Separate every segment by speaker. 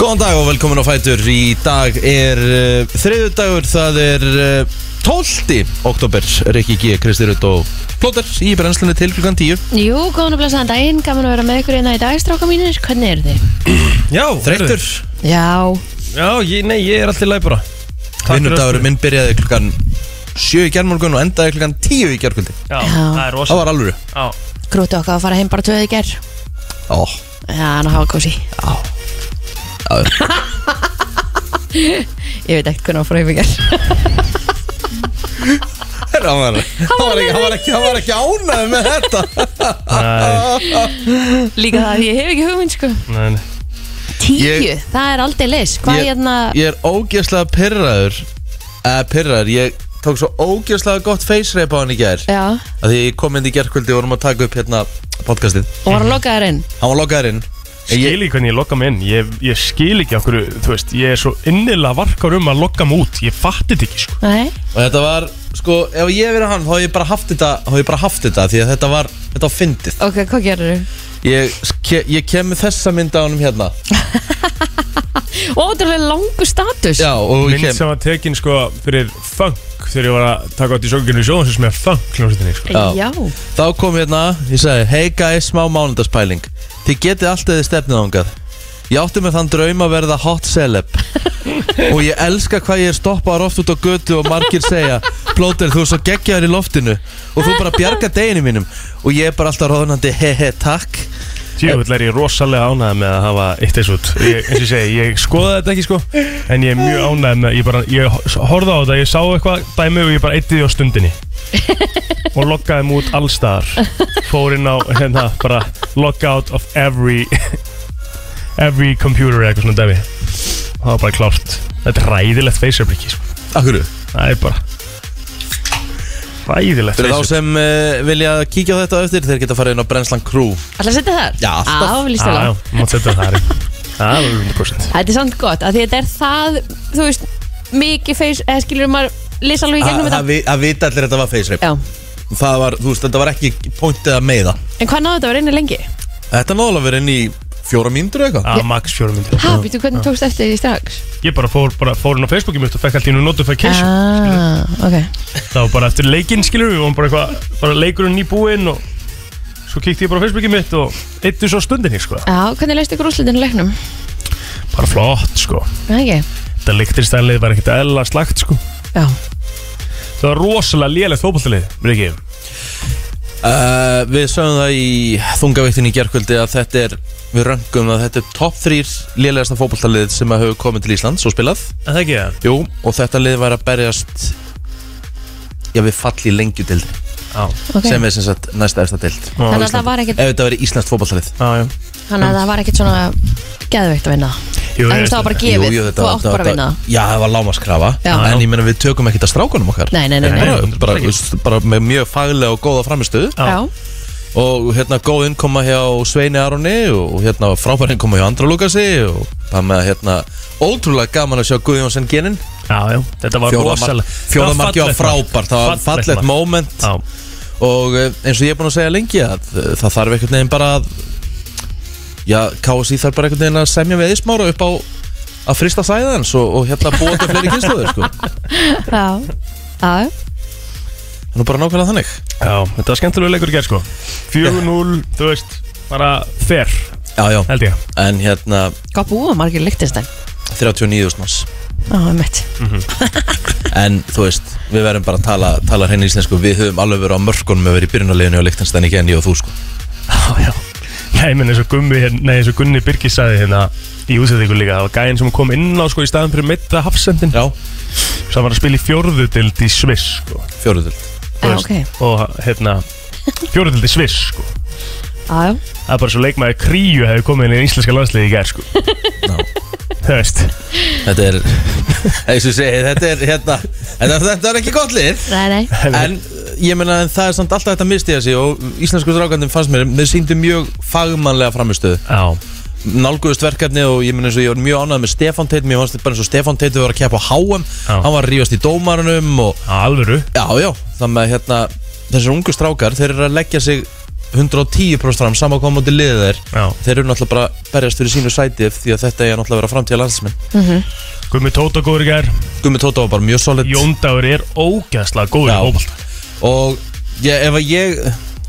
Speaker 1: Góðan dag og velkomin á Fætur Í dag er uh, þriðu dagur Það er uh, 12. oktober Rikki G, Kristi Rutt og Plóter Í brennslunni til klukkan 10
Speaker 2: Jú, góðan og blessaðan daginn, gaman að vera með ykkur hérna í dag, stráka mínir, hvernig eru þið?
Speaker 3: Já,
Speaker 1: Þreyttur,
Speaker 3: heyrðu.
Speaker 2: Já,
Speaker 3: Já, ég, nei, ég er alltaf læg bara Takk fyrir
Speaker 1: vinnudagur
Speaker 3: öllum.
Speaker 1: minn byrjaði klukkan 7 í gerðmorgun og endaði klukkan 10 í gerðkvöldi
Speaker 3: Já,
Speaker 2: Já.
Speaker 3: það er rosa
Speaker 1: Það var alvöru
Speaker 3: Já,
Speaker 2: grúti okkar að fara heim bara tvöði ger Já,
Speaker 1: Ó,
Speaker 2: hann að hafa kósi
Speaker 1: á
Speaker 2: Ég veit ekkert hvernig að fara heim í ger
Speaker 1: Hann var, hann var, ekki, hann var, ekki, hann var ekki ánæði með þetta Ah,
Speaker 3: nei,
Speaker 2: Líka það, að ég hef ekki hugmynd, sko
Speaker 3: nei, nei.
Speaker 2: Tíu,
Speaker 1: Ég-
Speaker 2: það er aldrei leys, hvað
Speaker 1: Ég-
Speaker 2: hérna
Speaker 1: Ég er ógeðslega pyrraður eh, Pyrraður, ég tók svo ógeðslega gott face rape á hann í gær
Speaker 2: Já,
Speaker 1: að því ég kom inn í gerðkvöldi og vorum að taka upp hérna podcastið
Speaker 2: og var að loka þær inn
Speaker 1: hann var lokaður inn
Speaker 3: Skil ekki hvernig ég lokka mig inn ég, ég skil ekki okkur, þú veist Ég er svo innilega varkar um að lokka mig út Ég fatti þetta ekki, sko
Speaker 2: Nei,
Speaker 1: og þetta var sko ef ég hef verið hann þá hef ég bara haft þetta þá hef ég bara haft þetta því að þetta var þetta var fyndið
Speaker 2: ok, hvað gerir þau?
Speaker 1: ég, ke- ég kem með þessa mynd á honum hérna
Speaker 2: Ótrúlega langu status
Speaker 1: já og ég
Speaker 3: Mynd
Speaker 1: kem
Speaker 3: sem var tekin, sko, fyrir funk Þegar ég var að taka átt í sjókinu sjóðan sem er funk hljómsveitinni, sko
Speaker 1: Já.
Speaker 2: Já.
Speaker 1: þá kom hérna ég sagði hey guys smá mánundarspæling þið getið alltaf þið stefnið ángað Ég átti með þann draum að verða hot celeb og ég elska hvað ég er stoppar oft út á götu og margir segja Plóter þú er svo geggjaður í loftinu og þú bara bjarga deginu mínum og ég er bara alltaf ráðnandi he he takk
Speaker 3: Tjöfull er ég rosalega ánægð með að hafa eitt þessu út ég, eins og ég segi, ég skoða þetta ekki sko en ég er mjög ánægð með, ég bara ég horfði á þetta, ég sá eitthvað dæmi og ég bara eitti því á stundinni og loggaði mig út allstaðar fór inn á, hérna, bara log out of every every computer eða eitthvað svona dæmi það var bara klárt þetta er ræðilegt feysabriki, sko
Speaker 1: Akkurru?
Speaker 3: það er bara ræðilegt
Speaker 1: Fyrir þá
Speaker 3: feysabriki
Speaker 1: sem uh, vilja kíkja á þetta á eftir þeir geta farið inn á Brennslan Crew
Speaker 2: Alla setja þar?
Speaker 1: Já, alltaf.
Speaker 2: Á, líst
Speaker 3: Já,
Speaker 2: vel á.
Speaker 3: já, mátt setja það þar inn. Það er 100%
Speaker 2: Þetta er samt gott, af því þetta er það, þú veist, mikið face, eða skilur maður, lýs alveg í
Speaker 1: Að
Speaker 2: gegnum þetta
Speaker 1: vi- að vita allir að þetta var face rape
Speaker 2: Já,
Speaker 1: Það var, þú veist, þetta var ekki pointið að meiða
Speaker 2: en hvað náðu þetta að vera inni lengi?
Speaker 1: Þetta náðu alveg inn í fjóra mínútur eða eitthvað
Speaker 3: Já, max fjórum myndir
Speaker 2: Ha, býttu hvernig tókst eftir því strax?
Speaker 3: Ég bara fór, bara fór inn á Facebookið mitt og fekk allt í nú notification
Speaker 2: Ah, ok
Speaker 3: Það var bara eftir leikinn skilur við vorum bara eitthvað, bara leikurinn í búinn og svo kíkti ég bara á Facebookið mitt og eittu svo stundinni sko
Speaker 2: Já, hvernig leist ykkur úrslutinu leiknum?
Speaker 3: Bara flott sko
Speaker 2: Það ekki?
Speaker 3: Þetta leiktirstælið var ekkert eðla slagt sko
Speaker 2: Já
Speaker 3: Það var rosalega lélegt fótballtalið, mér ekki
Speaker 1: uh, Við sögum það í þungaveiktin í gerkvöldi að þetta er Við röngum að þetta er top 3 lélegasta fótballtalið sem að hafa komið til Íslands og spilað
Speaker 3: En það ekki það?
Speaker 1: Jú, og þetta lið var að berjast Já, við falli lengju dild
Speaker 3: Já,
Speaker 2: Ok.
Speaker 1: sem er Eh, sem sagt næsta efsta dild
Speaker 3: Já,
Speaker 2: Þannig að
Speaker 3: Ísland.
Speaker 2: það var ekkit,
Speaker 1: Ef þetta verið Íslands fótballtalið
Speaker 3: já, já
Speaker 2: þannig að það var ekkit svona geðveikt að vinna það.
Speaker 3: Jú,
Speaker 2: En þú veist, það var bara gefið, þú átt bara að vinna það.
Speaker 1: Já, það var lámaskrafa
Speaker 2: Já.
Speaker 1: En ég meina við tökum ekkert að strákunum okkar
Speaker 2: Nei, nei, nei, nei.
Speaker 1: bara,
Speaker 3: Nei,
Speaker 1: bara,
Speaker 3: ekki.
Speaker 1: veist, bara með mjög faglega og góða framistöðu
Speaker 3: Já.
Speaker 2: Já,
Speaker 1: Og hérna góð innkoma hjá Sveini Aroni Og hérna frábær innkoma hjá Andra Lukasi Og það með að hérna Ótrúlega gaman að sjá Guðjónsson genin
Speaker 3: Já, já, þetta var rosalega
Speaker 1: Fjóðamarki var frábær Það var fallegt moment
Speaker 3: Já,
Speaker 1: Og eh, eins og ég er búin að segja lengi að eh, Það þarf einhvern veginn bara að Já, KSI þarf bara einhvern veginn að semja við Ísmára upp á að frista sæðans og, og hérna búa til fleiri kynsluður sko. Það
Speaker 2: já, já
Speaker 1: er nú bara nákvæmlega þannig
Speaker 3: já, þetta var skemmtilega leikur í gerð sko 4-0, þú veist, bara fair,
Speaker 1: Já, já,
Speaker 3: held ég
Speaker 1: en hérna
Speaker 2: Hvað búið margir leiktist það?
Speaker 1: 39.000 manns
Speaker 2: Já, mitt
Speaker 1: En þú veist, við verðum bara að tala, tala hrein íslensku Við höfum alveg verið á mörkunum að vera í byrjunarleginu og Lichtenstein ekki enn ég og þú sko
Speaker 3: Já, já. Nei, menn eins og Gummi, hérna- nei, eins og Gunni Birgis sagði hérna í útsendingu líka, það var gæinn sem kom inn á sko í staðan fyrir mitta hafsendin
Speaker 1: Já,
Speaker 3: sem var að spila í fjórðudild í Sviss sko,
Speaker 1: fjóruðöld
Speaker 4: Ah,
Speaker 3: þú
Speaker 2: Já,
Speaker 3: veist.
Speaker 2: ok
Speaker 3: og hérna fjórðudild í Sviss sko.
Speaker 2: Já,
Speaker 3: það er bara svo leikmaði kríu hefði komið inn í íslenska landsliði í gær sko. þú veist
Speaker 1: Þetta er, eins og ég segi, þetta er hérna Þetta, þetta er ekki gott lið
Speaker 2: nei, nei
Speaker 1: En uh, ég meina en það er samt alltaf þetta mistiða sig og íslensku strákandum fannst mér þeir síndu mjög fagmannlega framistöðu
Speaker 3: Já,
Speaker 1: nálguðust verkefni og ég meina eins og ég var mjög ánægð með Stefán Teit mér fannst bara eins og Stefán Teit var að keppa á HM
Speaker 3: Já.
Speaker 1: hann var að rífast í dómarunum og
Speaker 3: á alvöru
Speaker 1: já já þannig að hérna þessir ungu strákar þeir eru að leggja sig 110% fram saman koma til liðið þeir
Speaker 3: Já.
Speaker 1: þeir eru náttúrulega bara að berjast fyrir sínu sæti ef- því að þetta er náttúrulega að vera framtíða landsmenn
Speaker 3: Gumi Tóta góður í gær
Speaker 1: Gummi Tóta var bara mjög solid
Speaker 3: Jóndagur er ógæðslega góður í
Speaker 1: Já.
Speaker 3: fókbalta
Speaker 1: og ég, ef að ég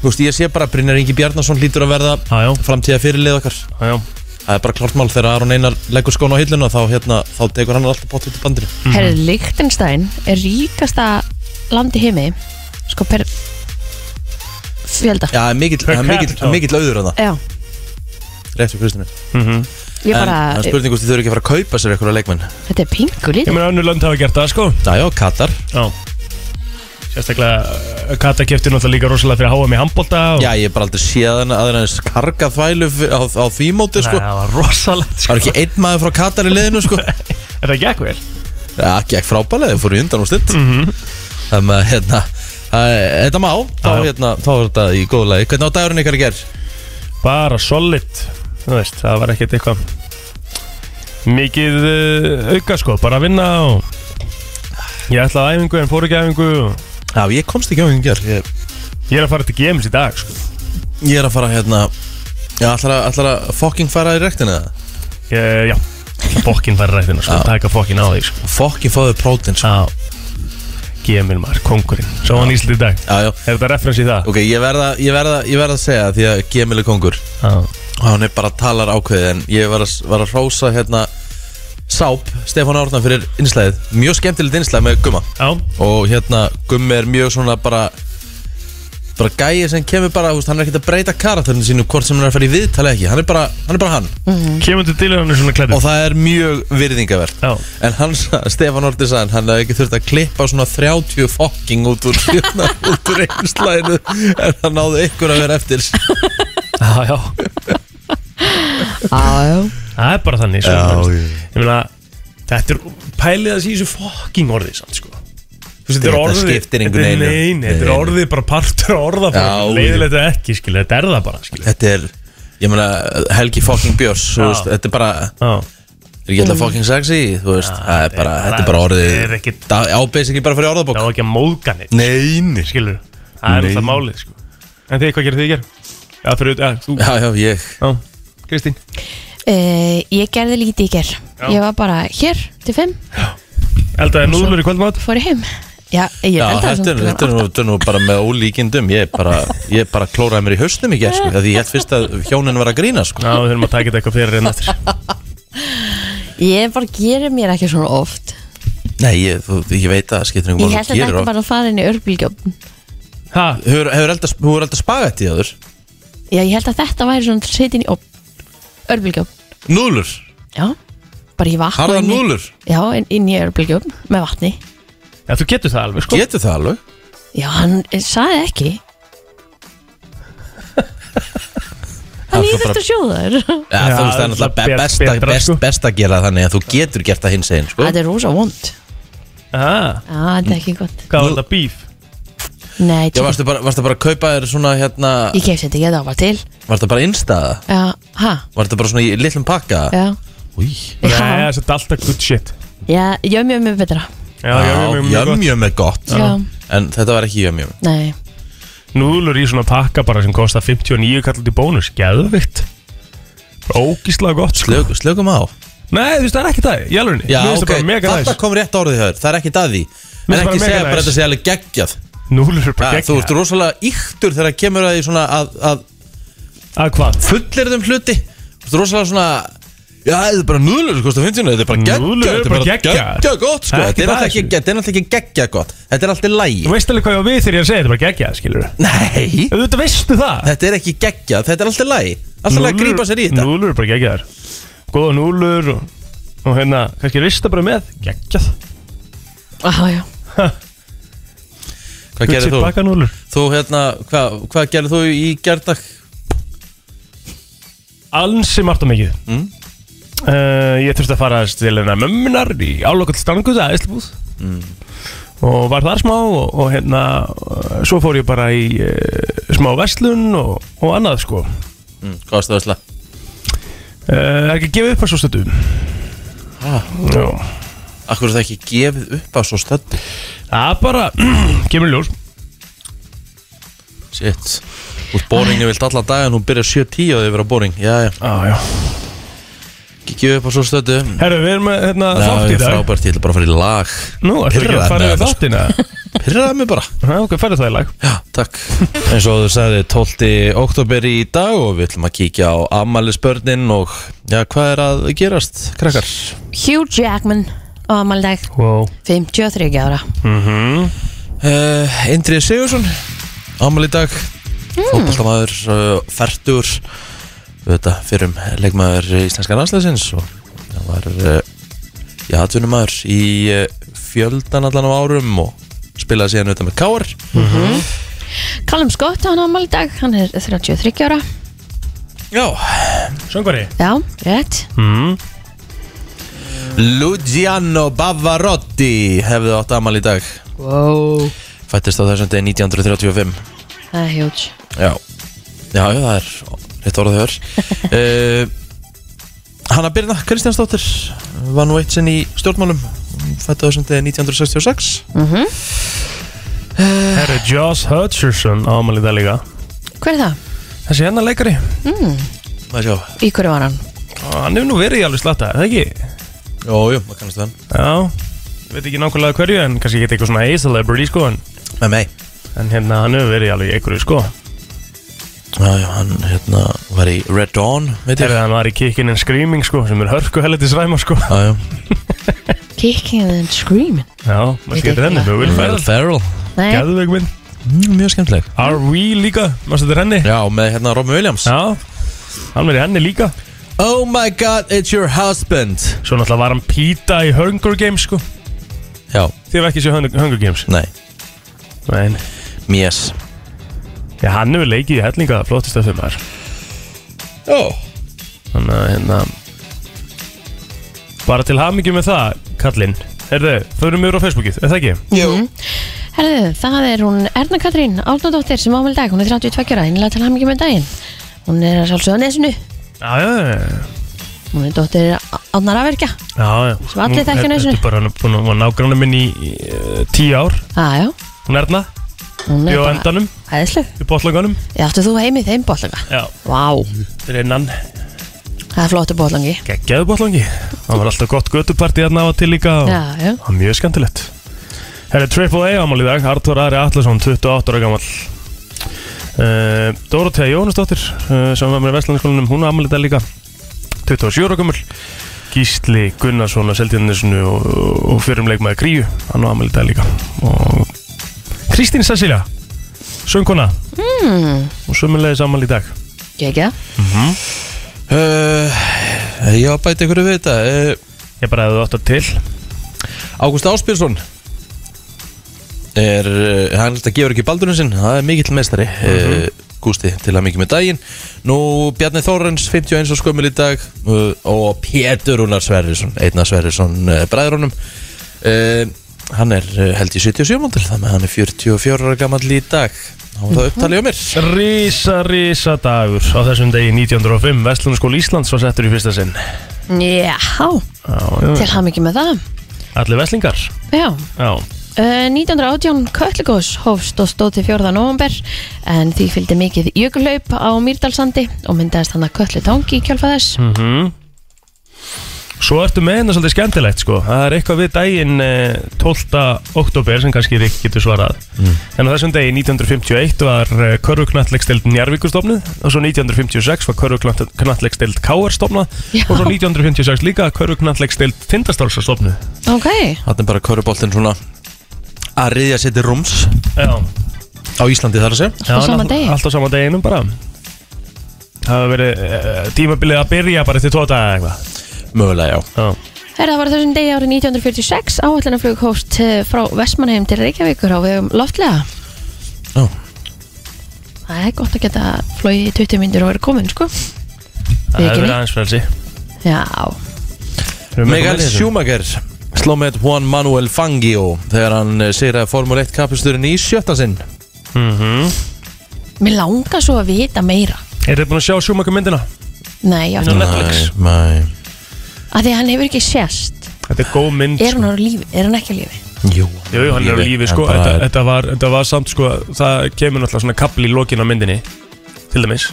Speaker 1: þú veist, ég sé bara að Brynjar Ingi Bjarnason hlýtur að verða
Speaker 3: Já, já,
Speaker 1: framtíða fyrirlið okkar
Speaker 3: já, já
Speaker 1: það er bara klart mál þegar Aron Einar leggur skóna á hilluna þá, hérna, þá tekur hann alltaf bótt út í bandinu
Speaker 4: Herri, Liechtenstein er ríkasta land í heimi Sko per Fjölda
Speaker 1: Já, það er mikill-
Speaker 3: Per
Speaker 1: það er mikill
Speaker 3: capita.
Speaker 1: mikill auður að það,
Speaker 4: Já,
Speaker 1: rétt fyrir Kristinu
Speaker 3: mm
Speaker 4: ég
Speaker 1: En
Speaker 4: bara,
Speaker 1: það er spurning hvort þið þurfi ekki að fara að kaupa sér eitthvað leikmenn
Speaker 4: þetta er pingu
Speaker 3: Ég
Speaker 4: lítið
Speaker 3: meina önnur lönd hafa gert það sko
Speaker 1: Já, já, Katar
Speaker 3: Já Sérstaklega uh, Kata kefti náttúrulega líka rosalega fyrir HM í handbólta og...
Speaker 1: Já, ég hef bara aldrei séð hann aðeins hans karga þvælu f- á, á því móti,
Speaker 3: Nei,
Speaker 1: sko
Speaker 3: það var rosalegt
Speaker 1: Það
Speaker 3: sko
Speaker 1: er ekki einn maður frá Katar í liðinu, sko Já,
Speaker 3: Er það gekk vel?
Speaker 1: ekki ekki frábælega, þau fóru í undan og stund Þannig að, hérna að, Þetta má, þá,
Speaker 3: Já, já.
Speaker 1: hérna, þá er þetta í góðu lagi Hvernig á dagurinn ykkar í ger?
Speaker 3: Bara solid Þú veist, það var ekkert eitthvað Mikið uh, auka sko, bara að vinna og Ég ætlaði að æfingu en fór ekki að æfingu og...
Speaker 1: Já, ég komst ekki á hengi ger ég,
Speaker 3: Ég er að fara til GMs í dag sko
Speaker 1: ég er að fara, hérna Já, ætlar að, ætlar að fucking fara í rektin eða?
Speaker 3: Ég, Eh, Já, fokkin fara rættina sko,
Speaker 1: Já.
Speaker 3: taka fokkin á því sko
Speaker 1: Fucking fáðu prótin, sko
Speaker 3: Já Gemil maður, kongurinn Svo hann Ísland í dag
Speaker 1: Já, já
Speaker 3: Er þetta referens í það?
Speaker 1: Ok, ég verða, ég verða, ég verða að segja því að Gemil er kongur
Speaker 3: Já
Speaker 1: og hann er bara talar ákveðið en ég var að, var að hrósa hérna Sáp, Stefán Árna fyrir innslæðið mjög skemmtilegt innslæð með Gumma
Speaker 3: Já
Speaker 1: og hérna Gummi er mjög svona bara bara gæi sem kemur bara húst, hann er ekkert að breyta karakterinu sínu hvort sem hann er að fara í viðtali ekki hann er bara hann, er bara hann.
Speaker 3: Mhm. Kemur til dýlega hann er svona
Speaker 1: og
Speaker 3: klættur
Speaker 1: það er mjög virðingavert
Speaker 3: Já
Speaker 1: en hann, sa- Stefán Orti sagði hann hefði ekki þurft að klippa svona 30 fokking út úr, hérna, út úr einslæðinu en hann náði ykkur að vera eftir
Speaker 3: Já, já
Speaker 4: Já,
Speaker 3: Það er bara þannig svo,
Speaker 1: Já,
Speaker 3: veist.
Speaker 1: já.
Speaker 3: Ég meina Þetta er pælið að sé í þessu fokking orði samt sko Þú veist, þetta er
Speaker 1: Þetta
Speaker 3: orðið
Speaker 1: skiptir engu neinu.
Speaker 3: Nein, þetta er
Speaker 1: Nei.
Speaker 3: orðið bara partur af orðafólk
Speaker 1: Já,
Speaker 3: Leiðilegt eða ekki, skilja Þetta er það bara, skilja
Speaker 1: þetta er ég meina Helgi fucking Björns þú
Speaker 3: Já.
Speaker 1: veist, þetta er bara
Speaker 3: Já
Speaker 1: er ekki alltaf fucking sexy þú veist það er bara þetta er bara orðið
Speaker 3: þetta er ekkit-
Speaker 1: það ábeis ekki bara fyrir orðabók
Speaker 3: Það var ekki að móðga neitt
Speaker 1: neini
Speaker 3: Skilur Það er
Speaker 1: Nei.
Speaker 3: alltaf málið sko En þið, hvað gerir þið í ger? Já, fyrir, já, þú
Speaker 1: já já ég
Speaker 3: Já Kristín
Speaker 4: Uh, ég gerði lítið í ger
Speaker 3: Já.
Speaker 4: Ég var bara hér til fimm,
Speaker 3: Eldaði núðlur í kvöldmátt
Speaker 4: fór ég heim Já, ég
Speaker 1: já
Speaker 4: eldaði
Speaker 1: þetta
Speaker 4: samt
Speaker 1: er
Speaker 4: klukkan
Speaker 1: þetta er nú-
Speaker 4: átta.
Speaker 1: þetta er nú bara með ólíkindum ég er bara ég bara klóraði mér í hausnum í gerð því ég held fyrst að hjónin var að grína sko
Speaker 3: Já, við þurfum að taka þetta eitthvað fyrir hérna en eftir
Speaker 4: Ég bara gerir mér ekki svona oft
Speaker 1: nei ég, þú, ég veit að það skiptir
Speaker 4: Ég
Speaker 1: einhvern
Speaker 4: held að þetta ætti bara að fara inn í örbílgjófn
Speaker 3: Ha,
Speaker 1: hefur hefur elda hún er elda spagetti áður
Speaker 4: Já, ég held að þetta væri svona setin í örbílgjófn
Speaker 1: núlur
Speaker 4: Já, bara í vatn og
Speaker 1: harðar
Speaker 4: inn í-
Speaker 1: núlur
Speaker 4: Já, inn, inn í örbílgjófn með vatni
Speaker 3: já, þú getur það alveg sko
Speaker 1: getur það alveg
Speaker 4: Já, hann eh, sagði ekki Hann ég þurfti að sjóða þér
Speaker 1: Já,
Speaker 3: Já,
Speaker 1: þú veist það er náttúrulega
Speaker 3: bet-
Speaker 1: be- best, að-
Speaker 3: betra,
Speaker 1: best,
Speaker 3: sko.
Speaker 1: best að gera það þannig að þú getur gert það hins einn sko.
Speaker 4: Þetta er rosa vond
Speaker 3: Aha,
Speaker 4: Já, þetta er ekki gott
Speaker 3: Hvað var þetta bíf?
Speaker 4: Nei,
Speaker 1: Já,
Speaker 4: tjú,
Speaker 1: varstu bara, varstu bara að kaupa þér svona hérna
Speaker 4: ég kefti þetta ekki, þetta var bara til
Speaker 1: Varstu bara innstæða?
Speaker 4: Já, hæ,
Speaker 1: Varstu bara svona í litlum pakka?
Speaker 4: já
Speaker 1: Új
Speaker 3: Nei,
Speaker 4: Já,
Speaker 3: þetta er alltaf good shit
Speaker 4: já, jömmi jömmi er betra
Speaker 3: Já, já, mjög, mjög gott
Speaker 1: Jömjum er gott
Speaker 4: Já.
Speaker 1: En þetta var ekki jömjum
Speaker 4: Nei,
Speaker 3: Núðlur í svona pakka bara sem kostar 59 kallat í bónus Geðvikt Ógíslega gott sko
Speaker 1: Slök, Slökum á
Speaker 3: Nei, þú veist, það er ekki það, ég alveg
Speaker 1: Já,
Speaker 3: Mér finnst
Speaker 1: ok,
Speaker 3: það bara mega
Speaker 1: þetta
Speaker 3: næs
Speaker 1: kom rétt orðið hjá þér Það er ekki daði En
Speaker 3: finnst bara
Speaker 1: ekki
Speaker 3: mega
Speaker 1: segja
Speaker 3: næs.
Speaker 1: bara að þetta sé alveg geggjað
Speaker 3: Núðlur er
Speaker 1: ja,
Speaker 3: bara
Speaker 1: Þú ert
Speaker 3: gegn
Speaker 1: rosalega yktur þegar kemur að því svona að, að
Speaker 3: Að hvað?
Speaker 1: fullirðum hluti Þú ert rosalega svona Já, þetta er bara núðlur, sko, þetta finnst þetta er bara geggjað
Speaker 3: Núðlur eru
Speaker 1: Þetta er
Speaker 3: bara
Speaker 1: bara
Speaker 3: geggjaðar.
Speaker 1: geggjað gott, sko
Speaker 3: Það er ekki
Speaker 1: Þetta er náttúrulega ekki- þetta
Speaker 3: það, sko.
Speaker 1: er náttúrulega ekki geggjað gott sko. Þetta er alltaf lægi
Speaker 3: Þú veist alveg hvað ég á við þegar ég er að segja þetta er bara gegn skilur
Speaker 1: Nei,
Speaker 3: Þú veistu það
Speaker 1: þetta er ekki geggjað, þetta er alltaf lægi Alltaf lægi að
Speaker 3: Núðlur-
Speaker 1: grípa sér í þetta
Speaker 3: Núðlur er bara gegn Góða núðlur og, og hérna, kannski rista bara með Geggjað
Speaker 4: ah, já
Speaker 1: Hvað gerir þú?
Speaker 3: Pakka núðlur
Speaker 1: Þú hérna, hvað hva gerir þú í gerðdag?
Speaker 3: ansi margt og mikið mm. Ég þurfti að fara til hennar mömmunar í álokall stangu það æslubúð mm. og var þar smá og, og hérna eh, svo fór ég bara í uh, smá veslun og, og annað sko uh,
Speaker 1: Mm, hvað varstu að slá?
Speaker 3: er ekki að gefa upp að svo stötu Já.
Speaker 1: Akkur er það ekki gefið upp á svo stöddu
Speaker 3: Það bara kemur í ljós
Speaker 1: Shit Þú veist, boringni vilt allan daginn, hún byrjar 7.10 og þau vera boring Já, já,
Speaker 3: Á, já
Speaker 1: kikið upp á svo stötu
Speaker 3: Herru, við erum með hérna,
Speaker 1: Já,
Speaker 3: þátt í
Speaker 1: ég er
Speaker 3: dag
Speaker 1: frábært, ég ætla bara að fara í lag
Speaker 3: Nú, ertu ekki
Speaker 1: Pirraði
Speaker 3: að fara
Speaker 1: mig
Speaker 3: við
Speaker 1: þetta,
Speaker 3: þáttina?
Speaker 1: sko. Pirraði mig bara
Speaker 3: Já, ok, færðu það í lag
Speaker 1: Já, takk Eins og þú sagði 12. oktober í dag og við ætlum að kíkja á ammælisbörnin og já, hvað er að gerast, krakkar?
Speaker 4: Hugh Jackman á amaldag
Speaker 3: Wow
Speaker 4: 53 ára
Speaker 3: Mhm.
Speaker 1: Uh, Indrið Sigursson ammæli í dag mm. fótballtamaður, uh, fertur þetta fyrir um leikmaður íslenska landslæðsins og það var uh, já, atvinnumaður í uh, fjöldan allan á árum og spilaði síðan auðvitað með Káar
Speaker 4: Callum Scott á amaldag, hann er 33 ára
Speaker 1: Já,
Speaker 3: Söngvari
Speaker 4: Já, rétt
Speaker 3: mm.
Speaker 1: Luciano Bavarotti hefði átt ammæli í dag
Speaker 4: Wow
Speaker 1: fættist á þessum degi 1935
Speaker 4: Það er huge
Speaker 1: Já, já, já, það er rétt orðið hör uh, Hanna Birna Kristjánsdóttir var nú eitt sinn í stjórnmálum fættu þessum degi 1966
Speaker 3: Herru, Joss Hutcherson ámalið það líka
Speaker 4: Hver er það?
Speaker 3: Þessi hérna leikari
Speaker 1: Það sjá,
Speaker 4: Í hverju var hann?
Speaker 3: Á, Hann hefur nú verið í alveg slatta, er það ekki?
Speaker 1: jú, jú, maður kannast við hann
Speaker 3: Já Ég veit ekki nákvæmlega hverju en kannski geta eitthvað svona A-celebrity sko en,
Speaker 1: Með mig
Speaker 3: en hérna hann hefur verið í alveg í einhverju sko
Speaker 1: Já, já, hann hérna var í Red Dawn, veit ég
Speaker 3: Herru, hann var í Kickin' and Screaming sko sem er hörku helviti svæma sko
Speaker 1: Já, já,
Speaker 4: Kicking and Screaming
Speaker 3: Já, maður
Speaker 4: Veit
Speaker 3: getur henni
Speaker 4: ekki.
Speaker 3: með Will
Speaker 1: Will
Speaker 3: Ferrell
Speaker 1: Ferrell
Speaker 4: Nei,
Speaker 3: Gæðveik minn
Speaker 1: mm, Mjög skemmtileg
Speaker 3: R.V. líka, maður getur henni
Speaker 1: Já, með hérna Robin Williams
Speaker 3: Já, hann verið henni líka
Speaker 1: Oh my god, it's your husband
Speaker 3: Svo náttúrulega var hann Pita í Hunger Games sko
Speaker 1: Já,
Speaker 3: Þið var ekki séu Hunger Hunger Games
Speaker 1: nei,
Speaker 3: Nei, nei.
Speaker 1: mjöss
Speaker 3: já, hann hefur leikið í hellinga það flottist af þeim þar
Speaker 1: Ó,
Speaker 3: Þannig að hérna Bara til hamingi með það, kallinn Herðu, þau eru mjög á Facebookið, er það ekki?
Speaker 1: jú
Speaker 4: herðu, það er hún Erna Katrín Árnadóttir sem ámæli dag, hún er 32 ára innlega til hann mikið með daginn hún er að sjálfsögða nesinu
Speaker 3: Já, já, já,
Speaker 4: hún er dóttir Árnar Afverkja
Speaker 3: já, já.
Speaker 4: Svo allir þekkja
Speaker 3: Hún-
Speaker 4: hana í þessu.
Speaker 3: Þetta er bara hann búin að nágranna minn í uh, tíu ár
Speaker 4: aðjá,
Speaker 3: Hún er hérna,
Speaker 4: hún er
Speaker 3: bjó endanum,
Speaker 4: hæðisleg
Speaker 3: í bótlanganum
Speaker 4: ég áttu þú heimi í þeim bóttlanga
Speaker 3: Já,
Speaker 4: vá,
Speaker 3: þetta er innan
Speaker 4: það er flottu bóttlangi
Speaker 3: geggjaðu bótlangi Það var alltaf gott göttuparti hérna á að til líka og...
Speaker 4: já, já,
Speaker 3: Það var mjög skemmtilegt Herra Triple A ámál í dag Artur Ari Atlasson, 28 ára gammal uh, Dorothea Jónasdóttir uh, sem var með Vestlandskólanum hún ámál í dag líka 27 ára gammal Gísli Gunnarsson á Seldjarnisnu og, og fyrum leikmaði Kríu hann ámál í dag líka og Kristín Cecilia sönguna mm.
Speaker 4: Hmm,
Speaker 3: og sömulegis ámál í dag
Speaker 4: ekki
Speaker 1: Uh, ég á að bæta ykkur við þetta uh,
Speaker 3: Ég bara hefði átt að til
Speaker 1: Ágúst Áspjörsson er, uh, hann held að gefur ekki baldurinn sinn, það er mikill meistari uh Gústi til að mikið með daginn Nú Bjarni Þórens, 51 og skömmil í dag uh, og Pétur Rúnar Sverrisson, einna Sverrisson uh, bræðrunum uh, Hann er uh, held í 77 múndil, þannig að hann er 44 ára gamall í dag Há það upptalið á mér
Speaker 3: Rísa, rísa dagur á þessum degi 1905 Vestlunarskóla Íslands var settur í fyrsta sinn
Speaker 4: já,
Speaker 3: Já,
Speaker 4: til hann mikið með það
Speaker 3: Allir veslingar
Speaker 4: já,
Speaker 3: Já,
Speaker 4: Uh, 1918 Köllugós hófst og stóð til 4. november en því fylgdi mikið jökulhlaup á Mýrdalsandi og myndaðist hann að Köllutangi í kjálfa þess
Speaker 3: mhm Svo ertu með hérna svolítið skemmtilegt sko Það er eitthvað við daginn eh, 12. oktober sem kannski þið getur svarað En á þessum degi 1951 var Körfuknallegstild Njarvíkustofnuð Og svo 1956 var Körfuknallegstild Káar stofnað
Speaker 4: Já.
Speaker 3: Og svo 1956 líka Körfuknallegstild Tindastálsar stofnuð
Speaker 4: Ok,
Speaker 1: Hann er bara köruboltinn svona að riðja sér til rúms
Speaker 3: Já,
Speaker 1: á Íslandi þar að segja
Speaker 4: Allt á
Speaker 3: Já,
Speaker 4: sama
Speaker 3: náttú-
Speaker 4: degi.
Speaker 3: Allt á sama deginum bara Það hafa verið uh, tímabilið að byrja bara eftir tvo daga eða eitthvað
Speaker 1: Mögulega, já
Speaker 3: Já,
Speaker 4: herra það var á þessum degi árið 1946 áhætlanaflug hófst eh, frá Vestmannheim til Reykjavíkur á vegum loftlega
Speaker 1: Já.
Speaker 4: Það er gott að geta flogið í 20 myndir og verið komin sko
Speaker 3: það hefur verið
Speaker 4: Vikinni.
Speaker 3: aðeins frelsi
Speaker 4: Já,
Speaker 1: Mikael
Speaker 3: Erum við með eitthvað
Speaker 1: Schumacher sló með Juan Manuel Fangio þegar hann eh, segir að Formule 1 kappisturinn í sjötta sinn
Speaker 4: mér langar svo að vita meira
Speaker 3: meira? Mhm. Eruð þið búin að sjá Schumacher myndina?
Speaker 4: Nei, já,
Speaker 3: Inn á Netflix
Speaker 1: nei,
Speaker 4: að því að hann hefur ekki sést
Speaker 3: Þetta er góð mynd
Speaker 4: Er hann á lífi, er hann ekki á lífi?
Speaker 1: jú,
Speaker 3: Jú, jú, hann er á lífi sko
Speaker 1: en bara
Speaker 3: Þetta, þetta, var, þetta var samt sko Það kemur náttúrulega svona kapli í lokin á myndinni til dæmis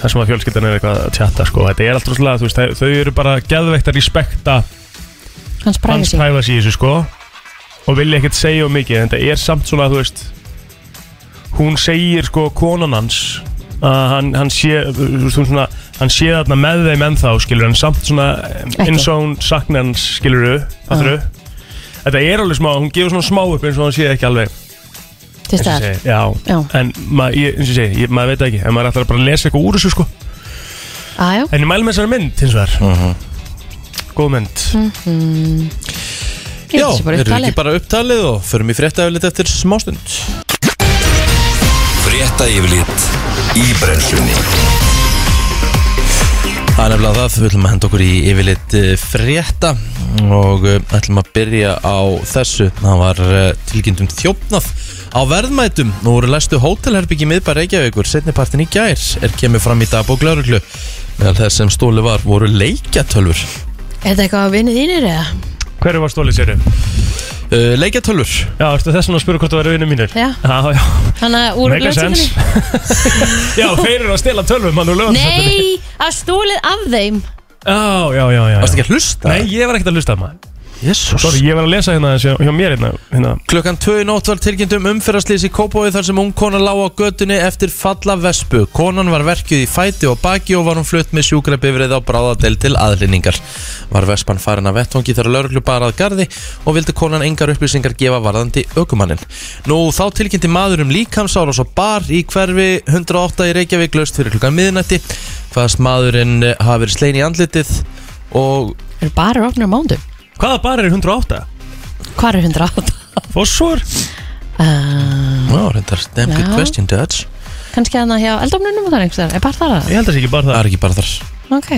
Speaker 3: þar sem að fjölskyldan er eitthvað að tjatta sko. þetta er allt rosalega, þú veist, þau- þau eru bara geðveikt að respekta
Speaker 4: Hans
Speaker 3: hans
Speaker 4: privacy
Speaker 3: privacy í þessu sko og vilja ekkert segja um mikið en þetta er samt svona, þú veist hún segir sko konan hans að hann, hann sé þú veist, hún svona, hann sé þarna með þeim ennþá skilur en samt svona
Speaker 4: Ekki.
Speaker 3: eins og hún sakna hans skilur þau þetta er alveg smá, hún gefur svona smá upp eins og hann sé ekki alveg
Speaker 4: til
Speaker 3: eins og ég
Speaker 4: staðar
Speaker 3: segi, já,
Speaker 4: Já,
Speaker 3: en maður, ég- eins og ég segi, ég- maður veit það ekki en maður ætlar bara að lesa eitthvað úr þessu sko
Speaker 4: aðjá
Speaker 3: en ég mælu með þessari mynd hins vegar góð mynd
Speaker 4: Mm. Ég held þessi bara
Speaker 1: erum við
Speaker 4: upptalið.
Speaker 1: ekki bara upptalið og förum í fréttaöflit eftir smástund
Speaker 5: Frétta yfirlit í brennslunni
Speaker 1: Það er nefnilega það, við ætlum að henda okkur í yfirleitt frétta og eh, ætlum að byrja á þessu það var eh, tilkynnt um þjófnað á verðmætum nú voru læstu hótelherbyggi miðbær Reykjavíkur setnipartin í gær er kemur fram í dagbók lauruglu meðal þess sem stóli var voru leikjatölfur
Speaker 4: Er þetta eitthvað að vinni þínir eða?
Speaker 3: hverju var stólið sérum?
Speaker 1: uh, leikjatölfur
Speaker 3: Já, ertu þess vegna að spyrja hvort það væri vinnir mínir?
Speaker 4: Já.
Speaker 3: Já, já,
Speaker 4: Þannig að úr
Speaker 3: make a sense
Speaker 4: lögstæðinni?
Speaker 3: Já, þeir eru að stela tölvum hann úr lögum
Speaker 4: Nei, að stúlið af þeim
Speaker 3: Já, já, já, já
Speaker 1: varst ekki að hlusta?
Speaker 3: Nei, ég var ekkert að hlusta maður
Speaker 1: Jésús
Speaker 3: Sorry, ég var að lesa hérna hjá, hjá mér hérna, hérna.
Speaker 1: Klukkan 2 í nótt var tilkynnt um umferðarslýs í Kópói þar sem ung kona lág á götunni eftir falla vespu. Konan var verkjuð í fæti og baki og var hún flutt með sjúkrabifrið á bráðadel til aðlinningar. Var vespan farin að vettvangi þegar lauruglu bara að gardi og vildi konan engar upplýsingar gefa varðandi ökumannin. Nú þá tilkynnti maður um líkamsárás og bar í hverfi 108 í Reykjavík löst fyrir klukkan miðnætti. Hvaðast maðurinn eh, hafi verið slein í andlitið og
Speaker 4: Eru bara ofnir á mándum
Speaker 3: Hvaða bar er 108?
Speaker 4: Hvar er 108?
Speaker 3: Fossur?
Speaker 4: Uh,
Speaker 1: Ná, reyndar, damn good
Speaker 4: Já.
Speaker 1: question, Dutch.
Speaker 4: kannski að það hjá eldofnunum og það er einhvers þar Er bara þar að?
Speaker 3: Ég held að sé ekki bara
Speaker 1: Það
Speaker 3: það
Speaker 1: er ekki bara þar.
Speaker 4: Ok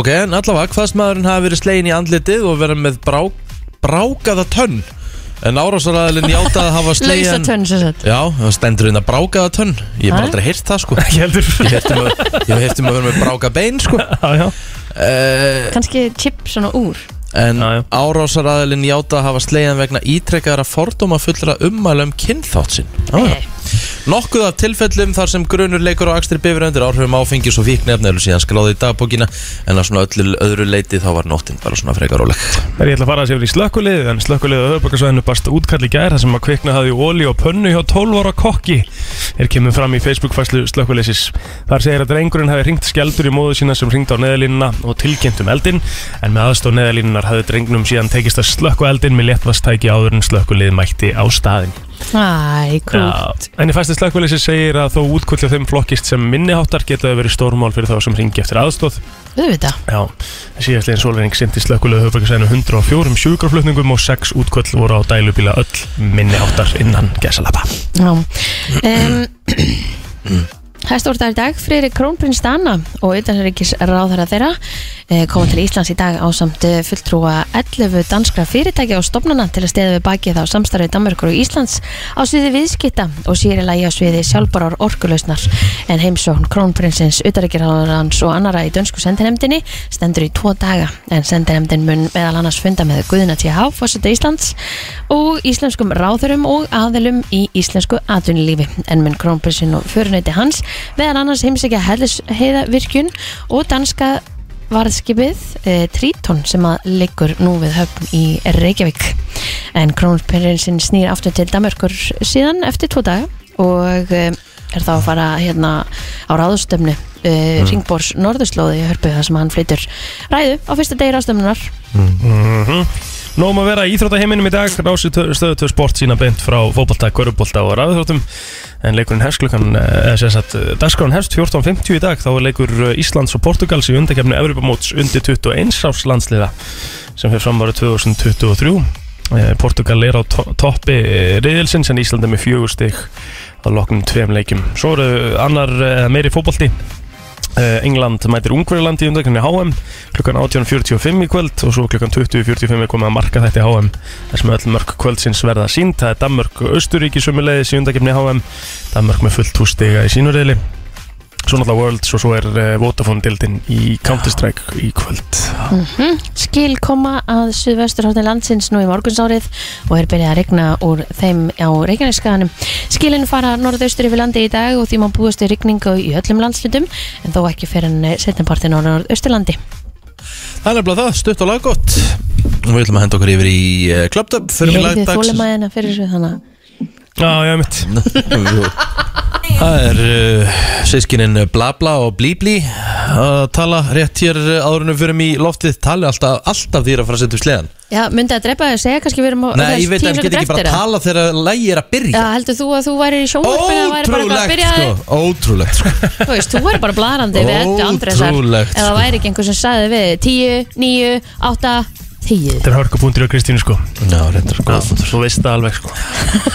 Speaker 1: Ok, en allavega, hvaðst maðurinn hafi verið slegin í andlitið og verið með brá, brákaða tönn En árásaraðalinn játaði að hafa
Speaker 4: Lausa
Speaker 1: slegin
Speaker 4: tönn sem sagt
Speaker 1: Já, það stendur inn að brákaða tönn Ég hef bara
Speaker 4: Ha?
Speaker 1: aldrei heyrt það sko
Speaker 3: Ég heldur
Speaker 1: Ég hef heyrt um að vera með bráka bein sko
Speaker 3: Já, já
Speaker 1: uh,
Speaker 4: Kannski chip svona úr
Speaker 1: En
Speaker 3: Já, já.
Speaker 1: árásaraðalinn játaði að hafa slegin vegna ítrekkaðara fordóma fullra ummælum kynþátt sinn Ah, Já, já. Nokkuð af tilfellum þar sem grunur leikur á akstri bifur undir áhrifum áfengis og fíknefni eru síðan skráði í dagbókina en að svona öllu öðru leiti þá var nóttin bara svona frekar róleg
Speaker 3: Það er ég ætla að fara að sé yfir í slökkulið En slökkulið á höfubokarsvæðinu barst útkall í gær þar sem að kvikna hafði óli og pönnu hjá 12 ára kokki Er kemur fram í Facebook-fæslu slökkuliðsis Þar segir að drengurinn hafi ringt skjaldur í móðu sína sem ringt á neðalínuna og tilkynnt um eldin en með aðstof neðalínunar hafi drengnum síðan tekist að slökku eldin með léttvastæki áður en slökkulið mætti á staðin
Speaker 4: Æ, krútt
Speaker 3: En í fæsti slökkuleysi segir að þó útkvöld hjá þeim flokkist sem minniháttar geta verið stórmál fyrir þá sem ringi eftir aðstóð.
Speaker 4: Auðvitað
Speaker 3: Já, síðastlegin sólvering sinti slökkulegu höfbækarsæðinu 104 sjúkraflutningum og 6 útkvöld voru á dælubíla öll minniháttar innan gesalapa.
Speaker 4: Já um, Hæstórdagur í dag, Friðrik Krónprins Dana og utanrikkis ráðara þeirra eh, koma til Íslands í dag á samt fulltrúa 11 danskra fyrirtækja og stofnana til að steða við bakið á samstarfið Danmarkur og Íslands á sviði viðskipta og sýrilagi á sviði sjálfbarar orkulausnar en heimsókn Krónprinsins, utanrikkirháðarans og annara í dönsku sendinemdinni stendur í tvo daga en sendinemdin mun meðal annars funda með Guðina T.H. fórseta Íslands og íslenskum ráðurum og aðilum í íslensku atvinnulífi en mun krónprinsin og förunöyti hans meðan annars heimsækja heiða virkun og danska varðskipið e, Triton sem að liggur nú við höfn í Reykjavík en krónprinsin snýr aftur til Danmarkur síðan eftir tvo daga og e, er þá að fara hérna á ráðustöfnu e, Ringbors Norðurslóði í Hörpu þar sem hann flytur ræðu á fyrsta degi ráðstöfnunar
Speaker 3: Nóum Mhm. um að vera í Íþróttaheiminum í dag, rási stöðu tvö sport sína beint frá fótbolta, körubólta og rafþróttum en leikurinn hefst klukkan, eh, eða sem sagt, eh, dagskráin hefst 14.50 í dag, þá er leikur eh, Íslands og Portugals í undakefni Evropamóts undir 21 árs landsliða sem fyrir fram árið 2023 Eh, Portugal er á to- toppi eh, riðilsins en Ísland er með fjögur stig að loknum tveim leikjum Svo eru annar eh, meiri fótbolti Eh, England mætir Ungverjaland í undakefni HM klukkan 18.45 í kvöld og svo klukkan 20.45 er komið að marka þetta í HM þar sem öll mörg kvöldsins verða sínd það er Danmörk og Östuríki sumulegis í undakefni HM Danmörk með fullt hússtiga í sínurriðli Svo náttúrulega Worlds og svo er uh, Vodafone-dildin í Counter-Strike í kvöld
Speaker 4: Skil koma að suðvesturhóttin landsins nú í morgunsárið og er byrjað að regna úr þeim á Reykjaneskaganum. Skilin fara norðaustur yfir landi í dag og því má búast við regningu í öllum landslutum en þó ekki fyrir en setjumpartin á norðausturlandi.
Speaker 1: Það er nefnilega það, stutt og laggott og við ætlum að henda okkur yfir í uh, klöptöp fyrir
Speaker 4: Ég
Speaker 1: mig
Speaker 4: heyrði
Speaker 1: lagdags
Speaker 4: þólimaðina fyrir þessu þannig.
Speaker 3: Já, já, mitt
Speaker 1: Það er uh, sískinin Blabla og Blíblí að tala rétt hér uh, áður en við fyrir í loftið tali alltaf, alltaf því að fara að setja upp sleðan
Speaker 4: Já, myndi að drepa þau, segja kannski við erum á
Speaker 1: Nei, ég veit að hann getur ekki bara að tala þegar lægi er að
Speaker 4: Já,
Speaker 1: byrja
Speaker 4: heldur þú að þú væri í sjónvarpinu eða væri bara eitthvað að
Speaker 1: Ótrúlegt
Speaker 4: byrja
Speaker 1: sko, ótrúlegt sko
Speaker 4: Þú veist, þú væri bara blarandi við Eddu Andresar
Speaker 1: Ótrúlegt,
Speaker 4: Eða
Speaker 1: sko.
Speaker 4: væri ekki einhver sem sagði við 10, 9, 8, 10
Speaker 3: Þetta er hörkupunktur á Kristínu sko
Speaker 1: Já, reyndar sko,
Speaker 3: Þú veist það alveg sko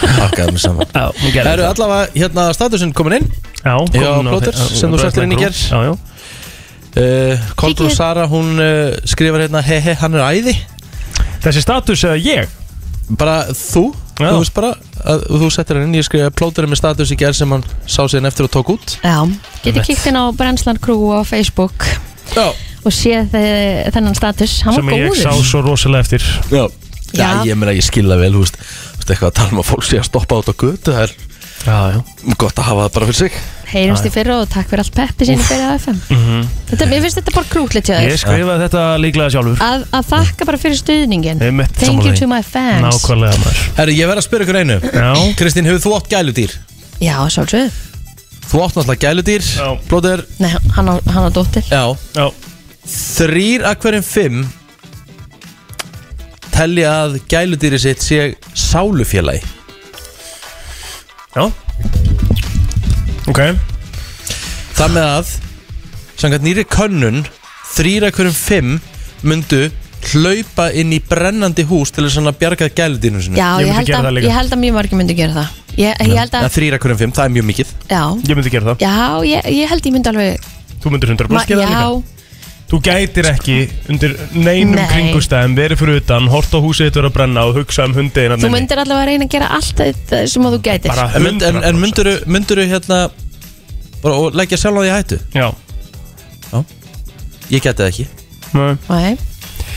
Speaker 1: pakkaði mig saman
Speaker 3: Já, hún
Speaker 1: Það
Speaker 3: gerði
Speaker 1: eru allavega, hérna, statusinn komin inn
Speaker 3: Já,
Speaker 1: Já,
Speaker 3: komin á
Speaker 1: Plotters,
Speaker 3: þe- á-
Speaker 1: sem þú
Speaker 3: á
Speaker 1: settir inn í
Speaker 3: Bræðslan
Speaker 1: gær.
Speaker 3: Group. Já, já
Speaker 1: uh, Koldur
Speaker 4: Kíkið.
Speaker 1: Sara, hún uh, skrifar hérna He he, hann er æði
Speaker 3: Þessi status eða ég
Speaker 1: Bara þú,
Speaker 3: Já.
Speaker 1: þú veist bara að, Þú settir hann inn, ég skrifa plóturinn með status í gerð sem hann sá síðan eftir og tók út
Speaker 4: Já, getur kíkt inn á Brennslan Crew á Facebook
Speaker 1: Já,
Speaker 4: og séð þe- þennan status Hann
Speaker 3: Sem
Speaker 4: var
Speaker 3: ég sá
Speaker 4: góður
Speaker 3: svo rosalega eftir
Speaker 1: já Já,
Speaker 4: Já.
Speaker 1: ég meina ég skilða vel, þú veist Þú veist eitthvað að tala um að fólk sé að stoppa át á götu Það er
Speaker 3: Já, já
Speaker 1: gott að hafa það bara fyrir sig
Speaker 4: Heyrumst í fyrra og takk fyrir allt peppi sinni fyrir AFM
Speaker 3: Mhm.
Speaker 4: Þetta, mér finnst þetta bara krútlegt hjá
Speaker 3: Ég
Speaker 4: þér
Speaker 3: skrifaði þetta líklega sjálfur
Speaker 4: að, að þakka bara fyrir stuðningin
Speaker 3: Einmitt,
Speaker 4: Thank
Speaker 3: sammála
Speaker 4: you
Speaker 3: því.
Speaker 4: to my fans
Speaker 3: Nákvæmlega maður
Speaker 1: Herru, ég verð að spyrja ykkur einu
Speaker 3: Já.
Speaker 1: Kristín, hefur þú átt gæludýr?
Speaker 4: Já, sjálfsögðu
Speaker 1: Þú átt náttúrulega gæludýr
Speaker 3: Já.
Speaker 1: Plótur,
Speaker 4: Nei, hann á, hann á dóttir
Speaker 1: já
Speaker 3: Já,
Speaker 1: Þrýr að hverjum fimm Telja að gæludýri sitt sé sálufélagi
Speaker 3: já Ok
Speaker 1: Það með að Sangat nýri könnun Þrýra hverjum fimm Mundu hlaupa inn í brennandi hús Til þess að bjarga gæludýrnum sinni
Speaker 4: Já,
Speaker 3: Ég
Speaker 4: ég,
Speaker 3: myndi
Speaker 4: held
Speaker 3: gera
Speaker 4: að,
Speaker 3: það líka.
Speaker 4: ég held að mjög margir myndi gera það Ég, ég held
Speaker 1: Það
Speaker 4: að,
Speaker 1: þrýra hverjum fimm, það er mjög mikið
Speaker 4: já
Speaker 3: Ég myndi gera það
Speaker 4: Já, ég, ég held ég myndi alveg
Speaker 3: Þú myndir 100%
Speaker 4: ma-
Speaker 3: gera það líka
Speaker 4: Já,
Speaker 3: Þú gætir ekki undir neinum
Speaker 4: Nei.
Speaker 3: kringustæðum verið fyrir utan, hort á húsið þetta verið að brenna og hugsa um hundið innan
Speaker 4: þú myndir allaveg að reyna að gera allt þetta sem að þú gætir
Speaker 3: bara
Speaker 1: En, mynd, en, en
Speaker 3: 100%.
Speaker 1: mynduru, mynduru hérna bara, Og leggja sjálf á því hættu
Speaker 3: Já
Speaker 1: Ég geti það ekki
Speaker 3: Nei.
Speaker 4: Nei,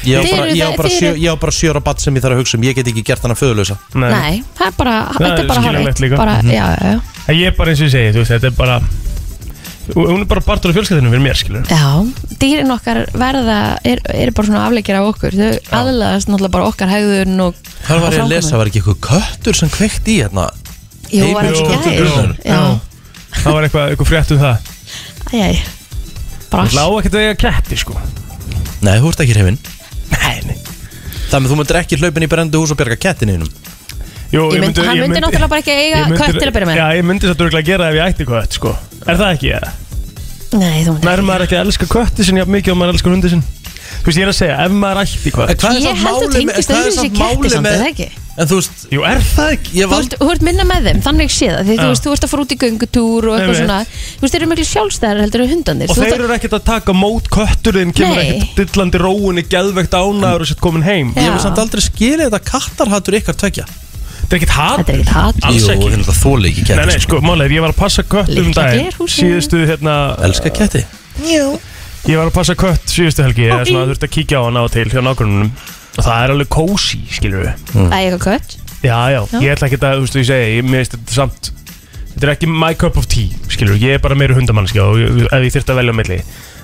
Speaker 1: Ég á
Speaker 4: Þið
Speaker 1: bara, ég
Speaker 4: eru
Speaker 1: á
Speaker 4: það-
Speaker 1: bara,
Speaker 4: þið
Speaker 1: sjö,
Speaker 4: eru-
Speaker 1: ég á bara sjöra batt sem ég þarf að hugsa um Ég get ekki gert hana föðulösa
Speaker 3: Nei.
Speaker 4: nei, það er bara,
Speaker 3: Það
Speaker 4: þetta
Speaker 3: er
Speaker 4: er bara
Speaker 3: skiljanlegt
Speaker 4: hálfitt
Speaker 3: líka.
Speaker 4: bara, já, já, já,
Speaker 3: En Ég er bara eins og ég segi, þú veist, þetta er bara Hún er bara partur af fjölskyldinu fyrir mér, skilur
Speaker 4: já dýrin okkar verða, er, er bara svona afleikir af okkur, þau aðlaðast náttúrulega bara okkar hægðun og
Speaker 1: Hvað var ég að
Speaker 4: og
Speaker 1: lesa,
Speaker 4: framkomu.
Speaker 1: var ekki eitthvað köttur sem kveikt í hérna
Speaker 4: Jú, var
Speaker 1: Heimur
Speaker 4: ekki
Speaker 1: og
Speaker 4: gæð
Speaker 1: köttur.
Speaker 4: Já,
Speaker 3: Það var eitthvað, eitthvað frétt um það
Speaker 4: æj, æj Brass,
Speaker 3: Lá ekkert að eiga ketti, sko
Speaker 1: Nei, þú ert ekki hrifin
Speaker 3: Nei, nei
Speaker 1: Þannig að þú myndir ekki hlaupin í brennandi hús og bjarga kettininum
Speaker 3: Jú,
Speaker 4: Ég myndi- hann myndi náttúrulega bara ekki eiga
Speaker 3: ég myndi-
Speaker 4: kött til að byrja með.
Speaker 3: Já, ég myndi þetta örgulega gera ef ég ætti kött, sko Er það ekki, eða?
Speaker 4: nei, þú myndir
Speaker 3: Nær maður ekki að elska kötti sinni jafn mikið og maður elskar hundi sinni Þú veist, ég er að segja, ef maður ætti
Speaker 1: En
Speaker 3: kött
Speaker 1: Eh, hvað er
Speaker 4: Ég
Speaker 1: samt
Speaker 4: held að
Speaker 1: málið með-
Speaker 4: tengist
Speaker 1: hvað er
Speaker 4: öðruvísi
Speaker 1: samt
Speaker 4: ketti
Speaker 1: málið
Speaker 4: samt,
Speaker 1: með-
Speaker 4: eða ekki?
Speaker 1: En þú veist,
Speaker 3: Jú, er það ekki?
Speaker 1: ég
Speaker 4: Þú
Speaker 1: vald
Speaker 4: ert, þú ert minna með þeim, þannig séð það því þú
Speaker 3: Já.
Speaker 4: veist, þú ert að fara út í göngutúr og eitthvað
Speaker 3: Einmitt.
Speaker 4: svona þú veist, þeir eru miklu sjálfstæðar heldur en hundandir
Speaker 3: Og
Speaker 4: Þú ert
Speaker 3: þeir eru ekkert að taka mót kötturinn Kemur
Speaker 4: Nei.
Speaker 3: ekkert dillandi róunni, geðvegt ánaður og sett komin heim
Speaker 4: Já.
Speaker 1: Ég hef samt aldrei skilið þetta kattarhattur ykkar tvekja
Speaker 3: Þetta er ekkert
Speaker 4: að-
Speaker 3: hat
Speaker 4: Þetta er ekkert hatt
Speaker 3: Alls ekki.
Speaker 1: Jú, hérna þóli ekki
Speaker 3: Nei, nei,
Speaker 1: ketti sko.
Speaker 3: sko, málið, er, ég var að passa kött um
Speaker 4: Litla
Speaker 3: daginn
Speaker 4: glerhúsið.
Speaker 3: Síðustu, hérna
Speaker 1: Elskar ketti
Speaker 3: Ég var að passa kött síðustu helgi Ég svona, þurfti að kíkja á hann á og til hjá nákvæmum Og það er alveg kósi, skilur við
Speaker 4: Æ, eitthvað kött
Speaker 3: Já, já, ég ætla ekki að, þú veist, ég segi ég- Mér veist þetta samt Þetta er ekki my cup of tea, skilur við Ég er bara meiri hundamannskja og ég- ef ég þyrfti að velja á milli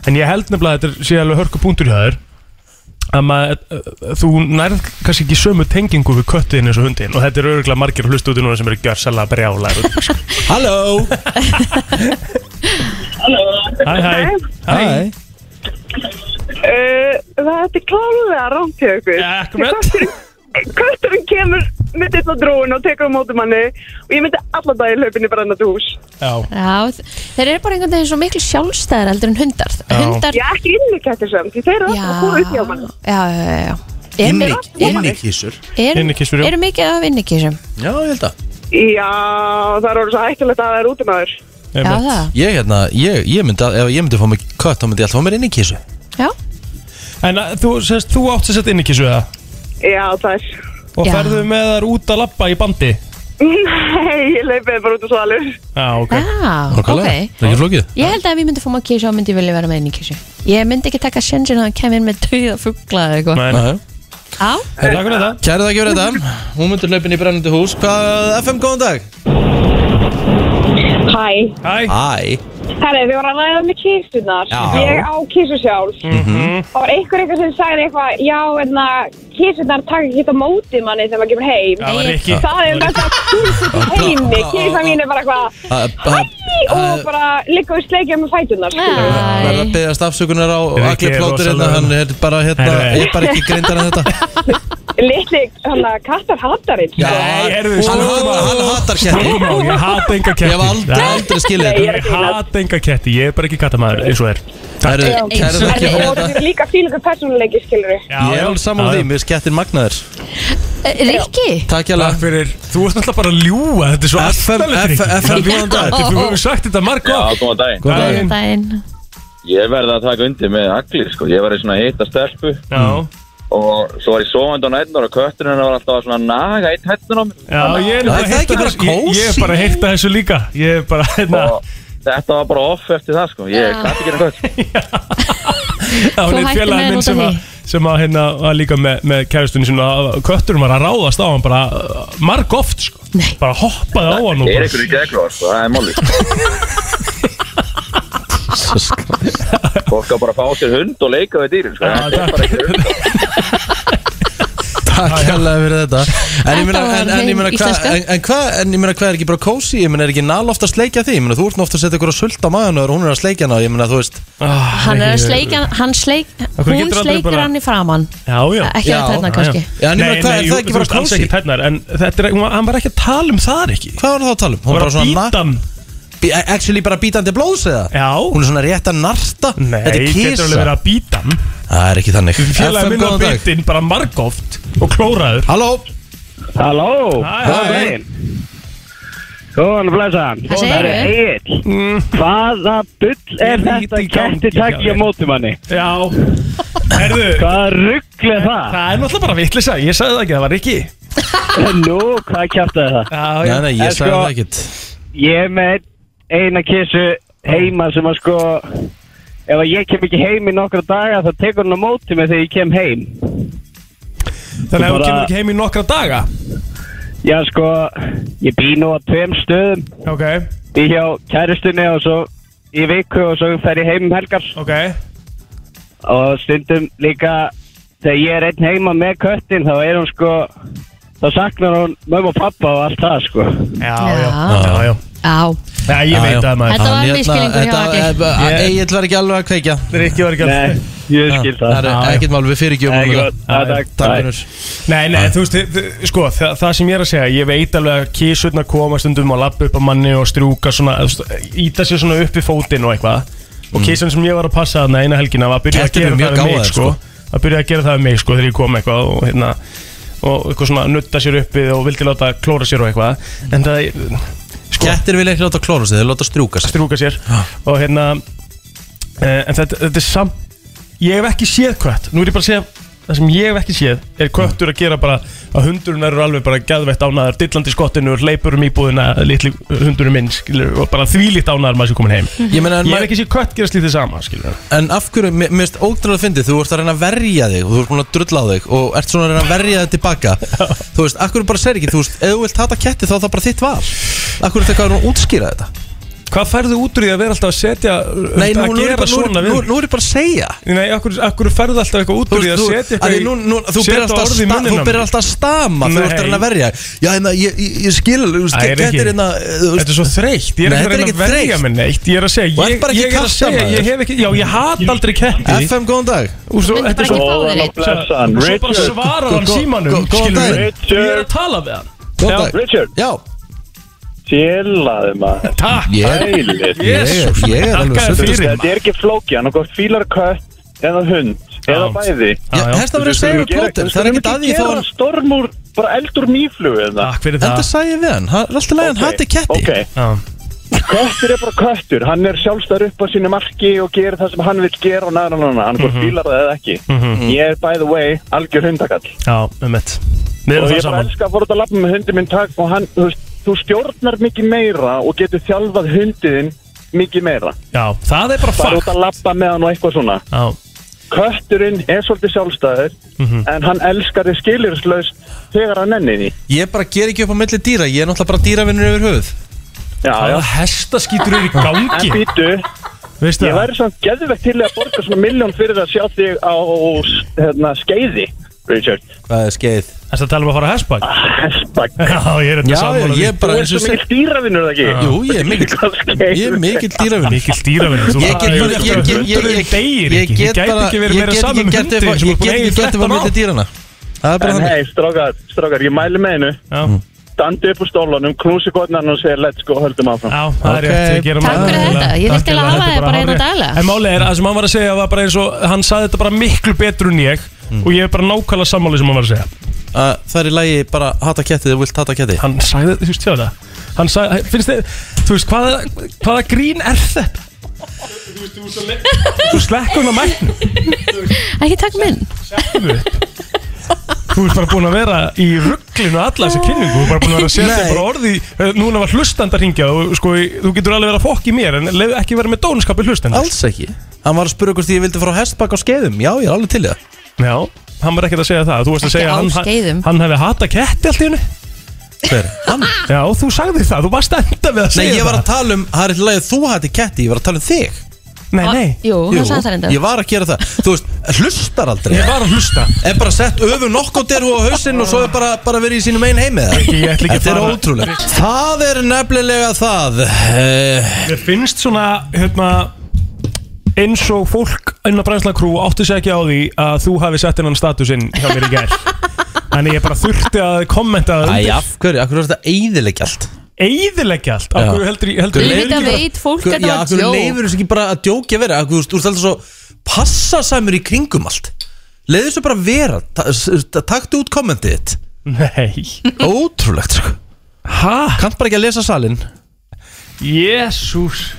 Speaker 3: En ég held nefnilega að þetta er- sé alveg hörku punktur hjá þér að maður, þú nærð kannski ekki sömu tengingu við köttiðin eins og hundin og þetta er örgulega margir hlust út í núna sem eru gjörsalega brjálæður
Speaker 1: Halló
Speaker 3: Hæ, hæ,
Speaker 1: Hæ
Speaker 6: Uh, þetta er klálega rámt hjá ykkur.
Speaker 3: Akkurat.
Speaker 6: Kötturinn kemur með ditt á dróin og tekur á móti manni og ég myndi alla dagi hlaupin í brennandi hús.
Speaker 3: Já,
Speaker 4: Já, þ- þeir eru bara einhvern veginn svo miklu sjálfstæðar heldur en hundar
Speaker 3: Já.
Speaker 4: Hundar,
Speaker 6: Ég er ekki inn með kettir samt, því þeir eru alltaf að koma upp hjá manni.
Speaker 4: já, já, já, já. Er-
Speaker 1: Inni,
Speaker 4: er-
Speaker 1: inni kísur
Speaker 4: er-
Speaker 3: Innikissur, já.
Speaker 4: Eru mikið af innikísum?
Speaker 1: Já, ég held að
Speaker 6: Já, það er orðið svo hættilegt að það er út um aður.
Speaker 4: Já,
Speaker 3: einmitt.
Speaker 4: það,
Speaker 1: Ég, hérna, ég, ég myndi að, ef ég myndi að fá mig kött þá myndi ég alltaf fá mér inni kísu
Speaker 4: já
Speaker 3: En að, þú, sérst, þú átt sér sett inn ekki svo það
Speaker 6: Já, það er.
Speaker 3: Og
Speaker 4: Já.
Speaker 3: ferðu með þar út að lappa í bandi
Speaker 6: Nei, ég leipið bara út á svalu
Speaker 3: Já, ok
Speaker 4: Já,
Speaker 1: Nákvæmlega.
Speaker 4: ok
Speaker 1: Það er ekki flókið
Speaker 4: Ég held að ef ég myndi fá maður kísu, þá myndi ég vilja vera með inn í kísu Ég myndi ekki taka sjensin að hann kemur inn með dauða fugla eða eitthvað
Speaker 3: Nei,
Speaker 1: Næja.
Speaker 4: Á,
Speaker 3: takk fyrir þetta
Speaker 1: Kæra þakki fyrir þetta Hún myndir hlaupin í brennandi hús Hvað, FM, góðan dag
Speaker 6: Hæ,
Speaker 1: Æ
Speaker 3: Æ,
Speaker 6: herri, við varum að ræða með kísunar
Speaker 1: Já.
Speaker 6: Ég á kísu sjálf Og var einhver eitthvað sem sagði eitthvað Já, en að kísunar taka ekki á móti manni þegar maður kemur heim
Speaker 3: það var ekki
Speaker 6: Það er þetta kísut í heimi Kísa mín er bara eitthvað
Speaker 1: Æ,
Speaker 6: Hæ, og
Speaker 1: Æ
Speaker 6: bara liggur við sleikja með fætunar
Speaker 1: Verða að
Speaker 4: æ
Speaker 1: beðast afsökunar á
Speaker 3: Rikki
Speaker 1: allir
Speaker 3: er
Speaker 1: plótur hérna,
Speaker 3: rosalega-
Speaker 1: hann er bara hérna,
Speaker 3: Herra.
Speaker 1: ég er bara ekki greindar en þetta.
Speaker 6: Litli, hann að kattar hatarinn
Speaker 1: Já,
Speaker 3: Nei, heyrðu,
Speaker 1: hann,
Speaker 3: stundum
Speaker 1: hann,
Speaker 3: á-
Speaker 1: hann hatar ketti.
Speaker 3: Stundum á, Ég hata enga ketti
Speaker 1: Ég hef aldrei,
Speaker 3: Nei,
Speaker 1: aldrei skilið
Speaker 6: Nei, ég
Speaker 1: þetta.
Speaker 6: er-
Speaker 3: Ég hata enga ketti, ég er bara ekki kattamæður eins og er
Speaker 1: Það eru kæra
Speaker 4: Eins og-
Speaker 1: þakki fyrir
Speaker 6: Og
Speaker 1: þetta.
Speaker 6: þetta er líka fílingur persónuleiki, skilur við
Speaker 3: Já,
Speaker 1: Ég er alveg saman á því, mér skettir magnaður.
Speaker 4: Eh, Rikki,
Speaker 1: Takk hjá
Speaker 3: Takk fyrir, þú ert alltaf bara að ljúa Þetta er svo
Speaker 1: FM,
Speaker 3: aftalegt
Speaker 1: FM, FM, góðan dag.
Speaker 3: Við höfum sagt þetta marga
Speaker 7: Já,
Speaker 8: Sko.
Speaker 7: góðan daginn.
Speaker 1: Góðan dag.
Speaker 3: Daginn.
Speaker 4: daginn
Speaker 7: Ég verði að taka undir með allir, sko. Ég var í svona að hitta stelpu
Speaker 3: Já,
Speaker 7: og svo var ég sofandi á nættunar og kötturinn hennar var alltaf að svona naga eitt hættin á mér.
Speaker 3: já, ég
Speaker 1: Það
Speaker 3: er
Speaker 1: er
Speaker 3: bara
Speaker 1: það
Speaker 3: að
Speaker 1: ekki
Speaker 3: hitta
Speaker 1: bara
Speaker 3: þessu ég- Ég er
Speaker 1: kósí?
Speaker 3: bara að hitta þessu líka Ég er bara, hérna
Speaker 7: Og þetta var bara off eftir það, sko. Ég gæti ekki hérna kött.
Speaker 3: Já,
Speaker 4: Þú
Speaker 3: hún
Speaker 4: hættir
Speaker 3: er
Speaker 4: með
Speaker 3: félagin minn
Speaker 4: út af
Speaker 3: sem að
Speaker 4: því.
Speaker 3: sem að hérna var líka með, með kæristunni sinna að kötturum var að ráðast á hann bara marg oft sko
Speaker 4: Nei.
Speaker 3: bara hoppaði á hann og
Speaker 7: Ég er
Speaker 3: bara
Speaker 7: ykkur í gegnum, sko. Það er máli. Fólk á bara að fá sér hund og leika við dýrin, sko.
Speaker 3: Já,
Speaker 7: Þetta er bara ekki hund.
Speaker 1: Takk hjá fyrir þetta. En ég meina,
Speaker 4: Þetta var
Speaker 1: en, en, ég meina, hva,
Speaker 4: hrein íslenska.
Speaker 1: en, en hvað, en ég meina, hvað er ekki bara kósi? Ég meina, er ekki nal ofta að sleikja því? Ég meina, þú ert nú ofta að setja ykkur að sulta maður og hún er að sleikja hana. Ég meina, þú veist,
Speaker 3: Ah,
Speaker 4: Hann er að
Speaker 3: ég-
Speaker 4: sleikja, hann sleik,
Speaker 3: hverju
Speaker 4: hún
Speaker 3: getur aldrei
Speaker 4: sleikur
Speaker 3: bara-
Speaker 4: hann í framan
Speaker 3: Já, já
Speaker 4: Ekki
Speaker 1: Já,
Speaker 4: að þetta
Speaker 1: já,
Speaker 4: kannski
Speaker 1: já, en ég meina, hvað, er
Speaker 3: jú,
Speaker 1: það ekki
Speaker 3: þú
Speaker 1: bara
Speaker 3: veist, alls
Speaker 1: kósi?
Speaker 3: ekki tennar, en þetta er, hún var- hann var ekki að tala um það ekki
Speaker 1: Hvað var það að tala um? Hún
Speaker 3: Hún var
Speaker 1: bara
Speaker 3: að
Speaker 1: svona,
Speaker 3: býta
Speaker 1: na-
Speaker 3: hann
Speaker 1: bí- actually bara bítandi blóðs eða?
Speaker 3: Já
Speaker 1: Hún er svona rétt að narta
Speaker 3: Nei,
Speaker 1: Þetta er
Speaker 3: getur alveg verið
Speaker 1: kísa
Speaker 3: að býta hann
Speaker 1: Það er ekki þannig
Speaker 3: Félagin
Speaker 1: FM,
Speaker 3: minn var
Speaker 1: góðan dag
Speaker 3: býtinn bara marg oft og klóraður
Speaker 1: Halló
Speaker 8: Halló,
Speaker 3: Hæ, hæ.
Speaker 8: góðan og blessaðan
Speaker 4: Hvað segirðu?
Speaker 8: Egil,
Speaker 3: mm,
Speaker 8: hvaða bull
Speaker 3: Ég
Speaker 8: er
Speaker 3: lít
Speaker 8: þetta
Speaker 3: í gangi
Speaker 8: ketti takki
Speaker 3: hjá
Speaker 8: á
Speaker 3: þér.
Speaker 8: mótum manni?
Speaker 3: Já Herðu
Speaker 8: Hvaða rugl er það?
Speaker 3: Það er náttúrulega bara vittlisa, ég sagði það ekki, það var ekki
Speaker 8: Nú, hvað kjartaði það?
Speaker 3: Já,
Speaker 1: Nei, nei, ég
Speaker 8: En
Speaker 1: sagði
Speaker 8: sko-
Speaker 1: það ekkert
Speaker 8: Ég er með eina kissu heima sem að sko Ef að ég kem ekki heim í nokkra daga þá tekur hann á móti mig þegar ég kem heim
Speaker 3: Þannig að
Speaker 8: Þú
Speaker 3: hún
Speaker 8: bara-
Speaker 3: kemur ekki heim í nokkra daga
Speaker 8: Já sko, ég bý nú á tveim stöðum
Speaker 3: Ok,
Speaker 8: Ég hjá kærustunni og svo í viku og svo fer ég heim um helgar
Speaker 3: ok
Speaker 8: og stundum líka þegar ég er einn heima með köttin þá er hún sko þá saknar hún mömmu og pappa og allt það sko
Speaker 3: Já,
Speaker 4: Já.
Speaker 3: já, já, já
Speaker 4: Já,
Speaker 3: Já, ég
Speaker 1: Já,
Speaker 3: veit
Speaker 1: já.
Speaker 3: það maður
Speaker 4: Þetta var
Speaker 1: Hann, hérna-
Speaker 4: misskilningur hjá
Speaker 1: þetta-
Speaker 4: Agli.
Speaker 1: eh, eh,
Speaker 3: Ég-
Speaker 1: Egill var ekki alveg að kveikja
Speaker 3: Það er ekki verið
Speaker 8: Nei, ég skil
Speaker 1: Það
Speaker 8: það
Speaker 1: er
Speaker 3: Já, já.
Speaker 1: ekkert mál, við fyrirgjöfum
Speaker 8: Nei,
Speaker 1: honum
Speaker 8: gott.
Speaker 1: það.
Speaker 8: Já,
Speaker 1: Æ,
Speaker 8: takk.
Speaker 1: Takk
Speaker 8: Bye.
Speaker 1: fyrir
Speaker 3: Nei, nei, þú veist, þið- þið- sko, þa það sem ég er að segja Ég veit alveg að kísurnar koma stundum og lappa upp á manni og strjúka svona þú veist, Íta sér svona upp í fótinn og eitthvað Og kísurn sem ég var að passa þarna eina helgina var að byrja að
Speaker 1: Kettir
Speaker 3: gera
Speaker 1: eru mjög
Speaker 3: það við mig,
Speaker 1: gáfaðir,
Speaker 3: sko Að byrja að gera það við mig, sko, þegar ég kom eitthvað og hérna Og eitthvað svona nutta sér uppið og vildi láta klóra sér og eitthvað En það, sko
Speaker 1: Kettir vilja ekki láta klóra sig, þeir láta strjúka sig
Speaker 3: strúka sér og hérna uh, en þetta, þetta er samt ég hef ekki séð kött, nú er ég bara að segja það sem ég hef ekki séð er köttur að gera bara að hundurinn eru alveg bara gæðveitt ánaðar dillandi skottinu, hleypur um íbúðina litli hundurinn minn, skilur og bara þvílíkt ánaðar maður sem komin heim
Speaker 1: Ég meina, en
Speaker 3: ég hef
Speaker 1: ma-
Speaker 3: ekki séð kött gera slítið sama, skilur
Speaker 1: en af hverju, mér mér finnst ótrúlega fyndið Þú ert að reyna að verja þig, og þú ert búin að drulla á þig Og ert svona að reyna að verja þig tilbaka Þú veist, af hverju bara segir ekki, þú veist Ef þú vilt hata ketti þá er það bara þitt val Af hverju þetta hvað er að útskýra þetta
Speaker 3: hvað færðu út úr því að vera alltaf að setja
Speaker 1: Nei, nú,
Speaker 3: Um að
Speaker 1: nú, er
Speaker 3: gera
Speaker 1: bara, nú,
Speaker 3: svona
Speaker 1: er- nú,
Speaker 3: við
Speaker 1: nú er ég bara að segja
Speaker 3: Nei, akkur, akkur færðu alltaf eitthvað út
Speaker 1: Þú
Speaker 3: úr því
Speaker 1: veist,
Speaker 3: að
Speaker 1: þú-
Speaker 3: setja
Speaker 1: af því nú- nú- þú byrjar
Speaker 3: setja
Speaker 1: alltaf að
Speaker 3: orð í
Speaker 1: sta-
Speaker 3: munninn
Speaker 1: þú
Speaker 3: á mér.
Speaker 1: byrjar alltaf að stama þegar þú ert að reyna að
Speaker 3: Nei.
Speaker 1: verja Já, hérna, ég, ég, ég skil, þú veist,
Speaker 3: Æ, er ekki.
Speaker 1: kettir hérna eh, þú veist,
Speaker 3: Þetta er svo þreytt, ég er
Speaker 1: Nei,
Speaker 3: ekki
Speaker 1: þetta
Speaker 3: að
Speaker 1: er
Speaker 3: reyna að
Speaker 1: ekki
Speaker 3: verja
Speaker 1: þreytt.
Speaker 3: mig neitt Ég er að
Speaker 1: Þú
Speaker 3: segja,
Speaker 1: ert
Speaker 3: ég,
Speaker 1: bara ekki
Speaker 3: ég er að segja
Speaker 1: kastamaður.
Speaker 3: Ég hef ekki, já ég hat aldrei ketti
Speaker 1: FM, góðan dag
Speaker 3: Og svo,
Speaker 4: Myndi
Speaker 3: þetta er
Speaker 4: bara
Speaker 3: svo
Speaker 4: ekki fá þér einn.
Speaker 8: Góðan og blessaðan
Speaker 3: Svo bara
Speaker 8: Richard,
Speaker 3: svarar
Speaker 1: Gó-
Speaker 3: hann
Speaker 1: gó-
Speaker 3: símanum
Speaker 1: gó- góðan
Speaker 3: skilur
Speaker 1: daginn.
Speaker 3: við. Ég er að tala við hann
Speaker 1: Góðan dag
Speaker 8: Richard,
Speaker 1: Já,
Speaker 8: sjilaðu maður
Speaker 3: Takk
Speaker 1: ég er,
Speaker 8: Ælir
Speaker 1: ég,
Speaker 3: Jesús,
Speaker 1: ég er alveg
Speaker 3: þakkaði
Speaker 1: sundast
Speaker 3: fyrir
Speaker 8: Þetta er ekki flókið, hann okkur fílar kött eða hund eða
Speaker 3: Já.
Speaker 8: bæði
Speaker 1: Já,
Speaker 3: Já, já.
Speaker 1: hérst að vera að segja við plótir Það er ekkert að því þó
Speaker 8: gera
Speaker 1: hann
Speaker 8: storm úr, bara eldur nýflug eða
Speaker 3: Takk fyrir
Speaker 1: Þetta
Speaker 3: það
Speaker 1: sagði ég við hann, hann er alltaf leiðan hati ketti
Speaker 8: Ok,
Speaker 3: Já.
Speaker 8: köttur er bara köttur, hann er sjálfstæður upp á sínu marki og gerir það sem hann vil gera og næra nána, hann hvort
Speaker 3: Mhm.
Speaker 8: fílar það eða ekki Ég er by the way algjör hundakall
Speaker 3: Já, um mitt Við
Speaker 8: og
Speaker 3: erum það
Speaker 8: ég bara
Speaker 3: saman
Speaker 8: elska að fór út að lappa með hundi minn takk og hann, þú veist,
Speaker 9: þú stjórnar mikið meira og getur þjálfað hundiðin mikið meira
Speaker 3: Já, það er bara
Speaker 9: bara út
Speaker 3: fakt
Speaker 9: að lappa með hann og eitthvað svona
Speaker 3: Já,
Speaker 9: kötturinn er svolítið sjálfstæður
Speaker 3: Mhm.
Speaker 9: en hann elskar þið skilurslaust þegar hann nenni því
Speaker 1: Ég bara ger ekki upp á milli dýra, ég er náttúrulega bara dýravinnur yfir höfuð
Speaker 9: já, já.
Speaker 3: það hesta skýtur í
Speaker 9: en
Speaker 3: gangi
Speaker 9: býtu,
Speaker 3: Veistu
Speaker 9: ég
Speaker 3: það?
Speaker 9: væri samt geðvegt til að borga svona miljón fyrir að sjá þig á hérna, skeiði Richard,
Speaker 1: Hvað er skeið?
Speaker 3: Þess að tala um að fara að hestbak
Speaker 9: hestak
Speaker 3: Já, ég er
Speaker 1: Já,
Speaker 3: hérna þetta sammála
Speaker 1: ég er bara
Speaker 9: Þú ert
Speaker 1: eins
Speaker 9: svo
Speaker 1: og seg
Speaker 9: mikill dýravinur það ekki?
Speaker 1: Jú, ég er mikill,
Speaker 9: Hvað skeið?
Speaker 1: ég er mikill
Speaker 3: því.
Speaker 1: dýravinnur
Speaker 3: Mikil dýravinn Þú
Speaker 1: Ég get-
Speaker 3: bara-
Speaker 1: ég- ég- ég- ég-
Speaker 3: Hundurinn
Speaker 1: ég-
Speaker 3: deyir
Speaker 1: ég
Speaker 3: ekki. Ég
Speaker 1: get
Speaker 3: gæti
Speaker 1: bara-
Speaker 3: ekki verið
Speaker 1: ég
Speaker 3: meira
Speaker 1: get
Speaker 3: saman
Speaker 1: ekki
Speaker 3: með
Speaker 1: gert upp á-
Speaker 3: hundin
Speaker 1: Ég get
Speaker 3: sem er búin að
Speaker 1: ekki
Speaker 3: eigi
Speaker 1: gert upp á
Speaker 3: 13
Speaker 1: milli
Speaker 3: ár
Speaker 1: dýrana Það er bara
Speaker 9: En
Speaker 1: þannig
Speaker 9: hei, strákar, strákar, ég mæli með einu
Speaker 3: Já,
Speaker 1: Mm.
Speaker 9: Dandi upp úr stólunum, knúsi gotnan og segja let's go, höldum áfram
Speaker 3: já, það er
Speaker 1: Ok.
Speaker 3: rétt, við gerum
Speaker 4: Takk
Speaker 3: það.
Speaker 4: fyrir þetta. Ég
Speaker 3: Takk
Speaker 4: þyrfti eiginlega að
Speaker 3: fyrir
Speaker 4: hafa
Speaker 3: þetta,
Speaker 4: þig bara hérna
Speaker 3: hárrétt.
Speaker 4: daglega.
Speaker 3: En málið er, það sem hann var að segja var bara eins og Hann saði þetta bara miklu betur en ég Og ég er bara nákvæmlega sammáli sem hann var að segja
Speaker 1: að Það er í lagi bara hata ketti Þú vilt hata ketti
Speaker 3: Hann sagði, þú veist, sjá það Hann sagði, finnst þið, þú veist, hvaða, hvaða grín er þetta? Þú slekkur hún að mæknu
Speaker 4: Ekki takk minn
Speaker 3: Þú ert bara búin að vera í rugglinu alla þessa kynningu Þú ert bara búin að vera að setja
Speaker 1: Nei.
Speaker 3: bara orði Núna var hlustandar hringja og sko, þú getur alveg verið að fokk í mér En leið ekki vera með dónskapi hlustandar
Speaker 1: Alls ekki Hann var að spura hvort ég vildi fara á hestbakk á skeiðum Já, ég er alveg til í það
Speaker 3: Já, hann var ekkert að segja það Þú varst að
Speaker 4: Ekki
Speaker 3: segja
Speaker 4: á
Speaker 3: að hann,
Speaker 4: skeiðum.
Speaker 3: hann hefði hata ketti allt í hennu
Speaker 1: Hver? Hann?
Speaker 3: Já, þú sagði það, þú varst enda við að
Speaker 1: Nei,
Speaker 3: segja
Speaker 1: ég var að
Speaker 3: það
Speaker 1: tala um Það er í lagi að þú hati ketti Ég var að tala um þig
Speaker 3: Nei, nei,
Speaker 4: Ah, Jú,
Speaker 1: Jú,
Speaker 4: hann sagði það reyndar
Speaker 1: Ég var að gera það Þú veist, hlustar aldrei
Speaker 3: ég var að hlusta
Speaker 1: Er bara sett öfu nokkóttir á hausinn Og svo er bara, bara verið í sínum einn heimi eða?
Speaker 3: Ég ætla ekki að
Speaker 1: Þetta er
Speaker 3: fara-
Speaker 1: ótrúlegt Það er nefnilega það Eh,
Speaker 3: Mér finnst svona hérna, eins og fólk inn á brænsla krú átti sig ekki á því að þú hafi sett innan statusinn hjá mér í gær Þannig ég bara þurfti að kommenta það
Speaker 1: Æ,
Speaker 3: undir
Speaker 1: af hverju, af hverju er þetta eiðilegg allt?
Speaker 3: Eyðileggja allt
Speaker 1: Já.
Speaker 3: Af hverju heldur, heldur
Speaker 2: Ég
Speaker 3: leyfir
Speaker 2: veit að
Speaker 3: ekki bara-
Speaker 2: veit fólk
Speaker 1: Hver-
Speaker 4: hérna
Speaker 1: Já,
Speaker 2: að
Speaker 1: af
Speaker 2: þetta var
Speaker 1: hverju
Speaker 2: djók
Speaker 1: leifur þessu ekki bara að djókja vera Af hverju, Þú veist, þú ert alltaf svo passa sæmur í kringum allt Leðu þessu bara vera Ta- s- ta- Taktu út kommentið þitt
Speaker 3: Nei
Speaker 1: Ótrúlegt, sko
Speaker 3: Hæ?
Speaker 1: Kannt bara ekki að lesa salin
Speaker 3: Jésús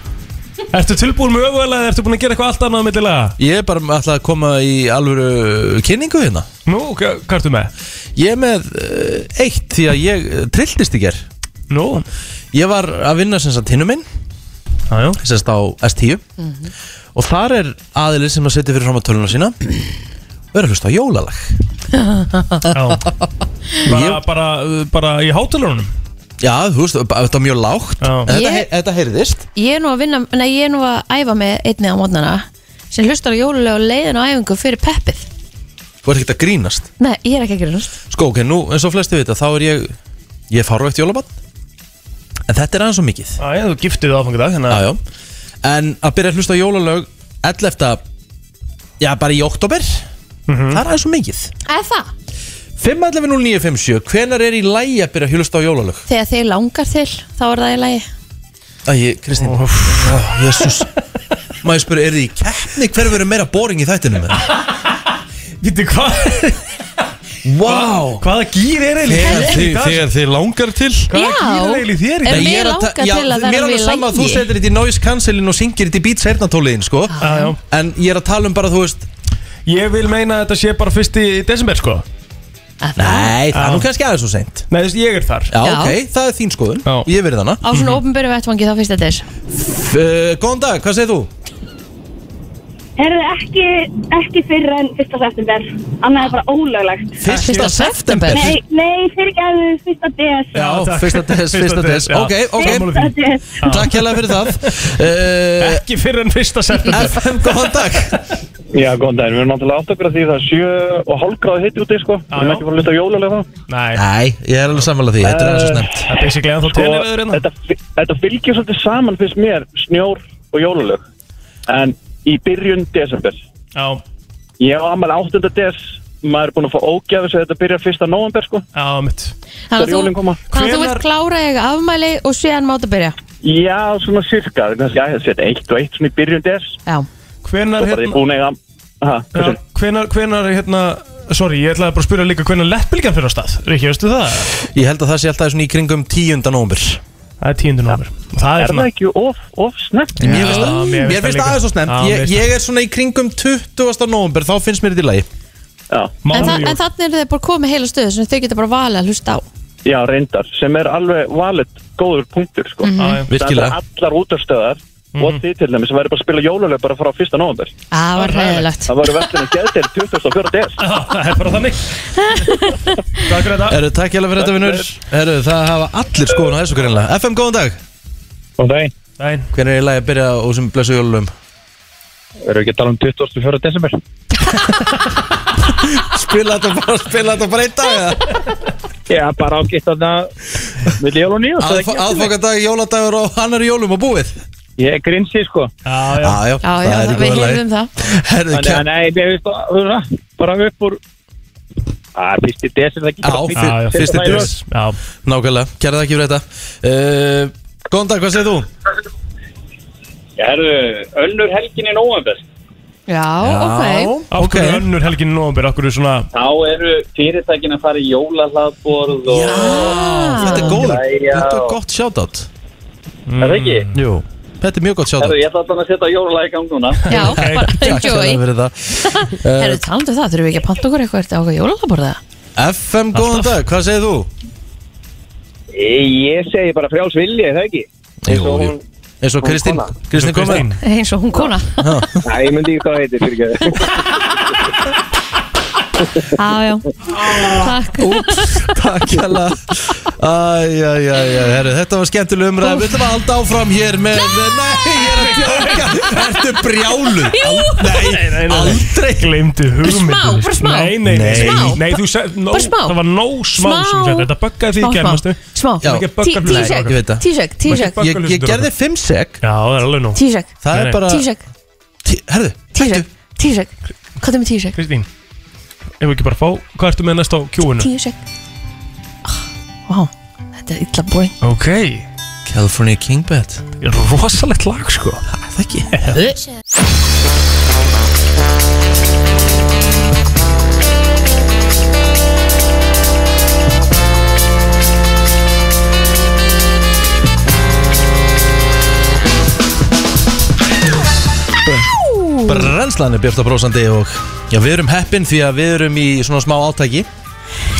Speaker 3: Ertu tilbúin með öfuðalega eða ertu búin að gera eitthvað allt annað millilega?
Speaker 1: Ég er bara alltaf að koma í alvöru kynningu hérna
Speaker 3: Nú, hva- hvað ertu með?
Speaker 1: Ég er með uh, eitt því að ég uh, trilltist í ger
Speaker 3: Nú,
Speaker 1: Ég var að vinna sem sagt hinnum minn
Speaker 3: aðjó
Speaker 1: sem sagt á S10 og þar er aðilið sem að setja fyrir fram að töluna sína og er að hlusta á jólalag
Speaker 3: bara, bara, bara í hátalunum
Speaker 1: Já, þú veist, bara- þetta var mjög lágt
Speaker 3: Já.
Speaker 1: en þetta,
Speaker 4: Ég-
Speaker 1: he- þetta heyrðist
Speaker 4: Ég er nú að vinna, nei ég er nú að æfa með einni á mótnana sem hlustar á jólulega og leiðin á æfingu fyrir peppið
Speaker 1: Þú ert ekkert að grínast
Speaker 4: Nei, ég er ekki að gera nátt
Speaker 1: Sko, ok, nú, eins og flesti vita, þá er ég Ég er fárvægt jólabann En þetta er aðeins og mikið
Speaker 3: Æja, þú giftið áfangadag
Speaker 1: Já,
Speaker 3: Þannig
Speaker 1: já En að byrja að hlusta á jólalög 11. Já, bara í oktober Það er aðeins og mikið
Speaker 4: Er það?
Speaker 1: 5.11.09.57 Hvenær er í lægi að byrja að hlusta á jólalög?
Speaker 4: Þegar þið langar til, þá er það í lagi
Speaker 1: Æ, Kristín oh. Jésús Má ég spyrja, er þið í keppni? Hver verður meira boring í þættinu með?
Speaker 3: Vittu hvað?
Speaker 1: Vá wow.
Speaker 3: Hvaða gýr er eiginlega í dag?
Speaker 1: þið langar til
Speaker 3: Hvaða gýr er eiginlega í þér í
Speaker 4: En
Speaker 3: dag?
Speaker 1: Nei, ég
Speaker 4: mér
Speaker 1: er að ta-
Speaker 4: langar
Speaker 1: já,
Speaker 4: til að
Speaker 1: Mér
Speaker 4: vera
Speaker 1: er alveg
Speaker 4: við
Speaker 1: sama að þú
Speaker 4: lægi
Speaker 1: setur þetta í noise cancelin og syngir þetta í beats heyrnatóliðin sko.
Speaker 4: Ah.
Speaker 3: Já, já.
Speaker 1: En ég er að tala um bara, þú veist
Speaker 3: Ég vil meina að þetta sé bara fyrst í desember sko
Speaker 1: Nei, það er nú kannski aðeins og seint
Speaker 3: Nei, þú veist, ég er þar
Speaker 1: Já,
Speaker 4: Ah. Já.
Speaker 1: ok, það er þín skoðun
Speaker 3: Já.
Speaker 1: Ég verið hana
Speaker 4: Á
Speaker 9: Mhm.
Speaker 4: svona ópenböru vettvangi þá fyrst þetta er
Speaker 1: F- uh, Góðan dag, hvað segir þú?
Speaker 6: Herðu, ekki, ekki fyrir en 1. september. Annað er bara ólöglegt.
Speaker 4: Fyrsta september
Speaker 6: Nei, nei, fyrir gæðu 1. des.
Speaker 1: Já,
Speaker 3: takk.
Speaker 1: fyrsta des, fyrsta des
Speaker 3: já.
Speaker 1: Ok, ok,
Speaker 3: Sammála.
Speaker 6: 1. des.
Speaker 1: takk hérlega fyrir það uh,
Speaker 3: Ekki fyrir en fyrsta september
Speaker 1: FM, góðan dag
Speaker 9: Já, góðan daginn, við erum náttúrulega átt okkur að því það er sjö og hálf gráð hitti úti, sko Við erum
Speaker 3: já.
Speaker 9: ekki fara að hluta á jólulega það
Speaker 3: Nei,
Speaker 1: Nei, ég er alveg sammála því, þetta er aðeins og snemt
Speaker 3: það er basically að þú telur við þurinn
Speaker 9: þetta, þetta fylgir svolítið saman fyrst mér, snjór og jóluleg En í byrjun desember
Speaker 3: Já,
Speaker 9: Ég á amal 8. des, maður er búin að fá ógjafis að þetta byrjar 1. november, sko
Speaker 3: já, mitt
Speaker 4: Þannig að
Speaker 9: Þegar jólin
Speaker 4: þú,
Speaker 9: koma.
Speaker 4: þannig að þú vilt
Speaker 3: Hvenær-
Speaker 4: klára eiga afmæli og síðan máta byrja
Speaker 9: Já, svona sirka, það er kannski að setja eitt og eitt svona í byrjun des
Speaker 4: Já,
Speaker 9: Svo
Speaker 3: Hvenar,
Speaker 9: bara ég
Speaker 3: hérna
Speaker 9: búin að eiga Aha,
Speaker 3: já, Hvenar, hvenar, hérna Sorry, ég ætlaði bara að spyrja líka hvenar lettbylgan fyrir á stað Rikki, veistu það?
Speaker 1: Eh, Ég held að það sé alltaf svona í kringum 10. nómur
Speaker 3: Það er tíundu nómur Það
Speaker 9: er
Speaker 3: er
Speaker 9: það
Speaker 3: svona
Speaker 9: ekki of, of snett?
Speaker 1: Mér finnst það-
Speaker 3: mér finnst
Speaker 1: mér finnst
Speaker 3: það líka.
Speaker 1: það aðeins og snemt
Speaker 3: Já, mér
Speaker 1: ég,
Speaker 3: finnst
Speaker 1: ég er svona í kringum 20. nómur, þá finnst mér þetta í lagi
Speaker 9: Já,
Speaker 4: en,
Speaker 3: mánuður
Speaker 4: þa
Speaker 3: jól.
Speaker 4: en þannig er þið bara komið heila stöðu sem þau geta bara valið að hlusta á
Speaker 9: Já, reyndar, sem er alveg valið góður punktur, sko. Mm
Speaker 3: Já, já.
Speaker 1: Virkilega.
Speaker 9: Það er allar útastöðar
Speaker 3: Mhm.
Speaker 9: og þið til dæmis sem væri bara að spila jóluleg bara frá 1. november.
Speaker 4: Það var ræðilegt
Speaker 9: Það voru verðinu geðdeil 24. des.
Speaker 3: Já, Ah, Það er bara þannig Takk fyrir þetta
Speaker 1: Herru, takk hjálpa fyrir þetta vinnur Herru, það hafa allir skoðun á þessu greinlega FM, góðan dag
Speaker 9: Og þeim,
Speaker 3: Nein.
Speaker 1: Hvernig er í lagi að byrja á sem blessu jólum?
Speaker 9: eru ekki að tala um 24. desember?
Speaker 1: Spila þetta bara, spila þetta bara einn dag eða?
Speaker 9: Já, bara ágætt að það milli jól og nýjó.
Speaker 1: Aðf- Aðfangadag, jóladagur og annar í jólum og búið
Speaker 9: Ég er grinsi, sko.
Speaker 3: Já, já
Speaker 1: Já, já,
Speaker 2: Já,
Speaker 1: það
Speaker 2: já,
Speaker 1: er í
Speaker 2: við
Speaker 1: góðu lagi
Speaker 2: heyrðum það
Speaker 9: Þannig
Speaker 1: Herru,
Speaker 9: að
Speaker 1: kæm
Speaker 9: nei, ég veist að, bara upp úr, að fyrsti desember ekki
Speaker 1: Já,
Speaker 9: bara
Speaker 1: fyr-
Speaker 3: Já, já,
Speaker 1: fyrsti
Speaker 3: fyrsti
Speaker 1: dagur.
Speaker 3: djós Já,
Speaker 1: Nákvæmlega, kæra það ekki fyrir þetta uh, Góðan dag, hvað segir þú?
Speaker 9: Herru, önnur helgin í november
Speaker 2: Já, ok
Speaker 3: af
Speaker 1: ok
Speaker 3: hverju okay. önnur helgin í nóvambir Af hverju svona
Speaker 9: Þá eru fyrirtækin að fara í jólahlaðborð og...
Speaker 1: Þetta er góð,
Speaker 9: Jæja.
Speaker 1: þetta er gott shoutout
Speaker 9: Er það
Speaker 3: Mm.
Speaker 9: ekki?
Speaker 1: Jú Þetta er mjög gott shoutout
Speaker 9: Herru, ég ætla alltaf að setja jólalag í gang núna
Speaker 4: Já, bara enjoy
Speaker 1: Takk fyrir það Eh,
Speaker 4: Herru, talandu það, þurfum við ekki að panta okkur eitthvað Ertu ákveð jólalaborða?
Speaker 1: FM, góðan dag, hvað segir þú?
Speaker 9: Ég segi bara frjáls vilji, er það ekki? Eins og hún-
Speaker 1: Eins og Kristín,
Speaker 9: kona.
Speaker 1: Kristín komið
Speaker 3: Kristín
Speaker 4: Eins og hún kona
Speaker 9: Nei, ég myndi ekki hvað það heitir, fyrir ekki
Speaker 4: Já, já Takk
Speaker 1: Úps, takk hella Æjæjæjæ, herru, þetta var skemmtileg umræð Við ætlum að halda áfram hér með Nei, ég er að tjóka Ertu brjálu? Al-
Speaker 3: Nei, nei,
Speaker 1: Nei,
Speaker 3: nei.
Speaker 1: aldrei
Speaker 3: Gleimdu hugmyndinni
Speaker 4: smá, bara smá.
Speaker 3: Nei, nei, nei
Speaker 1: Smá.
Speaker 3: Nei, þú sagði no,
Speaker 4: Bara smá.
Speaker 3: Það var nóg smá,
Speaker 4: Smá.
Speaker 3: sem þetta Þetta
Speaker 4: Smá,
Speaker 3: böggaði því í
Speaker 4: smá.
Speaker 3: germastu
Speaker 4: Smá
Speaker 1: Já.
Speaker 4: Tísek,
Speaker 1: Ég veit það.
Speaker 4: tísek, tísek
Speaker 1: Ég, ég gerði fimm sek
Speaker 3: Já, það er alveg nóg
Speaker 4: Tísek,
Speaker 1: Það
Speaker 3: Nei, nei.
Speaker 1: er bara
Speaker 4: tísek,
Speaker 1: Tí- Herðu,
Speaker 4: tísek
Speaker 1: tæktu
Speaker 4: Tísek, hvað er með tísek?
Speaker 3: Kristín Ef við ekki bara fá Hvað ertu með næst á Q-inu?
Speaker 4: Tísek Ah, Vá, þetta er illa boring
Speaker 3: Ok
Speaker 1: California King Bed
Speaker 3: Rosalegt lag, sko
Speaker 1: Það ekki Brennslan er Björta Brósandi og já, við erum heppin því að við erum í svona smá átaki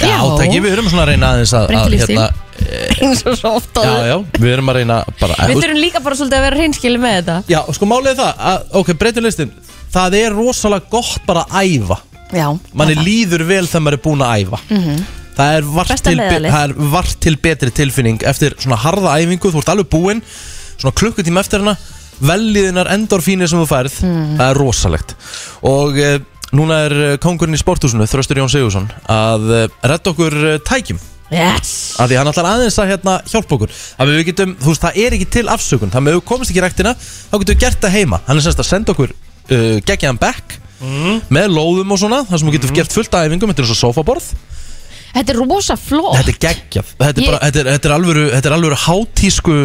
Speaker 4: Já.
Speaker 1: Átaki, við erum svona að reyna aðeins að, að
Speaker 4: Breytileg stíl. Eins og svo oft
Speaker 1: hérna, eh, Já,
Speaker 4: áður
Speaker 1: já, við erum að reyna bara
Speaker 4: Við þurfum líka bara svolítið að vera reynskili með þetta
Speaker 1: Já, sko málið er það, að, ok, breytum listin Það er rosalega gott bara að æfa
Speaker 4: Já,
Speaker 1: Manni
Speaker 4: þetta.
Speaker 1: líður vel þegar maður er búin að æfa -hmm. það, er vart
Speaker 4: Mhm. Besta
Speaker 1: til, be-
Speaker 4: leiðarlið.
Speaker 1: það er vart til betri tilfinning Eftir svona harða æfingu, þú ert alveg búin Svona klukkutíma eftir hana Velliðinar endorfínir sem þú færð
Speaker 4: Mhm.
Speaker 1: Það er rosalegt Og e, núna er eh, kóngurinn í sporthúsinu Þröstur Jón Sigursson Að e, redda okkur e, tækjum
Speaker 4: Yes
Speaker 1: að því hann ætlar aðeins að hérna, hjálpa okkur að við getum, þú veist, það er ekki til afsökun þannig að ef við komist ekki í ræktina, þá getum við gert það heima hann er semst að senda okkur uh, geggjaðan back
Speaker 4: Mhm.
Speaker 1: með lóðum og svona þar sem við getum gert fullt af æfingum, þetta er svo sofaborð
Speaker 4: Þetta er rosa flott
Speaker 1: þetta er geggjað, þetta er,
Speaker 4: Oh. Ég-
Speaker 1: bara, þetta, er, þetta, er alvöru, þetta er alvöru hátísku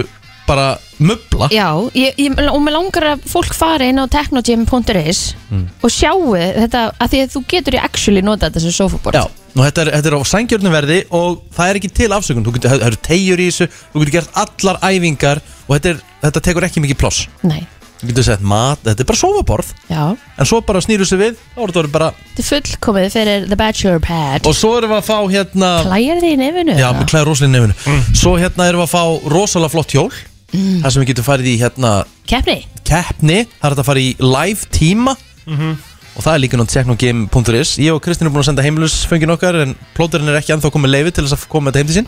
Speaker 1: bara möbla
Speaker 4: Já, ég, ég, og mér langar að fólk fari inn á technogym.is
Speaker 3: Mm.
Speaker 4: og sjáu þetta að því að þú getur í actually nota þetta sem sofaborð
Speaker 1: Já, og þetta er, þetta er á sængjörnum verði og það er ekki til afsökun þú getur, það eru tegjur í þessu, þú getur gert allar æfingar og þetta, er, þetta tekur ekki mikið pláss
Speaker 4: Nei,
Speaker 1: þú getur sett mat, þetta er bara sofaborð
Speaker 4: já,
Speaker 1: en svo bara snýru sig við, þá er þetta bara
Speaker 4: þetta er fullkomið fyrir The Bachelor Pad
Speaker 1: Og svo erum við að fá hérna
Speaker 4: Læjar þið í nefinu?
Speaker 1: Já,
Speaker 4: eða?
Speaker 1: með klæði rosalega í nefnu Svo hérna erum við að fá rosalega flott hjól
Speaker 4: Mm.
Speaker 1: Það sem við getum farið í hérna
Speaker 4: Keppni?
Speaker 1: keppni Það er þetta að fara í live tíma Og það er líka nátt technogame.is Ég og Kristín er búin að senda heimilusföngin okkar En plóterinn er ekki ennþá komið leifi til þess að koma með þetta heim til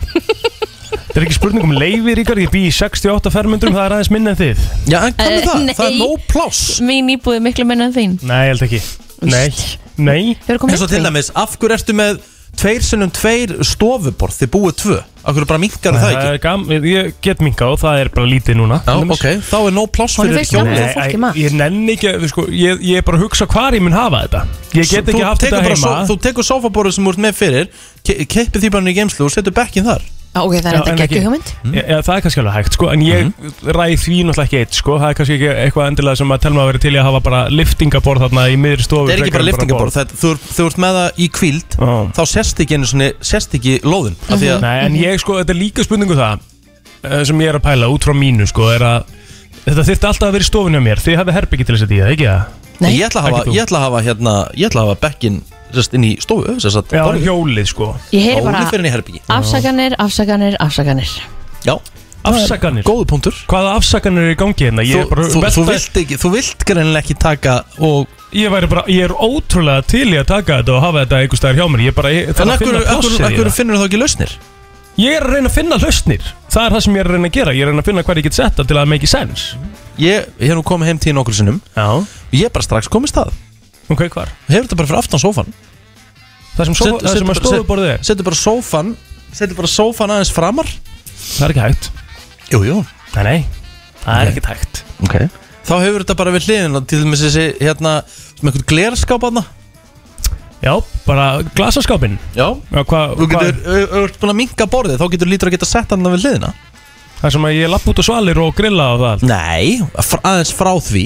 Speaker 1: sín
Speaker 3: Það er ekki spurning um leiði, Ríkar Ég bý í 68 fermundrum Það er aðeins minna en þið
Speaker 1: Já, en hvað með
Speaker 4: Eh,
Speaker 1: það? Það er
Speaker 4: nei.
Speaker 1: nóg pláss
Speaker 4: Mín íbúið er miklu minna en þín
Speaker 3: Nei, ég held ekki Nei Nei
Speaker 4: Hefur
Speaker 1: En
Speaker 4: komið
Speaker 1: svo til dæmis, af hverju ertu með Tveir sinnum tveir stofuborð Þið búið tvö Af hverju bara minkar það ekki?
Speaker 3: er Eh, gam, ég get minkað og það er bara lítið núna
Speaker 1: Já,
Speaker 3: til dæmis.
Speaker 1: ok, þá er nóg pláss
Speaker 4: Honum
Speaker 1: fyrir
Speaker 4: finnst
Speaker 1: hjólið
Speaker 4: gaman.
Speaker 3: Nei,
Speaker 4: Þú fólki mat.
Speaker 3: ég nenni ekki að- sko, ég, ég er bara að hugsa hvar ég mun hafa þetta Ég get
Speaker 1: Þú
Speaker 3: ekki haft
Speaker 1: tekur
Speaker 3: þetta
Speaker 1: bara
Speaker 3: heima
Speaker 1: so- Þú tekur sofaborðið sem þú ert með fyrir ke- Keppir því bara inn í geimslu og setur bekkinn þar
Speaker 4: Já, ok, það er
Speaker 3: Já,
Speaker 4: þetta
Speaker 3: en ekki.
Speaker 4: geggjum hugmynd
Speaker 3: ég, ég, Það er kannski alveg hægt sko, En
Speaker 1: Mhm.
Speaker 3: ég ræði því náttúrulega ekki eitt sko. Það er kannski ekki eitthvað endilega sem að telma að vera til í að hafa bara liftingaborð þarna í miðri stofu
Speaker 1: Það er ekki
Speaker 3: frekar
Speaker 1: bara
Speaker 3: en
Speaker 1: liftingaborð
Speaker 3: borð.
Speaker 1: þetta- Þú þú ert með það í kvíld
Speaker 3: Já.
Speaker 1: Þá sest ekki, einu sinni, sest ekki lóðin af því að,
Speaker 3: Nei, en ég sko, þetta er líka spurningu það eh, sem ég er að pæla út frá mínu sko, er að Þetta þyrfti alltaf að vera í stofunni á mér Þið hafið herbyggi til þess að dýja, ekki það?
Speaker 4: Nei.
Speaker 1: Ég ætla að hafa,
Speaker 3: Ekki þú.
Speaker 1: ég ætla að hafa, hérna, ég ætla að hafa bekkinn sest, inn í stofu sest, að,
Speaker 3: Já, hjólið sko
Speaker 4: Ég heyri bara
Speaker 1: fyrir inn í herbyggi
Speaker 4: afsakanir, afsakanir, afsakanir
Speaker 1: Já,
Speaker 3: Afsakanir
Speaker 1: góðu punktur
Speaker 3: Hvaða afsakanir er í gangi hérna?
Speaker 1: Þú,
Speaker 3: Ég, er bara,
Speaker 1: þú, þú
Speaker 3: velta-
Speaker 1: vilt ekki, þú vilt greinilega ekki taka og
Speaker 3: ég, væri bara, ég er ótrúlega til í að taka þetta og hafa þetta einhvers staðar hjá mér Ég, bara, ég,
Speaker 1: En
Speaker 3: þarf að
Speaker 1: akkur,
Speaker 3: finna
Speaker 1: akkur,
Speaker 3: plássið í
Speaker 1: akkur
Speaker 3: það.
Speaker 1: finnur þú þá ekki lausnir?
Speaker 3: ég er að reyna að finna lausnir Það er það sem ég er að reyna að gera Ég er að reyna að finna hvað ég get setta til að það make sense
Speaker 1: Ég ég hef nú komið heim til nokkur sinnum
Speaker 3: Já
Speaker 1: Ég er bara strax komið stað
Speaker 3: Ok, hvar?
Speaker 1: Hefur þetta bara fyrir aftan sófan
Speaker 3: Það sem, sofa,
Speaker 1: Set-
Speaker 3: það
Speaker 1: set-
Speaker 3: sem að
Speaker 1: set-
Speaker 3: stofuborðið er
Speaker 1: Setur bara sófan Setur bara sófan aðeins framar
Speaker 3: Það er ekki hægt
Speaker 1: Jú, jú
Speaker 3: Nei, nei Það er ekki hægt
Speaker 1: okay. Þá hefur þetta bara við hliðin Til dæmis þessi hérna Með einhvern glerskáp aðna
Speaker 3: Já, bara glasaskápin
Speaker 1: Já
Speaker 3: Já, hvað
Speaker 1: Þú
Speaker 3: hva,
Speaker 1: getur, ef ef þú ert búin að minka borðið Þá getur lítur að geta sett hann við hliðina
Speaker 3: Það sem að ég lapp út á svalir og grilla og það allt.
Speaker 1: Nei, fr- aðeins frá því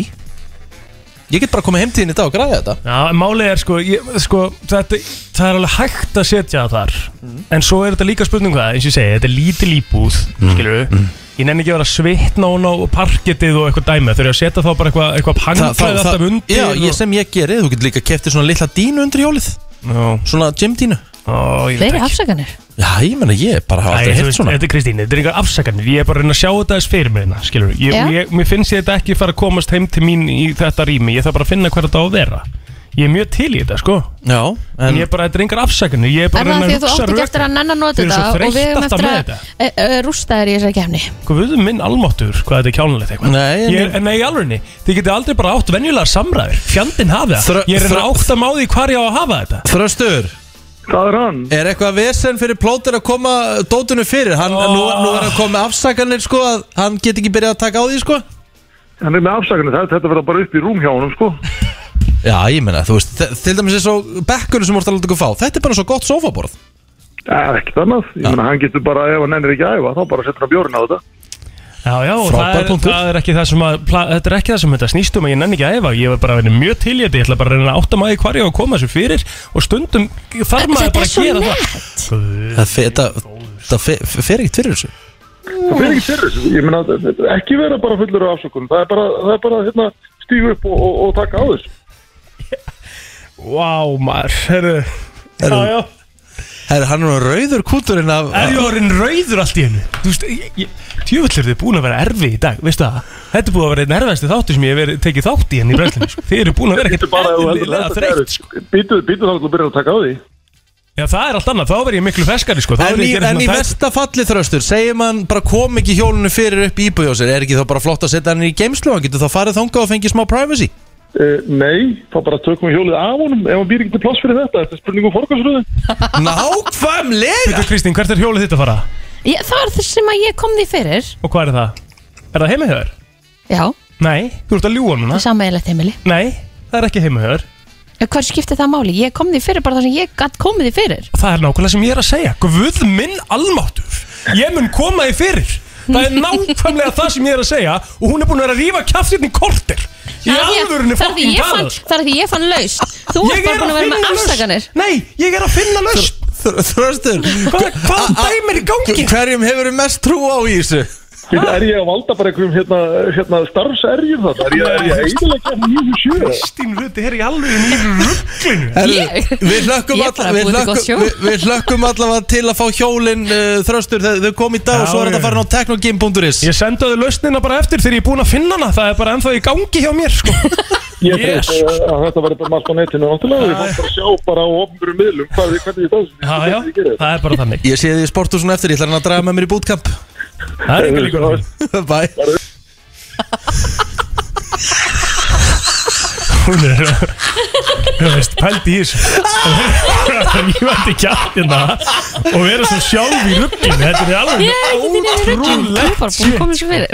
Speaker 1: Ég get bara komið heim til þín í dag og græði þetta
Speaker 3: Já, en málið er sko, ég, sko þetta, Það er alveg hægt að setja það þar En svo er þetta líka spurning hvað eins og ég segi, þetta er lítil íbúð
Speaker 1: Mhm.
Speaker 3: mm. Skilur við Ég nenni ekki að vera svitna hún á parkettið og eitthvað dæmi Þegar ég að setja þá bara eitthvað eitthva panglaði alltaf undir
Speaker 1: já, ég, sem ég geri, þú getur líka keftir svona litla dínu undir hjólið
Speaker 3: og,
Speaker 1: Svona gymdínu
Speaker 3: ó, ég veit
Speaker 4: Fleiri
Speaker 3: ekki.
Speaker 4: afsakanir
Speaker 1: Já, ég menna, ég bara hafa
Speaker 3: Æ,
Speaker 1: aldrei
Speaker 3: þú
Speaker 1: hitt
Speaker 3: veist,
Speaker 1: svona
Speaker 3: Þetta er Kristín, þetta er einhver afsakarnir Ég er bara að reyna að sjá þetta þess fyrir mér hérna, skilur ég,
Speaker 4: Já.
Speaker 3: ég, Mér finnst ég þetta ekki fara að komast heim til mín í þetta rými Ég þarf bara að finna hver þetta á að vera Ég er mjög til í þetta, sko
Speaker 1: Já,
Speaker 3: En
Speaker 1: en
Speaker 3: ég er bara, þetta er einhver afsakarnir Ég er
Speaker 4: Er það
Speaker 3: bara að
Speaker 4: því
Speaker 3: reyna
Speaker 4: að þú átt ekki eftir að nenn að nota
Speaker 3: Þau eru
Speaker 4: þetta
Speaker 3: svo
Speaker 4: og við
Speaker 3: þreytt
Speaker 4: höfum
Speaker 3: alltaf
Speaker 4: eftir
Speaker 3: með
Speaker 4: að e, e, rústa þér í þessari kefni
Speaker 3: Guðum minn almáttur, hvað þetta er kjánulegt eitthvað
Speaker 1: Nei, en
Speaker 3: Ég er, Nei, í alvegni, þið getið aldrei bara átt venjulega samræður Fjandinn hafa það,
Speaker 1: Þrö-
Speaker 3: ég er að reyna
Speaker 1: þrö-
Speaker 3: að átta máði hvar ég á að hafa þetta
Speaker 1: Þröstur,
Speaker 9: Hvað er hann?
Speaker 1: er eitthvað vesen fyrir plótir að koma dótinu fyrir? Hann,
Speaker 3: Ó.
Speaker 1: nú, nú er hann komið með afsakanir sko að hann get ekki byrjað að taka á því sko
Speaker 9: Hann er með afsakunni, þetta verða bara upp í rúm hjá honum sko
Speaker 1: Já, ég menna, þú veist, þe- til dæmis eins og bekkurinn sem vorst að láta ykkur fá Þetta er bara svo gott sofaborð
Speaker 9: Það er ekkert annað, ég meina hann getur bara, ef hann ennir ekki að æfa, þá bara setur hann bjórn á þetta
Speaker 3: Já, já, og það
Speaker 1: Frábær
Speaker 3: er,
Speaker 1: punktur.
Speaker 3: það er ekki það sem að pla, Þetta er ekki það sem þetta snýst um að ég nenni ekki að efa Ég er bara að vera mjög til í þetta Ég ætla bara að reyna að átta maður hvar ég á að koma þessu fyrir Og stundum þarf maður
Speaker 4: Þetta
Speaker 3: bara
Speaker 4: er
Speaker 3: að
Speaker 4: svo
Speaker 3: gera það
Speaker 4: nett
Speaker 1: Það fe- þetta- þetta fe- fe- fer ekkert fyrir þessu
Speaker 9: Það fyrir ekki fyrir þessu, ég meina, þetta er ekki vera bara fullur af afsakunum, það er bara, það er bara, hérna, stígu upp og, og, og taka á þessu.
Speaker 3: Vá, maður, herru Já,
Speaker 1: Herru.
Speaker 3: já,
Speaker 1: Herra, hann er nú rauður kúturinn af
Speaker 3: er ég orðin rauður allt í hennu Þú veist, ég- ég- djöfull eru þið búin að vera erfi í dag Veistu það, þetta er búin að vera einn erfiðasti þáttur sem ég hef verið, tekið þátt í henni í brennslunni sko. Þið eru búin að vera
Speaker 9: Þetta er bara, ef þú heldur
Speaker 3: ekkert
Speaker 9: að þetta
Speaker 3: þreytt sko.
Speaker 9: gerist, býtu, býtu þá til að byrja að taka á því.
Speaker 3: Já, það er allt annað, þá verð ég miklu feskari sko. Þá
Speaker 1: En
Speaker 3: verð
Speaker 1: í,
Speaker 3: ég að gera
Speaker 1: en í
Speaker 3: svona þætti.
Speaker 1: versta falli þröstur, segir mann bara kom ekki hjólinu fyrir upp í íbúið á sér Er ekki þá bara flott að setja hann í geimslu Hann getur þá farið þangað og fengið smá privacy
Speaker 9: Uh, nei, þá bara tökum við hjólið af honum ef hann býr ekki til pláss fyrir þetta, þetta er spurningum forgangsröðin
Speaker 1: Nákvæmlega
Speaker 3: Þú, Kristín, hvert er hjólið þitt að fara?
Speaker 4: Ég- Það var það sem að ég kom því fyrir
Speaker 3: Og hvað er það? Er það heima hjá þér?
Speaker 4: Já,
Speaker 3: Nei, þú ert að ljúa núna
Speaker 4: það sammeðilegt heimili
Speaker 3: Nei, það er ekki heimahöður
Speaker 4: Hvað skipti það máli? Ég kom því fyrir bara það sem ég gatt komið því fyrir
Speaker 3: Það er nákvæmlega sem ég er að segja Guð minn almáttur Ég mun koma því fyrir Það er nákvæmlega það sem ég er að segja Og hún er búin að vera að rífa kjaftirni kortir Í
Speaker 4: Það er því að-
Speaker 3: alvörunni
Speaker 4: það er því
Speaker 3: fokkin
Speaker 4: ég fann-
Speaker 3: talað
Speaker 4: Það er því ég fann laust Þú ert bara búin að vera með
Speaker 3: lausn.
Speaker 4: afsakanir
Speaker 3: Nei, ég er að finna lausn
Speaker 1: Þr- Þröstur
Speaker 3: Hvað- Hvað dæmi er í gangi?
Speaker 1: Hverjum hefur mest trú á í þessu?
Speaker 9: Er ég að valda bara einhverjum hérna, hérna starfserjum þetta? Er ég, er ég að eiginlega ekki nýju sjö?
Speaker 3: Kristín Ruti er í alvörunni í rugglinu
Speaker 1: Herru,
Speaker 4: Ég-
Speaker 1: Við hlökkum
Speaker 4: Ég er
Speaker 1: alla-
Speaker 4: bara
Speaker 1: við
Speaker 4: búin til gott
Speaker 1: hlökkum-
Speaker 4: sjó.
Speaker 1: við- við hlökkum allavega til að fá hjólin uh, Þröstur þegar þau kom í dag og
Speaker 3: Já,
Speaker 1: svo er þetta
Speaker 3: já.
Speaker 1: farin á teknogame.is
Speaker 3: Ég sendaði lausnina bara eftir þegar ég er búin að finna hana Það er bara ennþá í gangi hjá mér sko.
Speaker 9: Ég
Speaker 3: Yes.
Speaker 9: yes. að þetta verður bara margt á netinu náttúrulega, ég fann bara að sjá bara á ofnbjörnum miðlum hvað, hvernig ég dási.
Speaker 3: Já, já, það er bara þannig
Speaker 1: Ég sé því í sporthúsinu eftir, ég ætla hann að draga með mér í bútkamp
Speaker 3: Það er ekki líkur á því.
Speaker 1: Bæ
Speaker 3: hún er þú veist, pældi í þessu rífandi kjartina hérna og vera svo sjálf í rugginu þetta er
Speaker 4: Ég er ekki því niður
Speaker 3: alveg
Speaker 4: ruggin Þú er bara búin að
Speaker 3: shit,
Speaker 4: komið því fyrir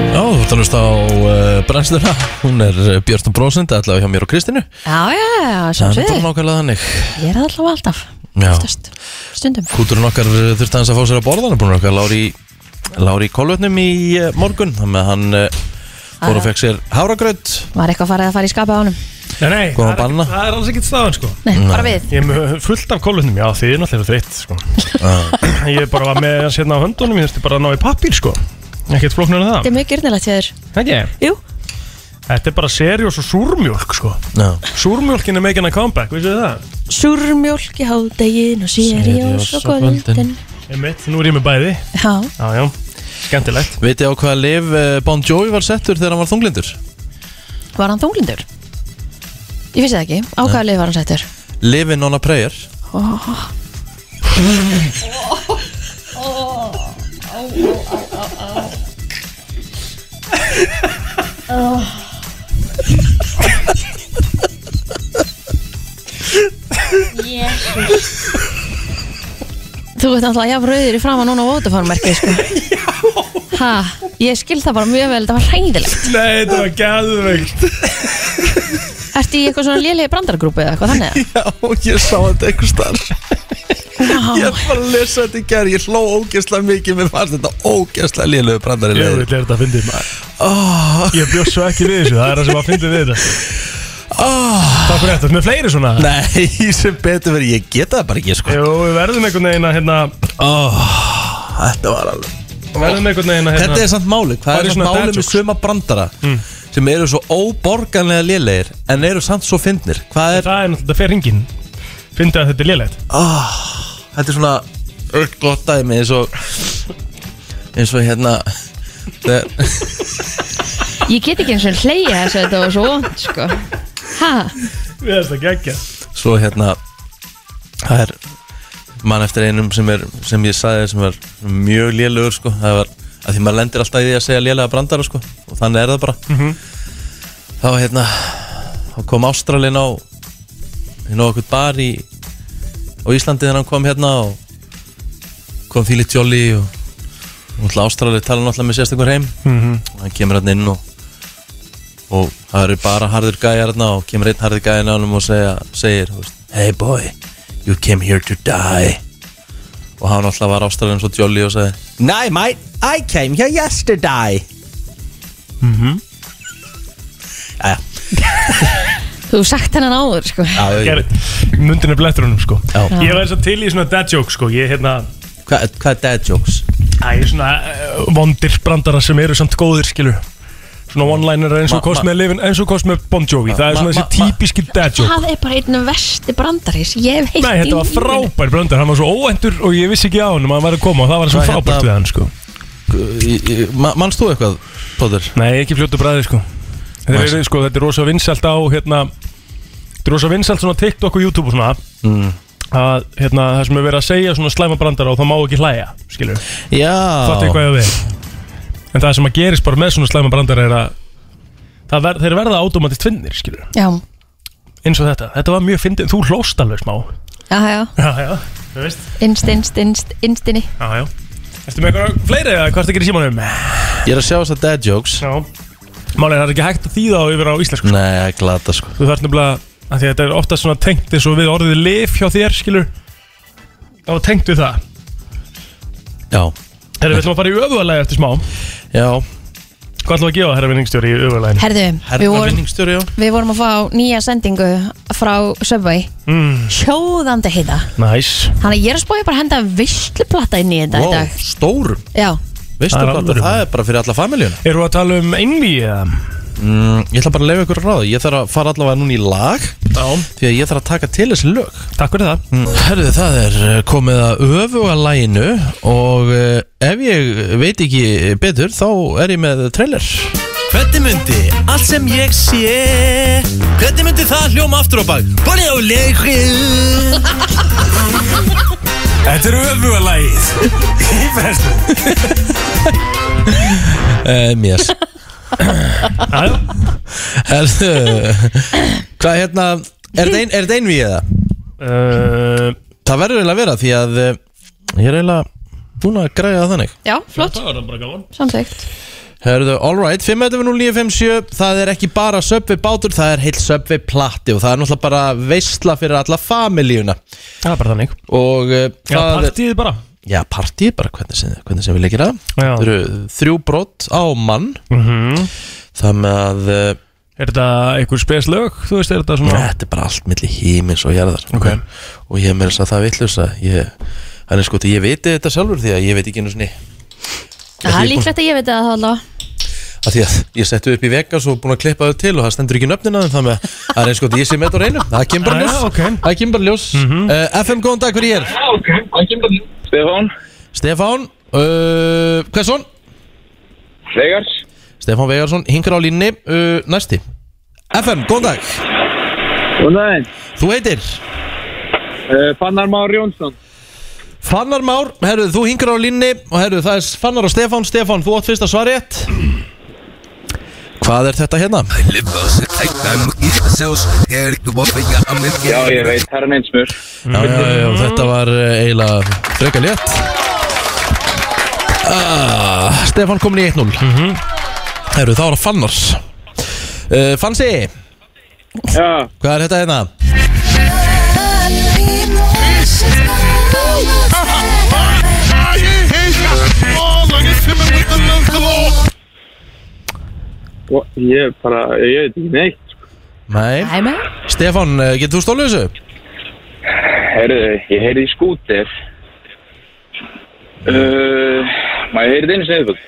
Speaker 1: Já, þú ert að hlusta á uh, brennsluna Hún er uh, Björnsson Brósund, allavega hjá mér og Kristinu
Speaker 4: Já, já, já, sem
Speaker 1: Það er
Speaker 4: séð
Speaker 1: bara nákvæmlega þannig
Speaker 4: Ég er það allavega alltaf
Speaker 1: Já.
Speaker 4: Oftast. Stundum
Speaker 1: Kúturinn okkar uh, þurfti hans að fá sér að borða hann er búin okkar Lári, Lári í kolvetnum í uh, morgun þannig að hann uh,
Speaker 4: Ah.
Speaker 1: fór og fekk sér háragraut
Speaker 4: Var eitthvað farið að fara í skapa á honum
Speaker 3: nei, nei,
Speaker 1: Góðan
Speaker 3: það er
Speaker 1: banna.
Speaker 3: ekki- það er alls ekkert staðan sko
Speaker 4: Nei, bara við
Speaker 3: ég er með fullt af kólutnum, já þið er náttúrulega þreytt sko. ég bara var með hans hérna á höndunum ég þurfti bara að ná í pappír sko ekkert flóknar en
Speaker 4: Þetta er mjög gyrnilegt hjá þér
Speaker 3: það ekki,
Speaker 4: Jú,
Speaker 3: Þetta er bara seriós og súrmjólk sko
Speaker 1: Já.
Speaker 3: Súrmjólkin er making a comeback, vissu það?
Speaker 4: Súrmjólk í hádegin og sérjós
Speaker 1: á
Speaker 4: og
Speaker 1: kvöldin.
Speaker 4: kvöldin
Speaker 3: Einmitt, nú er ég með bæði
Speaker 4: Já,
Speaker 3: Já, já, skemmtilegt
Speaker 1: Vitið á hvaða lif eh, Bon Jovi var settur þegar hann var þunglindur?
Speaker 4: var hann þunglindur? Ég vissi það ekki, á hvaða lið var hann settur?
Speaker 1: Livin on a prayer
Speaker 4: Þú veit alltaf að ég haf rauðir í framann núna á ótafarmerki sko. ha, Ég skil það bara mjög vel, það var hræðilegt
Speaker 3: Nei, þetta var gæðveikt
Speaker 4: Ertu í eitthvað svona lélegi brandargrúpu eða eitthvað þannig?
Speaker 1: Já, ég sá þetta einhvers þar
Speaker 4: Vá,
Speaker 1: Ég var að lesa þetta í gerð Ég hló ógeðslega mikið Mér fannst þetta ógeðslega lélögu brandari
Speaker 3: Ég
Speaker 1: liður
Speaker 3: veit þetta að fyndi
Speaker 1: Ah.
Speaker 3: Ég bjóst svo ekki við þessu, það er það sem að fyndi við þetta Takk fyrir þetta, með fleiri svona
Speaker 1: Ah. Nei, sem betur verið Ég geta það bara ekki sko
Speaker 3: Jú, við verðum einhvern veginn að hérna
Speaker 1: Þetta var alveg
Speaker 3: Verðum einhvern veginn að hérna
Speaker 1: Þetta er samt máli Hvað
Speaker 3: Bara
Speaker 1: er
Speaker 3: svona Mm.
Speaker 1: samt máli með
Speaker 3: dadjokes.
Speaker 1: suma brandara Sem eru svo óborganlega lélegir En eru samt svo fyndnir Hvað er
Speaker 3: Það er náttúrulega, það fer ringin Fyndi að þetta er lélegt
Speaker 1: Þetta er svona Öll gott dæmi eins og Eins og hérna þegar-
Speaker 4: Ég get ekki eins og hleyja þess að þetta var svo vond sko. Ha,
Speaker 3: Við erum þetta geggja
Speaker 1: Svo hérna Það er mann eftir einum sem, er, sem ég sagði sem var mjög lélegur sko. það var að því maður lendir alltaf í því að segja lélega brandara sko. og þannig er það bara þá hérna þá kom Ástralin á hérna á okkur bar í á Íslandi þegar hann kom hérna og kom Fíli Jolly og náttúrulega Ástralin tala náttúrulega með sérstakur heim og hann kemur hérna inn og og það eru bara harður gæjar þarna og kemur einn harður gæjar nánum og segja, segir þú veist, hey boy, you came here to die og hann alltaf var ástæðan svo jolly og segi Nei mate, I came here yesterday mhm
Speaker 4: þú hefur sagt hennan áður sko.
Speaker 1: Jæja,
Speaker 3: Mundin er blettur honum sko
Speaker 1: Já.
Speaker 3: Ég var þess að til í svona dad joke sko Ég hérna
Speaker 1: hvað hva er dad jokes?
Speaker 3: Það er svona uh, vondir brandara sem eru samt góðir skilur Svona one-liner eins og
Speaker 1: Ma-
Speaker 3: kost
Speaker 1: ma-
Speaker 3: með lifin eins og kost með Bon Jovi Það
Speaker 1: Ma-
Speaker 3: er svona
Speaker 1: ma-
Speaker 3: þessi
Speaker 1: ma-
Speaker 3: típiski dad joke
Speaker 4: Það er bara einn versti brandaris Ég hef heilt
Speaker 3: Nei, þetta var frábær brandar, hann var svo óendur og ég vissi ekki á hann um að hann var að koma og það var svo
Speaker 1: Hvað hérna-
Speaker 3: frábært við hann sko
Speaker 1: Í- í- ma- Manst þú eitthvað, Póður?
Speaker 3: Nei, ekki fljótu bræði sko Þetta
Speaker 1: Nice.
Speaker 3: er, sko, þetta er rosa vinsælt á hérna, Þetta er rosa vinsælt svona TikTok og YouTube og svona Mm. að hérna, það sem er verið að segja svona slæma brandara og það má ekki hlæja skilur,
Speaker 1: Já
Speaker 3: fattu eitthvað ég á við en það sem að gerist bara með svona slæma brandara er að það ver, þeir verða automatist finnir skilur,
Speaker 4: Já,
Speaker 3: eins og þetta þetta var mjög fyndið, þú hlóst alveg smá
Speaker 4: já, já,
Speaker 3: já, já, þú veist
Speaker 4: innst, innst, innst, innstinni
Speaker 3: já, já. Ertu með eitthvað fleiri eða hvað ertu að gera í símanum?
Speaker 1: Ég er að sjá þess að dad jokes
Speaker 3: Já Málega það er ekki hægt að þýða á yfir á íslensku
Speaker 1: Nei, það er glata sko
Speaker 3: Þú þarf nefnilega að því að þetta er ofta svona tengt eins og við orðið lif hjá þér, skilur Það var tengt við það
Speaker 1: Já,
Speaker 3: Herra, við ætlum að fara í öfuðalagi eftir smá Hvað
Speaker 1: já,
Speaker 3: ætlum við að gefa herra vinningstjóri í öfuðalaginu?
Speaker 4: Herðu, við
Speaker 1: herna
Speaker 4: vorum,
Speaker 1: vinningstjóri já
Speaker 4: við vorum að fá nýja sendingu frá Subway
Speaker 3: Mm.
Speaker 4: Hjóðandi heita
Speaker 3: Næs
Speaker 4: Þannig að ég er að spója bara að henda vistluplata inn í þetta í
Speaker 1: Wow,
Speaker 4: dag
Speaker 1: stórum
Speaker 4: Já,
Speaker 1: Veistu
Speaker 3: Það er
Speaker 1: hvað,
Speaker 3: alvöru.
Speaker 1: það er bara fyrir alla familjuna
Speaker 3: Erum við að tala um einví eða?
Speaker 1: mm, Ég ætla bara að leifa ykkur að ráða Ég þarf að fara allavega núna í lag
Speaker 3: Já
Speaker 1: Því að ég þarf að taka til þessi lög
Speaker 3: Takk fyrir það
Speaker 1: mm. Herðu, það er eh, komið að öfuga læginu Og eh, ef ég veit ekki betur Þá er ég með trailer Hvernig myndi allt sem ég sé Hvernig myndi það hljóma aftur á bak Bóli á leikri
Speaker 3: Þetta er öfuðalagið Í brennslu
Speaker 1: um, yes.
Speaker 3: já.
Speaker 1: Herðu Hvað hérna Er þetta ein, er þetta einvíð eða?
Speaker 3: uh,
Speaker 1: Það verður eiginlega að vera því að eh, Ég er eiginlega búin að græja það þannig
Speaker 4: já, flott,
Speaker 3: Það var það bara gaman
Speaker 4: samþygt
Speaker 1: Herðu, alright, 5.0957 Það er ekki bara Subway bátur Það er heilt Subway plati og það er náttúrulega bara veistla fyrir alla familíuna
Speaker 3: Það er bara þannig
Speaker 1: og uh,
Speaker 3: Já,
Speaker 1: það er
Speaker 3: partíð bara
Speaker 1: Já, partíð bara hvernig sem, hvernig sem við leikir það
Speaker 3: Já.
Speaker 1: Það eru þrjú brott á mann
Speaker 3: mm
Speaker 1: Það með að uh,
Speaker 3: Er þetta einhver spes lög? Þú veist, er þetta svona
Speaker 1: Þetta er bara allt milli hímins og jarðar
Speaker 3: Ok.
Speaker 1: Og ég er meira þess að það vitlusa Ég, hann er sko, ég veit þetta sjálfur því að ég veit ekki einu sinni
Speaker 4: Það er líklegt að ég veit það allavega
Speaker 1: að því að ég settu upp í Vegas og búin að klippa þau til og það stendur ekki nöfnina þeim þannig að það er eins gott að ég sé með þetta á reynu það kemur bara
Speaker 3: Já,
Speaker 1: ljós,
Speaker 3: ok.
Speaker 1: það kemur bara ljós. Uh, FM, góðan dag, hver er ég er?
Speaker 7: Stefán,
Speaker 1: Stefán, uh, hversson?
Speaker 7: Vegars
Speaker 1: Stefán Vegarsson, hingar á línni uh, næsti FM, góðan dag
Speaker 9: Og næðin,
Speaker 1: Þú heitir
Speaker 9: uh, Fannar Már Jónsson
Speaker 1: Fannar Már, herru, þú hingar á línni og herru, það er Fannar og Stefán Stefán, þú átt fyrsta svarétt Hvað er þetta hérna?
Speaker 5: Lippos, hættam, ísjós, er þú að fengja að með
Speaker 7: Já, ég veit, herran einn smur
Speaker 1: Já, já, já, þetta var uh, eiginlega frekar létt ah, Stefán komin í 1-0 Herru, þá er það Fannar uh, Fansi,
Speaker 9: Já,
Speaker 1: hvað er þetta hérna?
Speaker 9: og ég bara, ég veit ekki neitt sko.
Speaker 1: Nei,
Speaker 4: Æ, með
Speaker 1: Stefán, uh, getur þú stóluð þessu?
Speaker 7: Herðu, ég heyrði í skútir uh, Maður heyrði einu sinni viðbót.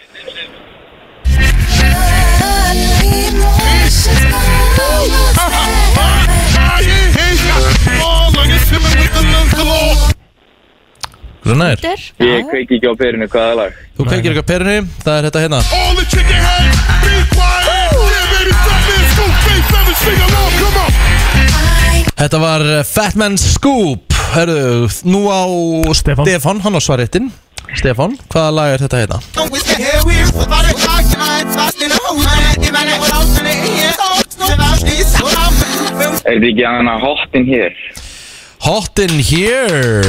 Speaker 1: Hversu nær?
Speaker 7: Ég kveiki ekki á perinu hvaða lag
Speaker 1: Þú kveikir ekki á perunni, það er þetta hérna Þetta var uh, Fat Man Scoop Hörru, nú á
Speaker 3: Stefán.
Speaker 1: Stefán hann á svaréttin Stefán, hvaða lag er þetta hérna?
Speaker 7: Er þetta ekki hana hot in here?
Speaker 1: Hot in here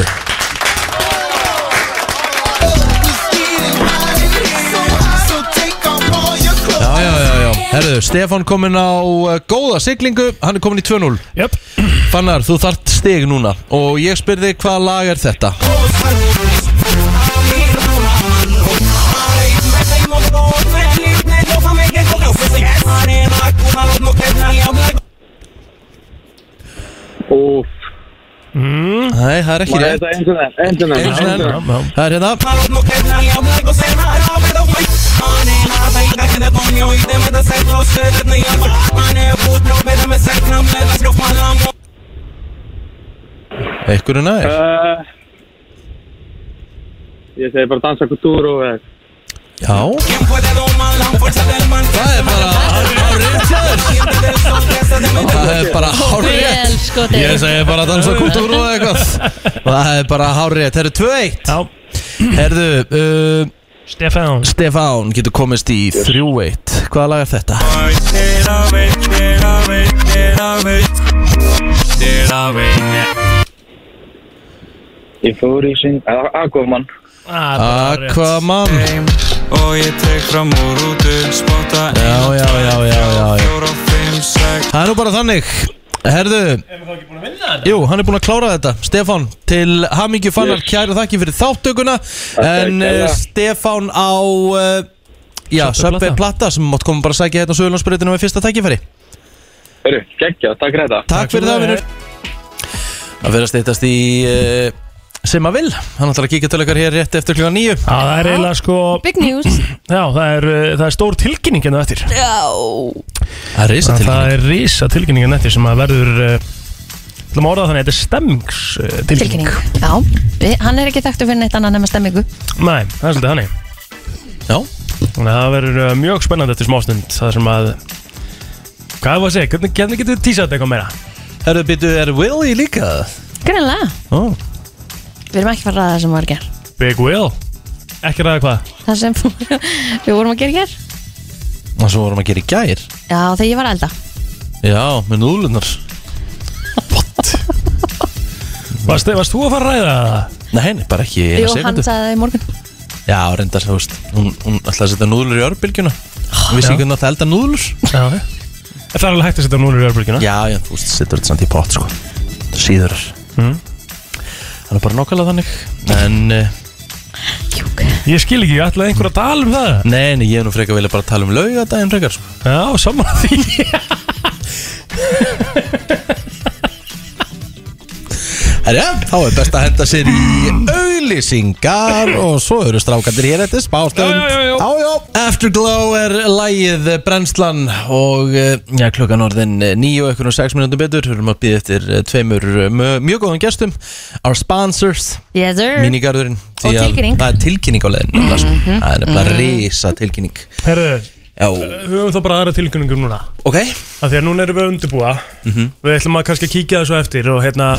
Speaker 1: Já, já, já, já Herru, Stefán kominn á uh, góða siglingu Hann er kominn í 2-0
Speaker 3: Jöp
Speaker 1: Fannar, þú þart stig núna Og ég spyrði hvaða lag er þetta
Speaker 9: Úf,
Speaker 1: Nei, það er ekki
Speaker 9: maður
Speaker 1: rétt
Speaker 9: þetta eins og það, eins og
Speaker 1: Einu sinni
Speaker 9: það
Speaker 1: enn. Það er hérna Ekkur er nær
Speaker 9: Uh, Ég segi bara dansa kultúr og eh,
Speaker 1: Já Það er bara hárið Það er bara hárið
Speaker 4: Vel sko, skotið
Speaker 1: Ég segi bara dansa kultúr og eitthvað Það er bara hárið Það eru 2-1
Speaker 3: Já
Speaker 1: Herðu, uh,
Speaker 3: Stefán
Speaker 1: Stefán getur komist í 3-1 Hvaða lag er þetta?
Speaker 7: Ég fór í sinn Aquaman
Speaker 3: Ah,
Speaker 1: Aquaman Já, já, já, já, já, já Það er nú bara þannig Herðu Jú, hann er búinn að klára þetta Stefán, til hamingju fannar yes. kæra þakki fyrir þáttökuna En uh, Stefán á uh, Já, Söpvei
Speaker 3: Plata.
Speaker 1: Plata sem mátt koma bara að sækja hérna á Söðurlandsbreytinu með fyrsta tækifæri
Speaker 7: Hörru, geggja, takk fyrir þetta
Speaker 1: Takk fyrir það,
Speaker 3: fyrir
Speaker 1: vinnur Það fyrir að steytast í uh, sem að vil Hann ætlar að kíkja til okkar hér rétt eftir klukkan nýju
Speaker 3: Já, það er eiginlega sko
Speaker 2: Big news
Speaker 3: Já, það er, uh, það er stór tilkynning hérna eftir
Speaker 1: Það er reysa til
Speaker 3: Það er risa tilkynning hérna eftir sem að verður uh, Það má orða það þannig, þetta er stemmings uh, tilkynning
Speaker 4: Tilkynning Já, við, hann er ekki þekktu fyrir neitt annað nema stemmingu
Speaker 3: Nei, það er svolítið hannig
Speaker 1: Já,
Speaker 3: Þannig að það verður uh, mjög spennandi eftir smástund Það sem að Hvað er það að segja, hvernig, hvernig getur við tísað þetta eitthvað meira?
Speaker 1: herðu býtu, er Willy líka?
Speaker 4: Greinlega,
Speaker 1: Ó,
Speaker 4: við erum ekki fara að ræða það sem var ger
Speaker 3: Big Will Ekki ræða hvað
Speaker 4: Það sem við vorum að gera ger
Speaker 1: og svo vorum að gera í gær
Speaker 4: Já, þegar ég var að elda
Speaker 1: Já, með núlunar
Speaker 3: Varst, varst þú að fara að ræða það?
Speaker 1: Nei, nei, bara ekki í eina
Speaker 4: Jú, hann
Speaker 1: sekundu
Speaker 4: sagði það í morgun
Speaker 1: Já, reyndar, þú veist Hún, hún ætlaði að setja núðlur í örbylgjuna Hún vissi
Speaker 3: Já.
Speaker 1: ekki hvernig að það elda núðlur
Speaker 3: Já ok. Það er alveg hægt að setja núlur í örbríkina
Speaker 1: Já, já, þú veist, setur þetta samt í pott, sko Síður
Speaker 3: Mm.
Speaker 1: Það er bara nokkulega þannig Hmm. En, eh,
Speaker 3: Ég skil ekki, ég ætlaði einhver að tala um það
Speaker 1: nei, nei, ég er nú frekar vilja bara tala um laugadaginn frekar, sko
Speaker 3: Já, saman því
Speaker 10: Herja, þá er best að henda sér í auglýsingar og svo eru strákandir hér eftir spástund.
Speaker 1: Afterglow er lægið eh, brennslan og eh, já, klukkan orðin nýju og ekkur og sex minútum betur við erum að býða eftir eh, tveimur eh, mö- mjög góðum gestum our sponsors
Speaker 4: Yes, sir.
Speaker 1: Mínigarðurinn
Speaker 4: Mm. Og tilkynning. Mm.
Speaker 1: Það er tilkynning á leiðin
Speaker 3: Mhm.
Speaker 1: Það er nefnilega
Speaker 3: Mhm.
Speaker 1: risa tilkynning
Speaker 3: Herru,
Speaker 1: Já,
Speaker 3: við höfum þá bara aðra tilkynningur núna
Speaker 1: Ok
Speaker 3: Af því að núna erum við að undirbúa
Speaker 1: Mhm.
Speaker 3: Við ætlum að kannski kíkja þessu eftir og hérna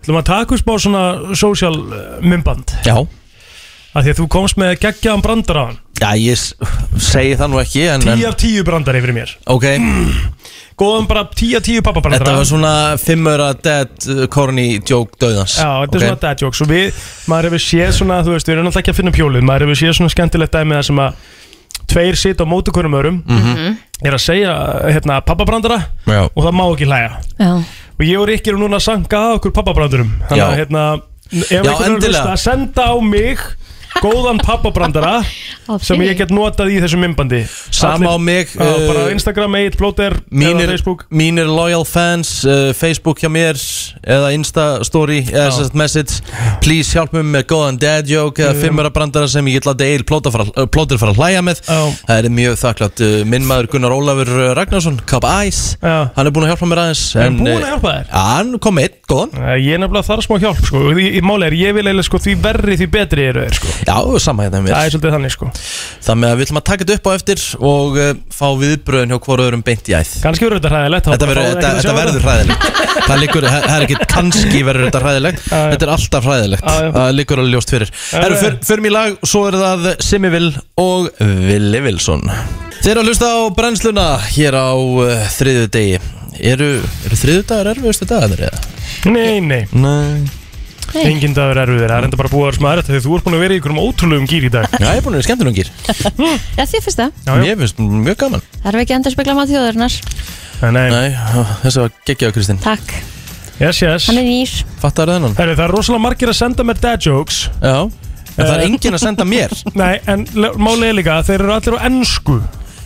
Speaker 3: ætlum að taka upp á svona social eh, mymband
Speaker 1: Já
Speaker 3: Af því að þú komst með geggjaðan brandar á hann
Speaker 1: já ég s- segi það nú ekki en, en,
Speaker 3: 10 af 10 brandar yfir mér
Speaker 1: Ok
Speaker 3: Góðan bara 10 af 10 pappabrandar
Speaker 1: Þetta var svona fimmöra dead uh, corny joke döðans
Speaker 3: Já, þetta er svona dad jokes og við, maður hefur séð svona, þú veist, við erum alltaf ekki að finna pjólið maður hefur séð svona skemmtilegt dæmi það sem að tveir sit á móti hverjum örum
Speaker 4: Mhm.
Speaker 3: er að segja, hérna, pappabrandara
Speaker 1: Já.
Speaker 3: og það má ekki hlæja
Speaker 4: Já.
Speaker 3: og ég og Rikki eru núna að sanka að okkur pappabrandurum þannig að,
Speaker 1: Já.
Speaker 3: hérna, ef
Speaker 1: Já,
Speaker 3: einhvern er
Speaker 1: endilega.
Speaker 3: hlusta að senda á mig góðan pappabrandara
Speaker 4: Ok.
Speaker 3: sem ég get notað í þessu mymbandi
Speaker 1: Sama á mig,
Speaker 3: Já, bara á
Speaker 1: eh,
Speaker 3: Instagram, eitt, blóter,
Speaker 1: Mínir, mínir loyal fans uh, Facebook hjá mér eða Insta story eða
Speaker 3: Já.
Speaker 1: sérst message please hjálp mér með góðan dad joke eða
Speaker 3: Já.
Speaker 1: fimmara brandara sem ég ætla að deil plótir fara að hlæja með það er mjög þakklátt uh, minn maður Gunnar Ólafur uh, Ragnarsson Cup Ice hann er búin að hjálpa mér aðeins eh,
Speaker 3: Er hann búinn að hjálpa þér?
Speaker 1: Já, hann kom með einn, góðan
Speaker 3: Eh, Ég er nefnilega þar smá hjálp sko. Í, í máli er ég vil eiginlega sko, því verri því betri eru þeir sko.
Speaker 1: Já, sama hérna mér
Speaker 3: Það er svolítið þannig sko
Speaker 1: Þannig að við ætlum að taka þetta upp á eftir og uh, fá viðbröðin hjá hvora öðrum beint í æð
Speaker 3: Kannski verður þetta hræðilegt þá
Speaker 1: Þetta,
Speaker 3: bara
Speaker 1: verður,
Speaker 3: fáum
Speaker 1: þetta, þetta
Speaker 3: við ekkert að sjá
Speaker 1: verður
Speaker 3: þetta.
Speaker 1: hræðilegt Það liggur, það það er ekki kannski verður þetta hræðilegt Þetta er alltaf hræðilegt
Speaker 3: Já, já.
Speaker 1: Það liggur alveg ljóst fyrir Herru,
Speaker 3: já.
Speaker 1: fyr, fyrir mér lag, svo er það Simmi Vil og Vili Vilsson Þeir eru að hlusta á brennsluna hér á uh, þriðu degi Eru, eru þriðu dagar erfiðustu dagarnir eða?
Speaker 3: Nei, nei,
Speaker 1: nei.
Speaker 4: Nei.
Speaker 3: Engin dagur erfiður, það er enda bara búið að vera smá erfitt Þegar þú ert búin að vera í einhverjum ótrúlegum gýr í dag
Speaker 1: Já, ég er búin að vera skemmtunum gýr
Speaker 4: Já, því finnst það.
Speaker 1: Mér finnst mjög gaman
Speaker 4: Það er ekki endur spekla maður þjóðarinnar.
Speaker 3: Nei,
Speaker 1: nei þessi var geggjaðu Kristinn
Speaker 4: Takk.
Speaker 3: eh, Yes, yes
Speaker 4: Hann er nýr.
Speaker 1: Fattar það hennan?
Speaker 3: Herri, það er rosalega margir að senda mér dad jokes
Speaker 1: Já En
Speaker 3: Eh.
Speaker 1: það er enginn að senda mér
Speaker 3: Nei, en le- málið er líka að þeir eru allir á ennsku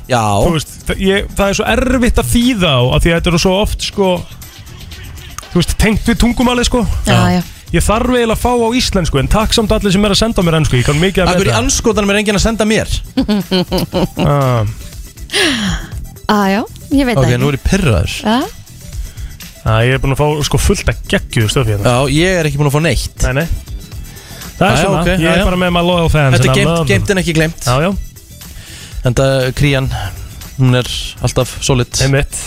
Speaker 1: Já
Speaker 3: Þú veist, það, ég, það er svo erfitt að þýða á af Því að þetta eru svo oft sko Þú veist, tengt við tungumalið sko
Speaker 4: Já, já.
Speaker 3: Ég þarf eiginlega að fá á íslensku En takk samt allir sem er að senda mér ennsku Ég kann mikið að
Speaker 1: Akkur í anskotanum er enginn að senda mér
Speaker 3: Ah,
Speaker 4: Ah, já, ég veit
Speaker 1: Ok,
Speaker 4: það
Speaker 1: nú er ég pyrraður
Speaker 4: Já,
Speaker 3: ah, ég er búin að fá sko fullt að geggju stöfi hérna
Speaker 1: Já, ég er ekki búin að fá neitt
Speaker 3: Nei, nei Það er
Speaker 1: Jæja,
Speaker 3: svona,
Speaker 1: ok,
Speaker 3: ég er
Speaker 1: jæja.
Speaker 3: bara með maður loyal fans
Speaker 1: Þetta er
Speaker 3: and I
Speaker 1: geimt,
Speaker 3: love them.
Speaker 1: geimt en ekki glemt
Speaker 3: Já, já
Speaker 1: Þetta krían, hún er alltaf solid
Speaker 3: Einmitt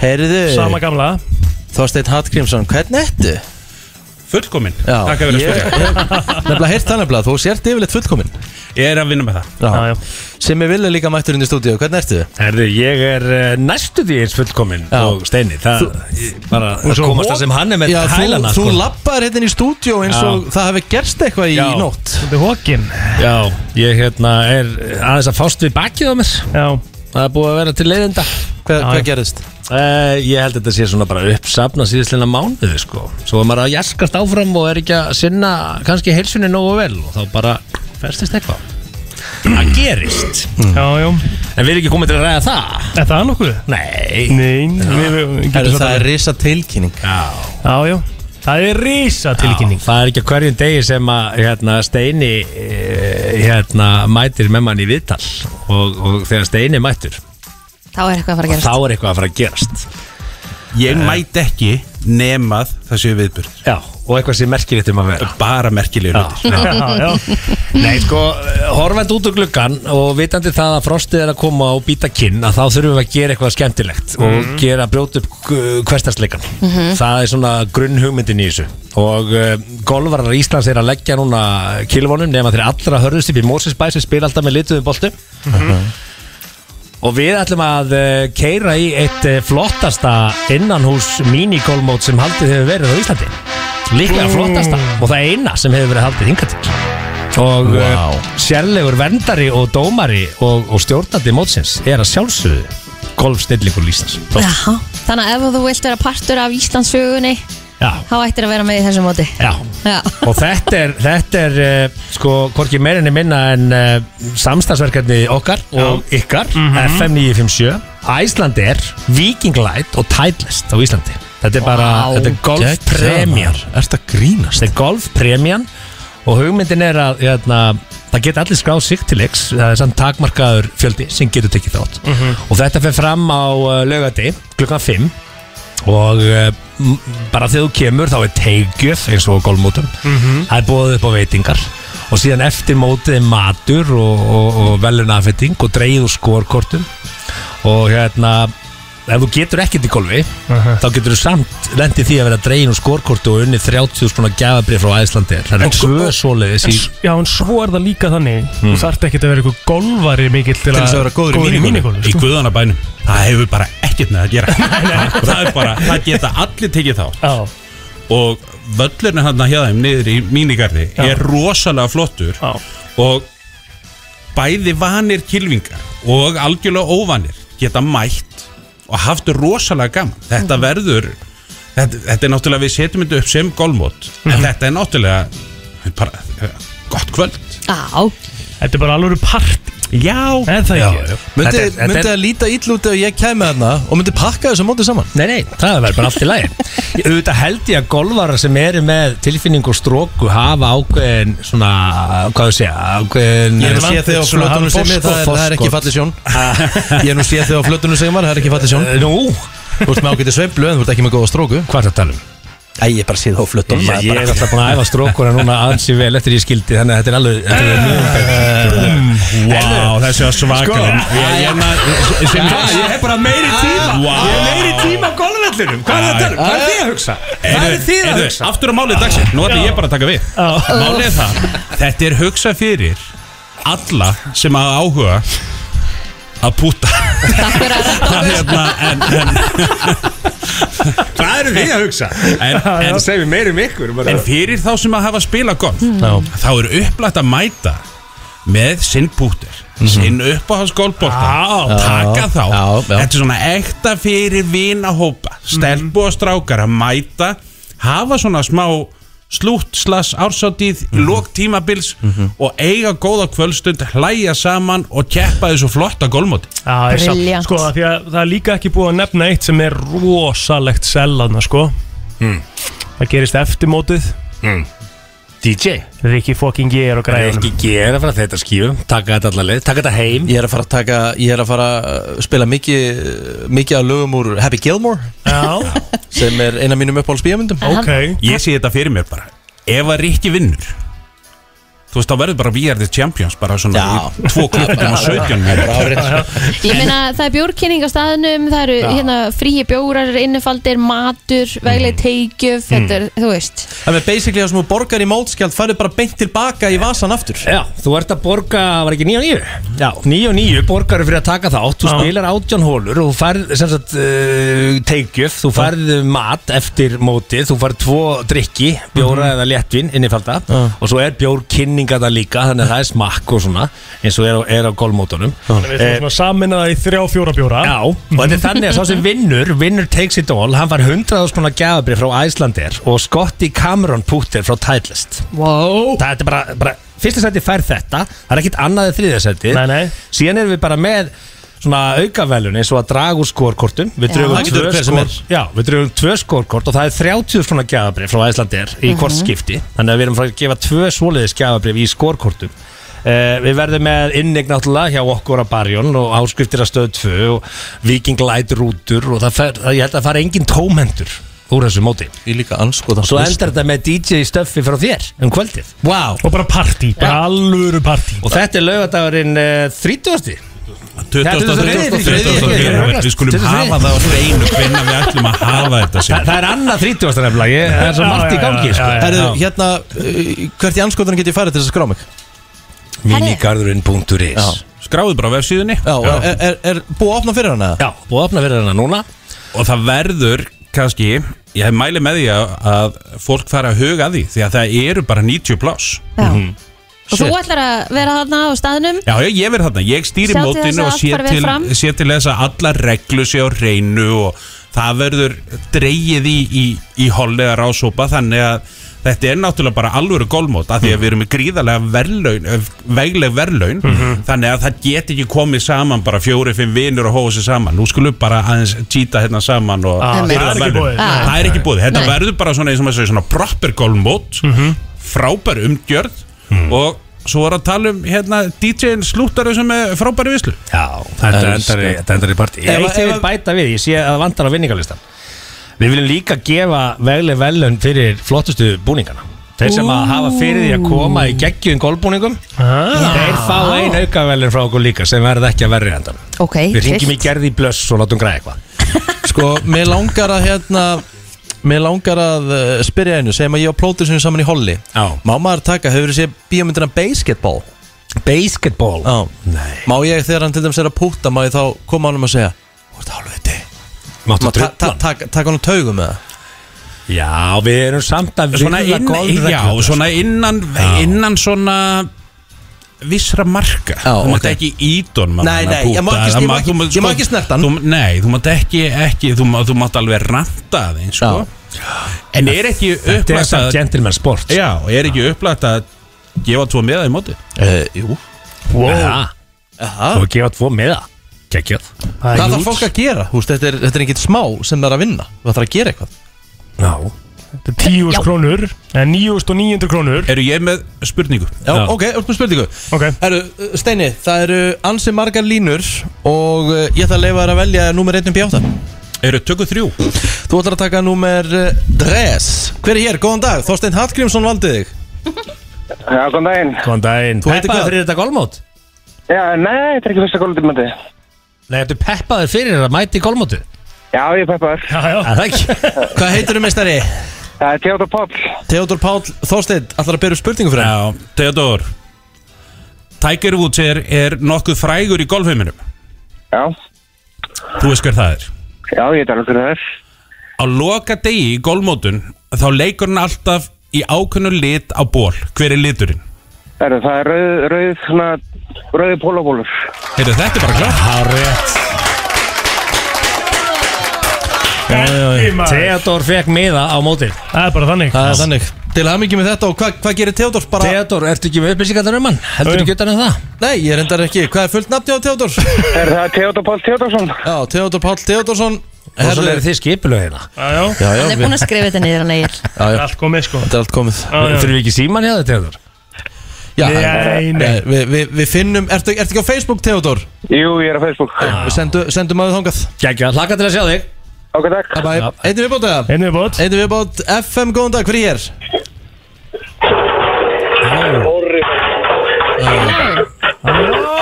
Speaker 1: Heyriðu,
Speaker 3: Sama gamla
Speaker 1: Þorsteinn Hattgrímsson, hvernig ertu?
Speaker 11: Fullkomin,
Speaker 1: Já,
Speaker 11: takk að vera
Speaker 1: ég-
Speaker 11: spyrja
Speaker 1: Nefnilega heyrt það nefnilega, þú sért yfirleitt fullkomin
Speaker 11: Ég er að vinna með það
Speaker 1: Já, sem ég vilja líka mættur inn í stúdíu, hvernig ertu?
Speaker 11: Herðu, ég er eh, næstu því eins fullkomin
Speaker 1: Já.
Speaker 11: og Steini, það ég, bara að komast það sem hann er með sko.
Speaker 1: Já, þú,
Speaker 11: hælana
Speaker 1: þú labbaðir hérna inn í stúdíu eins
Speaker 11: Já.
Speaker 1: og það hefði gerst eitthvað í
Speaker 11: Já.
Speaker 1: nótt
Speaker 3: Þetta er hókin
Speaker 11: Já, ég hérna er aðeins að fást við bakið á mér
Speaker 3: Já
Speaker 11: Það er búið að vera til leiðinda
Speaker 1: Hvað,
Speaker 11: Já,
Speaker 1: hvað
Speaker 11: já.
Speaker 1: gerðist?
Speaker 11: eh, Ég held að þetta sé svona bara uppsafna síðislega mánuði sko Svo er maður að jaskast áfram og er ekki að sinna kannski heilsunni nógu vel og þá bara festist eitthvað Það gerist
Speaker 3: Já, já
Speaker 11: En við erum ekki komið til að ræða það
Speaker 3: Er það nokkuð?
Speaker 11: Nei
Speaker 3: Nei, við, við getum
Speaker 1: Herru,
Speaker 3: samt
Speaker 1: það
Speaker 3: alveg-
Speaker 1: er risa tilkynning
Speaker 11: Já
Speaker 3: Já, já Það er rísa tilkynning
Speaker 11: Já, það er ekki á hverjum degi sem að hérna, Steini eh, hérna, mætir með mann í viðtal og, og þegar Steini mætur
Speaker 4: þá er eitthvað að fara að
Speaker 11: þá
Speaker 4: gerast
Speaker 11: er eitthvað að fara að gerast
Speaker 12: Ég mæti ekki nemað það séu viðbjörn
Speaker 11: Já, og eitthvað sem merkir þetta um að vera
Speaker 12: Bara merkilegur hlutir
Speaker 3: Já, já
Speaker 11: Nei, sko, horfandi út úr gluggan og vitandi það að frostið er að koma og býta kinn að þá þurfum við að gera eitthvað skemmtilegt og gera brjóta upp hverstarsleikan það er svona grunn hugmyndin í þessu og uh, golvarar Íslands er að leggja núna kilvonum nema þeir allra hörðust upp í Mosesbæ sem spila alltaf með lituðum boltum og við ætlum að uh, keira í eitt uh, flottasta innanhús minigolmót sem haldið hefur verið á Íslandi líklega flottasta og það er eina sem hefur verið haldið hingað til og wow. sérlegur verndari og dómari og, og stjórnandi mótsins er að sjálfsögðu golfstillingur Íslands
Speaker 4: Jaha. Þannig að ef þú vilt vera partur af Íslandsögunni
Speaker 11: Já,
Speaker 4: þá ættir að vera með í þessu móti
Speaker 11: já
Speaker 4: Já,
Speaker 11: og þetta er, þetta er uh, sko, hvorki meirinni minna en uh, samstagsverkefni okkar og ykkar, FM 957 Æsland er Viking Light og Tideless á Íslandi Þetta er bara,
Speaker 10: Vá.
Speaker 11: þetta er golfpremjan
Speaker 10: Geggjaður. Ertu að grínast?
Speaker 11: Þetta er golfpremjan og hugmyndin er að hérna, það geta allir skráð sig til leiks það er samt takmarkaður fjöldi sem getur tekið þátt
Speaker 3: Mhm.
Speaker 11: og þetta fer fram á uh, laugadi klukkan 5 og uh, m- bara þegar þú kemur þá er teigjöf eins og á golfmótum
Speaker 3: Mhm.
Speaker 11: það er bóðið upp á veitingar og síðan eftir mótið er matur og, og, og velunafetting og dreigð og skorkortum og hérna ef þú getur ekkert í golfi
Speaker 3: Aha.
Speaker 11: þá getur þú samt lendið því að vera dregin úr skorkortu og unnið 30 svona gjafabrið frá Æslandi það er
Speaker 3: En
Speaker 12: sko-
Speaker 3: svo-
Speaker 11: tvö svoleiðis í
Speaker 3: Já, en svo er það líka þannig
Speaker 11: Hmm.
Speaker 3: Þú þarft ekki að vera eitthvað golvari mikill til,
Speaker 12: Til þess að vera góður í mínigolf
Speaker 3: sko.
Speaker 12: Í guðanabænum Það hefur bara ekkert með að gera Það er bara, það geta allir tekið þá
Speaker 3: Já.
Speaker 12: Og völlurinn hann hjá þeim niður í mínigarði Er rosalega flottur
Speaker 3: Já.
Speaker 12: Og bæði vanir kilvingar Og algjörlega óvanir Geta mætt Og haft rosalega gaman Þetta verður þetta, þetta er náttúrulega, við setjum þetta upp sem golfmót En þetta er náttúrulega bara, Gott kvöld
Speaker 2: Á
Speaker 3: Þetta er bara alveg part
Speaker 12: Já
Speaker 3: Er það
Speaker 12: Já,
Speaker 3: ekki?
Speaker 12: já.
Speaker 1: Myndi,
Speaker 11: Þetta er-
Speaker 1: myndi
Speaker 11: þetta er-
Speaker 1: það líta ítl út ef ég kæmi þarna og myndi pakka þessu móti saman?
Speaker 11: Nei, nei, það verður bara allt í lagi Ég- auðvitað held ég að golfara sem eru með tilfinning og stróku hafa ákveðin svona, hvað þú segja ákveðin
Speaker 1: Ég hef nú séð þig á flötunum sem er, það er, það er ekki fallið sjón Ég hef nú séð þig á flötunum sem er, það er ekki fallið sjón
Speaker 11: Nú
Speaker 1: Þú ert með ágæti sveiflu en þú ert ekki með góða stróku
Speaker 11: Hvað er það að tala um?
Speaker 1: Æ, ég hef bara séð þá á flötunum
Speaker 11: Ég, ég er alltaf búin að æfa strókuna núna ansi vel eftir ég skildi þannig að þetta er alveg þetta er mjög
Speaker 12: Vá, wow, þessi var svakalinn
Speaker 11: Sko,
Speaker 12: Ég- ég- ég- sem-
Speaker 11: Já, ég hef bara meiri tíma. Ég hef meiri tíma
Speaker 12: á golfvellinum Hvað er þetta?
Speaker 11: Hvað er þið að
Speaker 12: hugsa? Hvað er þið að hugsa? Aftur á málið dagsinn, nú ætla ég bara að taka við Málið er það, þetta er hugsa fyrir Alla sem að áhuga Að púta Það er hérna, en- en- Hvað eru þið að hugsa? En, en
Speaker 11: segir meiri um ykkur
Speaker 12: En fyrir þá sem að hafa spila golf Þá er upplætt að mæta Með sinn púter Sinn uppáhaldsgolfbólta Taka þá Þetta er svona ekta fyrir vinahópa
Speaker 11: Mhm.
Speaker 12: Stelpu og strákar að mæta Hafa svona smá slútt slass ársáttíð í
Speaker 11: Mhm.
Speaker 12: lók tímabils og eiga góða kvöldstund hlæja saman og keppa þessu flotta golfmóti
Speaker 3: Já, ég samt-
Speaker 12: Brilliant.
Speaker 3: Sko, af því að það er líka ekki búið að nefna eitt sem er rosalegt sellaðna, sko
Speaker 12: Mm.
Speaker 3: Það gerist eftir mótið
Speaker 11: mm. DJ
Speaker 3: Rikki fucking Geir og græðunum
Speaker 11: Rikki Geir að fara að þetta skífum taka þetta allar leið, taka þetta heim
Speaker 1: Ég er að fara að taka, ég er að fara að eh, spila mikið, mikið af lögum úr Happy Gilmore
Speaker 3: Já
Speaker 1: Sem er eina mínum uppáhalds bíamundum
Speaker 12: Ég sé þetta fyrir mér bara Ef að Rikki vinnur Þú veist, þá verður bara VR The Champions Bara svona í tvo klukkutum og 17 mínútur.
Speaker 2: Ég meina það er bjórkynning á staðnum Það eru hérna fríi bjórar, innifaldir, matur, vegleg teikjöf
Speaker 1: Mm.
Speaker 2: Þetta er, þú veist
Speaker 1: Það er basically það sem þú borgar í mótskjald færðu bara beint tilbaka í vasan aftur
Speaker 11: Já, þú ert að borga, var ekki 9 og 9? Já, 9 og 9 borgaru fyrir að taka þátt Þú spilar 18 hólur og þú færð sem sagt uh, teikjöf, þú færð mat eftir mótið, þú færð tvo drikki, bjóra
Speaker 3: Mhm.
Speaker 11: eða léttvin innifalda og svo er bjórkynninga það líka þannig að það er smakk og svona eins og er á, er á golfmótunum Eh,
Speaker 3: Við erum
Speaker 12: Eh,
Speaker 3: svona samin að það í þrjá, fjóra bjóra
Speaker 11: Já, og þetta er þannig að sá sem vinnur vinnur takes it all, hann var 100.000 konar gjafabrið frá Æslander og Scotty Cameron Putter frá Titleist
Speaker 3: wow.
Speaker 11: það er bara, bara fyrsta seti fær þetta, það er ekkit annað en þriðja seti,
Speaker 3: Nei, nei.
Speaker 11: síðan erum við bara með svona aukavelun eins og að draga úr skorkortum við
Speaker 3: Já.
Speaker 11: drögum
Speaker 3: Það getur
Speaker 11: tvö
Speaker 3: hver sem
Speaker 11: skor- Já, við drögum tvö skorkort og það er 30 svona gjafabrif frá Æslander í
Speaker 3: Mhm.
Speaker 11: hvort skipti þannig að við erum frá að gefa tvö svoleiðis gjafabrif í skorkortum Uh, við verðum með innegn náttúrulega hjá okkur að barjón og áskriftir að stöð 2 og viking light rútur og það fer, það, ég held að það fara engin tómendur úr þessu móti
Speaker 1: Ég líka anskoða
Speaker 11: Svo endar þetta með DJ stöffi frá þér um kvöldið wow.
Speaker 3: Og bara partí, bara alvöru partí
Speaker 11: Og þetta er laugadagurinn uh, 30.
Speaker 12: 2023 Við skulum hafa það á hreinu Hvenna við ætlum að hafa þetta
Speaker 11: Þa, það er annað 30. nefnilega, ég, það er svo margt í gangi sko.
Speaker 1: Herðu, hérna, uh, hvert í anskoðunum get ég farið til þess að skrá mig?
Speaker 11: hérna- Minigarðurinn.is
Speaker 12: Skráðu bara á vefsíðunni
Speaker 1: Já, og er, er, er búið að opna fyrir hana?
Speaker 11: Já, búið að opna fyrir hana núna
Speaker 12: Og það verður, kannski Ég mæli með því að, að fólk fara að huga að því Því að það eru bara 90 pláss
Speaker 2: Og þú ætlar að vera þarna á staðnum
Speaker 12: Já, já, ég verð þarna, ég stýri
Speaker 2: Mm-hmm. Sjá til
Speaker 12: mótinu
Speaker 2: þess að
Speaker 12: og
Speaker 2: allt
Speaker 12: sé
Speaker 2: fari vel
Speaker 12: til,
Speaker 2: fram.
Speaker 12: sé til þess að alla reglu sé á reynu og það verður dreyið í, í, í hollega rásópa þannig að þetta er náttúrulega bara alvöru golfmót af því að við erum með gríðarlega verðlaun eh, vegleg verðlaun þannig að það get ekki komið saman bara fjóri, fimm vinur og hóða sig saman nú skulum bara aðeins títa hérna saman og
Speaker 3: Ah, það
Speaker 12: Fyrir
Speaker 3: er ekki
Speaker 12: verðlaun.
Speaker 3: boðið.
Speaker 12: það
Speaker 3: Nei.
Speaker 12: er ekki búið þetta
Speaker 3: Nei.
Speaker 12: verður bara svona eins og maður segir svona proper golfmót frábær umgjörð og svo er að tala um hérna DJ-in slúttar sem er frábæri vislu
Speaker 11: Já, Þetta endar í- þetta endar í partí Ég eitt hefur bæta við, ég sé að það vantar á vinningalistan Við viljum líka gefa vegleg velun fyrir flottustu búningana Þeir sem að hafa fyrir því að koma í geggjum golfbúningum Þeir fá ein auka velun frá okkur líka sem verða ekki að verri endan
Speaker 4: Ok,
Speaker 11: Við ringjum í
Speaker 4: trist.
Speaker 11: gerði í blöss og látum græða eitthvað
Speaker 1: Sko, mér langar að hérna Mér langar að uh, spyrja einu Segjum að ég og plótur sem saman í holli
Speaker 11: Já.
Speaker 1: Má maður taka, hefur þið sé bíómyndina Basketball
Speaker 11: Basketball?
Speaker 1: Já Nei. Má ég þegar hann til dæmis er að púta Má ég þá koma honum að segja Þú ert hálfviti
Speaker 11: Máttu
Speaker 1: Má ta- ta- ta- Taka honum taugum með það
Speaker 11: Já, við erum samt að
Speaker 12: svona
Speaker 11: virða
Speaker 12: inn,
Speaker 11: golfreglurnar,
Speaker 12: já, svona innan, innan svona vissra marka þú mátt
Speaker 1: ok.
Speaker 12: ekki ídón
Speaker 1: Nei, nei, ég má ekki- ég má ekki- ég
Speaker 12: sko,
Speaker 1: má ekki snerta hann.
Speaker 12: nei, þú mátt ekki, ekki þú, má, þú mátt alveg ranta þeim sko. en er ekki
Speaker 11: Þetta er
Speaker 12: upplagt
Speaker 11: samt
Speaker 12: að
Speaker 11: gentleman sport
Speaker 12: já, er ekki upplagt að gefa tvo meða í móti
Speaker 1: uh, jú
Speaker 11: Wow.
Speaker 1: Aha.
Speaker 11: Þú gefa tvo meða Gekkjöð
Speaker 1: Hvað þarf fólk að gera? Húst, þetta, er, þetta er ekkit smá sem það er að vinna Það þarf að gera eitthvað
Speaker 11: Já
Speaker 3: Þetta er 10.000 krónur eða 9.900 krónur
Speaker 12: Eru ég með spurningu?
Speaker 1: Já, Já. ok, upp með spurningu
Speaker 3: Ok
Speaker 1: Herru, uh, Steini, það eru ansi margar línur og uh, ég ætla að leifa þér að velja númer 1 upp í 8
Speaker 12: Eru tökku þrjú?
Speaker 1: Þú ætlar að taka númer uh, Dres Hver er hér? Góðan dag, Þorstein Hallgrímsson valdi þig
Speaker 13: Já, góðan daginn
Speaker 11: Góðan daginn
Speaker 1: Þú heitir
Speaker 11: Peppaður
Speaker 1: hvað?
Speaker 11: fyrir þetta golfmót?
Speaker 13: Já, nei, þetta er ekki fyrsta golfmóti
Speaker 11: Nei, ertu peppaður fyrir að mæti golfmótið?
Speaker 13: Já, ég er peppar
Speaker 3: Já, já
Speaker 11: Það ekki
Speaker 1: Hvað heitir þú meistari?
Speaker 13: Það er Theodor Páll
Speaker 1: Theodor Páll Þorstein, ætlar að byrja upp spurningu fyrir
Speaker 12: Já, Theodor Tiger Woods er, er nokkuð frægur í golfheiminum
Speaker 13: Já
Speaker 12: Þú veist hver það er
Speaker 13: Já, ég er alveg það er
Speaker 12: Á loka degi í golfmótun þá leikur hann alltaf í ákveðnu lit á ból. Hver er liturinn?
Speaker 13: Herru, það er rauð, rauð, svona, rauði pólabólur
Speaker 12: Heyrðu, þetta er bara klart.
Speaker 11: Það er rétt Theodor fekk miða á mótið
Speaker 3: Það er bara þannig
Speaker 1: Það er þannig Til hamingi með þetta og hvað hva gerir Theodor bara?
Speaker 11: Theodor, ertu ekki með upplýsingarnar um hann? Heldur ekki utan um það?
Speaker 1: Nei, ég reyndar ekki Hvað er fullt nafni á Theodor?
Speaker 13: Er það Theodor Páll Theodorsson?
Speaker 1: Já, Theodor Páll Theodorsson
Speaker 11: Og svo er þið skipulöð hérna
Speaker 3: Já,
Speaker 1: Já, já,
Speaker 4: Hann er
Speaker 1: við-
Speaker 4: búinn að skrifa þetta niður hann eigin
Speaker 1: já, já.
Speaker 3: Allt komið sko
Speaker 1: Þetta er allt komið
Speaker 11: Þurfum við ekki síman hjá þetta, Theodor?
Speaker 1: Já,
Speaker 3: Nei, nei.
Speaker 1: Eh, Við vi, vi finnum, ertu, ertu ekki á Facebook, Theodor?
Speaker 13: Jú, ég er á Facebook
Speaker 1: Við sendu, sendum að þið þangað
Speaker 11: Gækja, hlaka til að sjá þig
Speaker 13: Ok, takk
Speaker 1: Bye bye. Einnig viðbót eða?
Speaker 3: Einu viðbót
Speaker 1: Einnig viðbót FM, góðan dag, hver er hér?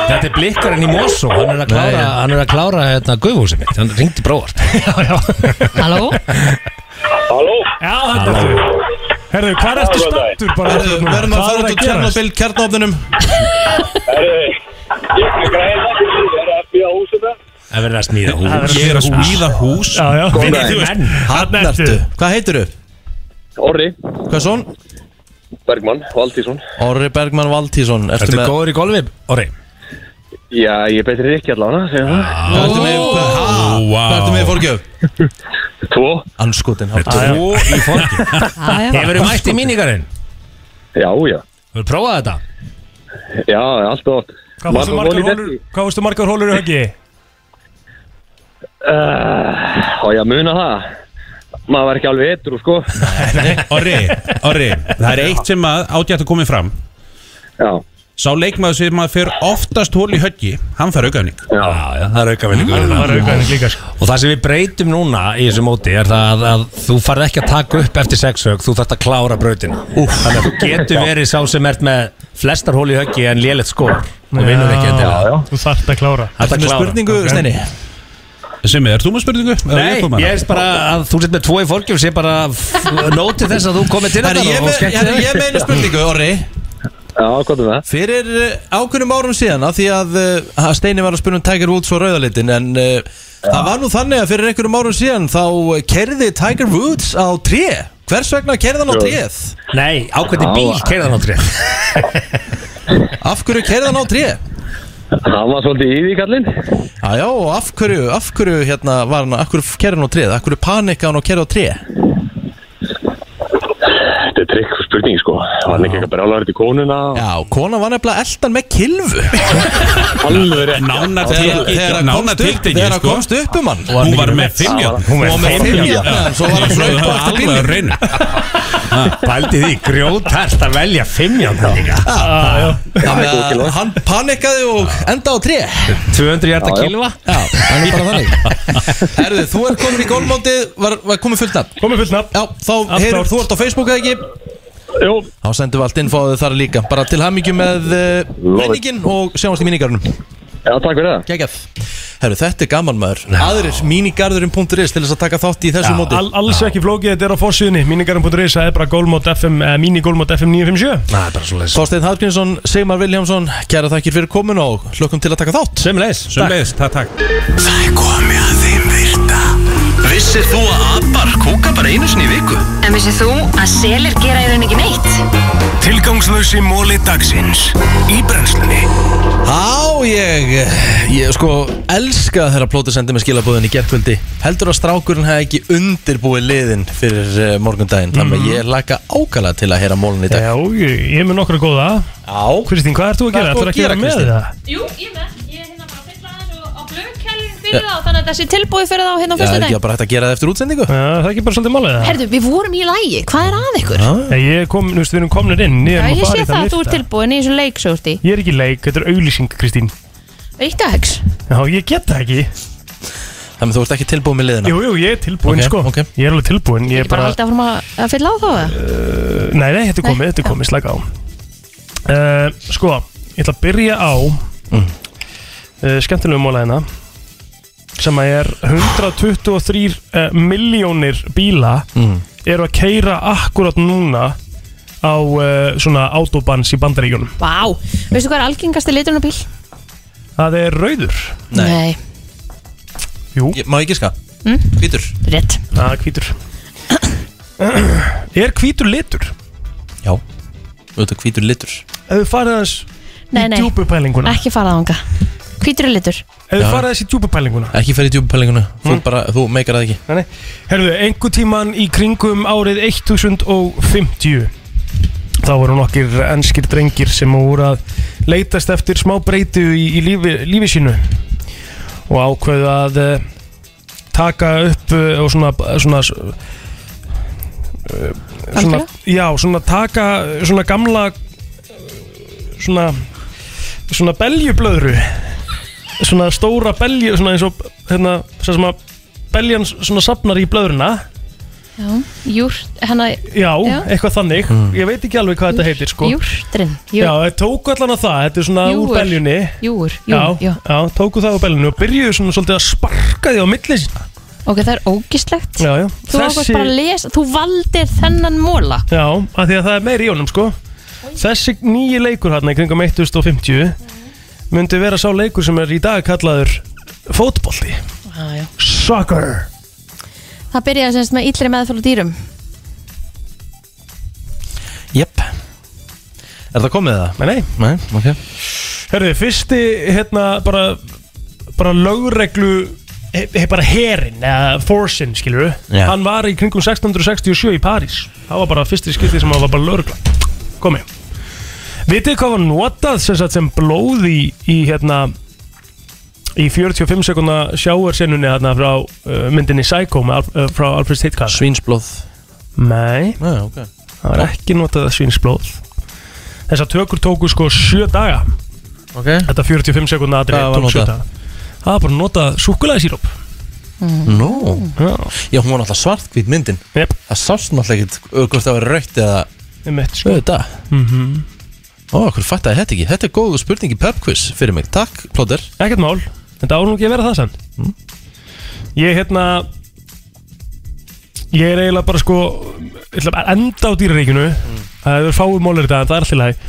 Speaker 11: Þetta er blikkarinn í Mosó Hann er að klára, hann er að klára hérna, guðhúsið mitt Hann ringdi bróðart
Speaker 4: Halló?
Speaker 9: Halló?
Speaker 3: Já, þetta hérna er þú Herðu, hvað ertu stattur bara
Speaker 1: Herðu, verðum að fara út á Tjernobyl kjarnofnunum
Speaker 9: Herru, ég er græða Ég um er að býja húsina
Speaker 11: Það verður að smíða hús
Speaker 12: Ég er að smíða hús.
Speaker 3: Já, já
Speaker 12: Vinni, þú veist,
Speaker 11: Menn
Speaker 3: Þarna ertu.
Speaker 1: Hafnertu Hvað heitir þú?
Speaker 9: Orri
Speaker 1: Hvað er svon?
Speaker 9: Bergmann, Valdísson
Speaker 1: Orri Bergman Valtísson Ertu
Speaker 11: Ertu
Speaker 1: með
Speaker 11: góður í golfi? Orri
Speaker 9: Já, ég er betri Rikki allavega, segjum það
Speaker 1: Hvað ertu með hvað- ha?
Speaker 12: Ó, vá.
Speaker 1: Hvað ertu með í fórgjöf?
Speaker 9: Tvo
Speaker 1: Anskotin
Speaker 11: Tvo í fólki Hefur þið mætt í mínigarinn?
Speaker 9: Já, já
Speaker 11: Hefur þið prófað þetta?
Speaker 9: Já, allt og oft
Speaker 3: Hvað fórstu margar hólur Hvað fórstu margar hólur í höggi?
Speaker 9: Há, ég að muna það Maður var ekki alveg eitru, sko
Speaker 12: Orri, Orri, það er eitt sem að átjátt að komið fram.
Speaker 9: Já,
Speaker 12: Sá leikmaður sem að fyrir oftast hól í höggi, hann fær aukaðning.
Speaker 9: já
Speaker 11: Já, já, það er auka vel ykkur
Speaker 3: Það er aukaðin líka sko
Speaker 11: Og það sem við breytum núna í þessu móti er það að, að þú farð ekki að taka upp eftir sexhög, þú þarft að klára brautina Úf. Þannig að þú getur verið sá sem ert með flestar hól í höggi en lélegt skor og vinnur ekki endilega
Speaker 3: Þú þarft að klára
Speaker 11: Þetta
Speaker 1: Ertu með spurningu, Steini?
Speaker 12: Sem er, þú með spurningu? Eða
Speaker 11: Nei,
Speaker 12: kom með
Speaker 11: ég
Speaker 12: hana?
Speaker 11: er bara að þú sett með tvo í fólkjum sem bara nóti þess að þú komið til
Speaker 1: Herri,
Speaker 11: þetta
Speaker 1: ég
Speaker 11: og- og
Speaker 1: með-
Speaker 11: skemmtir
Speaker 1: herri,
Speaker 11: þér.
Speaker 1: ég meina spurningu, Orri
Speaker 9: Já, hvað er það?
Speaker 1: Fyrir uh, ákveðnum árum síðan að því að uh, Steini var að spyrja um Tiger Woods og rauðalitin en uh, það var nú þannig að fyrir einhverjum árum síðan þá kerði Tiger Woods á tré Hvers vegna kerði hann á tréð?
Speaker 11: Nei, á hvernig bíl keirðan á tré
Speaker 1: Af hverju kerði hann á tré?
Speaker 9: Hann var svolítið í því kallinn
Speaker 1: Jájá, og af hverju, af hverju hérna var hann, af hverju kerði hann á tréð? Af hverju panika hann og kerði á tré?
Speaker 9: Þetta er trikk,
Speaker 14: spurning sko Var hann ekki eitthvað brjálæður til konuna
Speaker 1: Já, kona var nefnilega eldan með kilvu
Speaker 14: Alveg rétt Nánar
Speaker 1: Þegar- þegar hann komst upp- þegar hann komst upp um hann.
Speaker 12: Hún var með fimmjörn
Speaker 1: Hún var með fimmjörn, svo var hann hlaupa eftir bílnum.
Speaker 12: Alveg reynu
Speaker 11: Pældi því grjótært að velja fimmján þá
Speaker 1: Þannig að hann panikaði og enda á tré
Speaker 11: 200 hjarta kilva
Speaker 1: Já, hann er bara þannig Herðu, þú er komin í gólmótið Var, var komið fullt nafn?
Speaker 3: Komið fullt nafn
Speaker 1: Já, þá
Speaker 3: Allt
Speaker 1: heyrur
Speaker 3: klárt.
Speaker 1: þú ert á Facebook eða ekki?
Speaker 9: Jó
Speaker 1: Þá sendum við allt infóðu þar líka Bara til hamingju með uh, menningin og sjáumst í mínigarunum
Speaker 9: Já, takk fyrir það
Speaker 1: Kekjað Herru, þetta er gaman maður Aðrir mínigarðurinn.is til þess að taka þátt í þessu móti
Speaker 3: Al, Alls ekki flókið, þetta er á fórsíðunni Minigarum.is, það er bara Golmot FM eh, Minigolmot FM 957
Speaker 11: Það er bara svo leiðis
Speaker 1: Þorsteinn Hafgrímsson, Sigmar Viljámsson Kæra þakkir fyrir komin og hlökkum til að taka þátt
Speaker 11: Sumleis
Speaker 12: Sumleis, takk, takk
Speaker 5: Það er komið að þeim virta Vissir þú að abar kúka bara einu sinni í viku?
Speaker 15: En vissið þú að selir gera í rauninni ekki neitt?
Speaker 5: Tilgangslösi móli dagsins Í brennslunni
Speaker 1: Á, ég, ég sko elska þegar plóti sendi með skilabóðin í gerkvöldi Heldur að strákurinn hef ekki undirbúið liðin fyrir uh, morgundaginn Þannig að ég laka ákala til að heyra mólun í dag
Speaker 3: Já, ég, ég er með nokkra góða
Speaker 1: Já
Speaker 3: Kristín, hvað ert þú að
Speaker 1: Hvað ert þú að
Speaker 3: gera? Ætlar að gera
Speaker 1: gera,
Speaker 3: með
Speaker 1: Kristín?
Speaker 3: það?
Speaker 2: Jú, ég með, ég er hérna bara að fylla aðeins og á blöðkælin fyrir þá Þannig að þessi tilbúið fyrir þá hérna á
Speaker 1: Já, er
Speaker 2: fyrstu
Speaker 1: ekki bara hægt að gera það eftir útsendingu?
Speaker 3: Já, það er ekki bara svolítið málið
Speaker 2: Herðu, við vorum í lægi, hvað er að ykkur?
Speaker 3: Já, ég er komin, þú veist, við erum komnir inn
Speaker 2: Já,
Speaker 3: erum að
Speaker 2: ég
Speaker 3: fara
Speaker 2: sé
Speaker 3: í
Speaker 2: það að þú ert
Speaker 3: lyfta.
Speaker 2: tilbúin í þessu leik svo úrti
Speaker 3: Ég er ekki í leik, þetta er auðlýsing, Kristín
Speaker 2: Eitt að hegs
Speaker 3: Já, ég get það ekki
Speaker 1: Þannig að þú ert ekki tilbúið með liðina
Speaker 3: Jú, jú, ég er tilbúin,
Speaker 1: Ok,
Speaker 3: sko Ég er alveg tilbúin, ég er
Speaker 2: Bara
Speaker 3: bara
Speaker 2: haldið áfram að að fylla á þá eða?
Speaker 3: Uh, Nei, nei, þetta er komið, þetta er komið, slaka á uh, Sko, ég ætla að byrja á mm. uh, skemmtilegu mólæðina sem að er 123 uh, miljónir bíla
Speaker 1: Mm.
Speaker 3: eru að keira akkurat núna á uh, svona autobans í bandaríkjunum
Speaker 2: Vá, veistu hvað er algengasti liturinn á bíl?
Speaker 3: Það er rauður
Speaker 2: Nei
Speaker 3: Jú
Speaker 1: ég, Má ég giska?
Speaker 2: Mm.
Speaker 1: Hvítur
Speaker 2: Rétt
Speaker 3: Það er hvítur Er hvítur litur?
Speaker 1: Já Auðvitað hvítur litur
Speaker 3: Ef þú farið aðeins
Speaker 2: Nei, nei,
Speaker 3: í djúpupælinguna
Speaker 2: ekki fara það ánga Hvítur er litur
Speaker 3: Ef þú farið aðeins í djúpupælinguna
Speaker 1: Ekki ferð í djúbupælinguna Þú bara, þú meikar það ekki
Speaker 3: Nei, nei. Herðu, einhver tíman í kringum árið 1050 þá voru nokkir ennskir drengir sem voru að leitast eftir smá breytu í, í lífi, lífi sínu og ákveðu að eh, taka upp eh, og svona, svona, eh, svona
Speaker 9: Algjörlega?
Speaker 3: já, svona taka eh, svona gamla eh, svona svona beljublöðru svona stóra belju svona eins og hérna, sem sem að beljan s- svona sapnar í blöðruna
Speaker 2: Já, júr, hérna
Speaker 3: já,
Speaker 2: Já.
Speaker 3: eitthvað þannig ég veit ekki alveg hvað þetta heitir sko
Speaker 2: Júrtrin
Speaker 3: já, þeir tóku allan að það, þetta er svona
Speaker 2: Júgur.
Speaker 3: úr beljunni
Speaker 2: Júr, jú,
Speaker 3: já,
Speaker 2: jú
Speaker 3: já, tóku það úr beljunni og byrjuðu svona svolítið að sparka því á milli sína
Speaker 2: Ok, það er ógislegt
Speaker 3: já, já.
Speaker 2: Þú ákvæmst bara að lesa, þú valdir þennan móla
Speaker 3: já, af því að það er meiri í honum sko þessi nýji leikur hérna í kringum 1050 myndi vera sá leikur sem er í dag kallaður fótbolti
Speaker 2: Ah, Já, já
Speaker 3: soccer
Speaker 2: Það byrjaði semst með illri meðfælu dýrum
Speaker 1: Jep Er það komið það?
Speaker 3: Nei,
Speaker 1: nei Nei, ok
Speaker 3: Herði, fyrsti hérna bara bara lögreglu he, he, bara herin, eða forsin skilur við,
Speaker 1: Já.
Speaker 3: hann var í kringum 1667 í París, það var bara fyrsti skilti sem hann var bara lögregla, komi vitið þið hvað var notað sem, sagt, sem blóð í, í hérna í 45 sekunda sjáarsennunni hérna frá uh, myndinni Psycho með, Alf- uh, frá Alfred Steitkar
Speaker 1: Svínsblóð
Speaker 3: Nei,
Speaker 1: Nei ok.
Speaker 3: það var ekki notað svínsblóð Þessar tökur tóku sko sjö daga
Speaker 1: Ok
Speaker 3: Þetta 45 sekunda
Speaker 1: Hvað
Speaker 3: atrið
Speaker 1: var
Speaker 3: tók sjö
Speaker 1: notað?
Speaker 3: daga Það var bara notað súkulæðisíróp
Speaker 1: Nó Já, hún var náttúrulega svartkvít myndin
Speaker 3: yep.
Speaker 1: Það sást náttúrulega ekkert uh, hvort það var raukt eða
Speaker 3: Einmitt, sko.
Speaker 1: Þetta
Speaker 3: Mhm.
Speaker 1: Ó, hver fattaði þetta ekki? Þetta er góð spurning í pubquiz fyrir mig Takk, Plóter
Speaker 3: Ekkert mál, þetta ánum ekki að vera það sann Ég hérna Ég er eiginlega bara sko ég ætla að enda á dýraríkinu Það hefur fáið málur þetta, en það er alltaf læg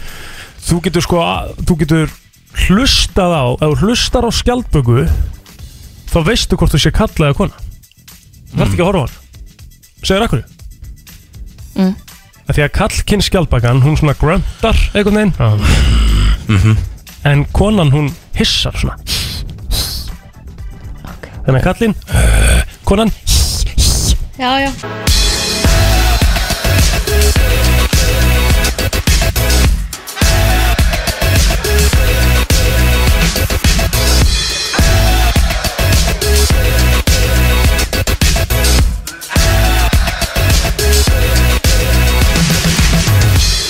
Speaker 3: Þú getur sko, að- þú getur hlustað á, ef þú hlustar á skjaldböku þá veistu hvort þú sé kallaði að kona Það ert ekki að horfa á hann Segir akkur
Speaker 2: Mm.
Speaker 3: að Því að kallkinn skjaldbakan, hún svona gröntar einhvern veginn en konan hún hissar svona þannig að kallinn konan
Speaker 2: Já, já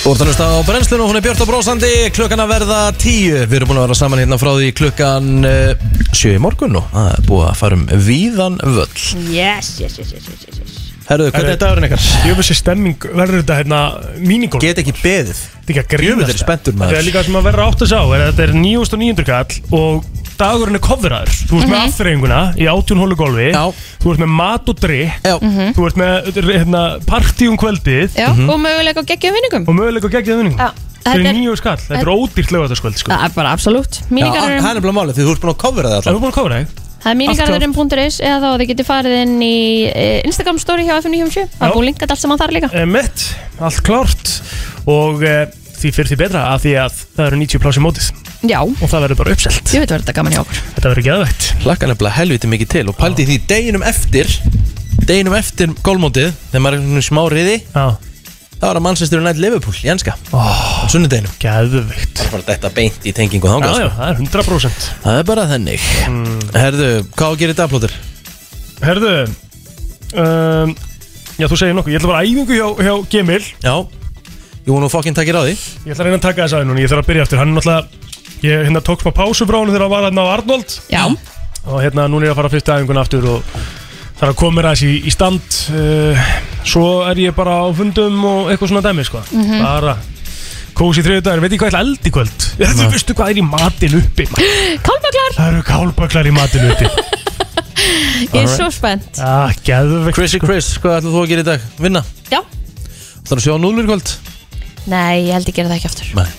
Speaker 1: Þú ert að hlusta á brennslun og hún er Björn og Brósandi Klukkan að verða tíu Við erum búin að vera saman hérna frá því klukkan uh, Sjö í morgun og það er búið að fara um Víðan völl
Speaker 4: Yes, yes, yes, yes, yes, yes, yes.
Speaker 1: Herruðu, hvernig er dagurinn ykkar?
Speaker 3: Ég veist þessi stemming verður þetta hérna mínigólf
Speaker 1: Get ekki beðið
Speaker 3: Þetta er ekki að
Speaker 1: Jöfull er
Speaker 3: grínast
Speaker 1: spenntur, maður.
Speaker 3: Þetta er líka sem að verður átt að sá er að Þetta er 9.900 kall og dagurinn er kofraður Þú ert með
Speaker 16: Mhm.
Speaker 3: afþreyinguna í 18 hólu golfi Já. Þú ert með mat og drikk
Speaker 4: Mhm.
Speaker 3: Þú ert með hérna, partí um kvöldið
Speaker 4: Já, og möguleika á geggjum vinningum
Speaker 3: Og möguleika geggjað vinning
Speaker 4: Já,
Speaker 3: Þetta
Speaker 4: þetta
Speaker 3: er
Speaker 4: er-
Speaker 3: nýju skall, þetta er ódýrt lögataskvöld sko.
Speaker 4: Það er bara absolutt
Speaker 1: Það er
Speaker 4: Míningarverðurum
Speaker 1: nefnilega málið því þú ert búin að kofra það
Speaker 3: alltaf Þú ert búin að kofra það?
Speaker 4: Það er míningarverðurum.is eða þá þið getur farið inn í eh, Instagram story hjá FM957 Það
Speaker 3: Já.
Speaker 4: er búin linkat allt saman þar líka
Speaker 3: Mett, Eh, allt klárt Og e, því fyrir því betra af því að það eru 90 plási mótið
Speaker 4: Já
Speaker 3: Og það verður bara uppselt
Speaker 4: Ég veit verður þetta gaman hjá okkur
Speaker 3: Þetta verður geðvægt
Speaker 1: Hlakka nefnilega helviti mikið til og pældi í því deginum eftir Deginum eftir gólmótið Þegar maður er svona smá riði
Speaker 3: Já
Speaker 1: Það var að mannsistur nætt Liverpool í enska Ah.
Speaker 3: oh,
Speaker 1: Sunnudeginum
Speaker 3: Geðveikt
Speaker 1: Það var bara þetta beint í tengingu þangað
Speaker 3: Já, já,
Speaker 1: sko.
Speaker 3: það er 100%
Speaker 1: Það er bara þennig Herðu, hvað gerir þetta plótur?
Speaker 3: Herðu um, Já, þú segir nokkuð Ég ætla bara að æfingu hjá, hjá Gemil
Speaker 1: Já Jú, nú fokkinn takir á því
Speaker 3: Ég ætla að reyna að taka þess aðeins núna Ég þarf að byrja eftir Hann er náttúrulega Ég hérna tók smá pásu frá hann þegar hann var hérna á Arnold
Speaker 4: Já
Speaker 3: Og hérna núna er ég að fara fyrstu æfinguna aftur og þarf að koma mér aðeins í, í stand uh, Svo er ég bara á fundum og eitthvað svona dæmi sko
Speaker 4: Mhm.
Speaker 3: Bara Kósi þriðdagar, veit ég hvað ég ætla að elda í kvöld Þú veistu hvað er í matin uppi maður?
Speaker 4: Kálbaklar
Speaker 3: Það eru kálböklar í matinu uppi
Speaker 4: Ég er svo spennt
Speaker 3: Ah, geðvegt
Speaker 1: Chrissy Chris, hvað ætlum þú að gera í dag? Vinna?
Speaker 4: Já.
Speaker 1: Það er að sjá núlur í kvöld?
Speaker 4: Nei, ég held ég gera það ekki aftur
Speaker 1: Nei.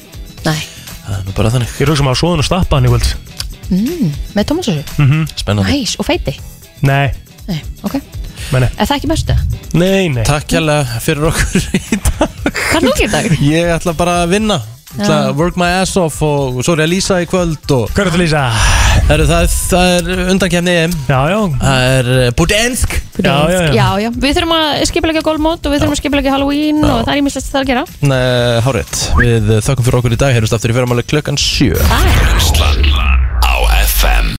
Speaker 4: Nei
Speaker 1: Það er nú bara þannig
Speaker 3: Ég hugsa um maður svoðan og stappa hann í kvöld
Speaker 4: mm, Með Tómasössu
Speaker 3: mm -hmm.
Speaker 1: Spennandi
Speaker 4: Næs, og feiti
Speaker 3: Nei,
Speaker 4: Nei, ok
Speaker 3: meni
Speaker 4: Er það ekki mestu?
Speaker 3: Nei, nei
Speaker 1: Takk hérlega fyrir okkur í dag
Speaker 4: Hvað er nú ekki í dag?
Speaker 1: Ég ætla bara að vinna Ég ætla
Speaker 4: Já.
Speaker 1: að work my ass off og svo er ég að lýsa í kvöld og...
Speaker 3: Hvað er þetta að lýsa?
Speaker 1: Heru, það, er, það er undankefni EM
Speaker 3: Já, já
Speaker 1: Það er eh, Budensk
Speaker 4: já, já. Við þurfum að skipilegja golfmót og við þurfum að skipilegja Halloween og það er ímislegt að það er að gera
Speaker 1: Nei, Hárið, við eh, þökkum fyrir okkur í dag Herumst aftur í fyrramáli klukkan 7
Speaker 4: Bye.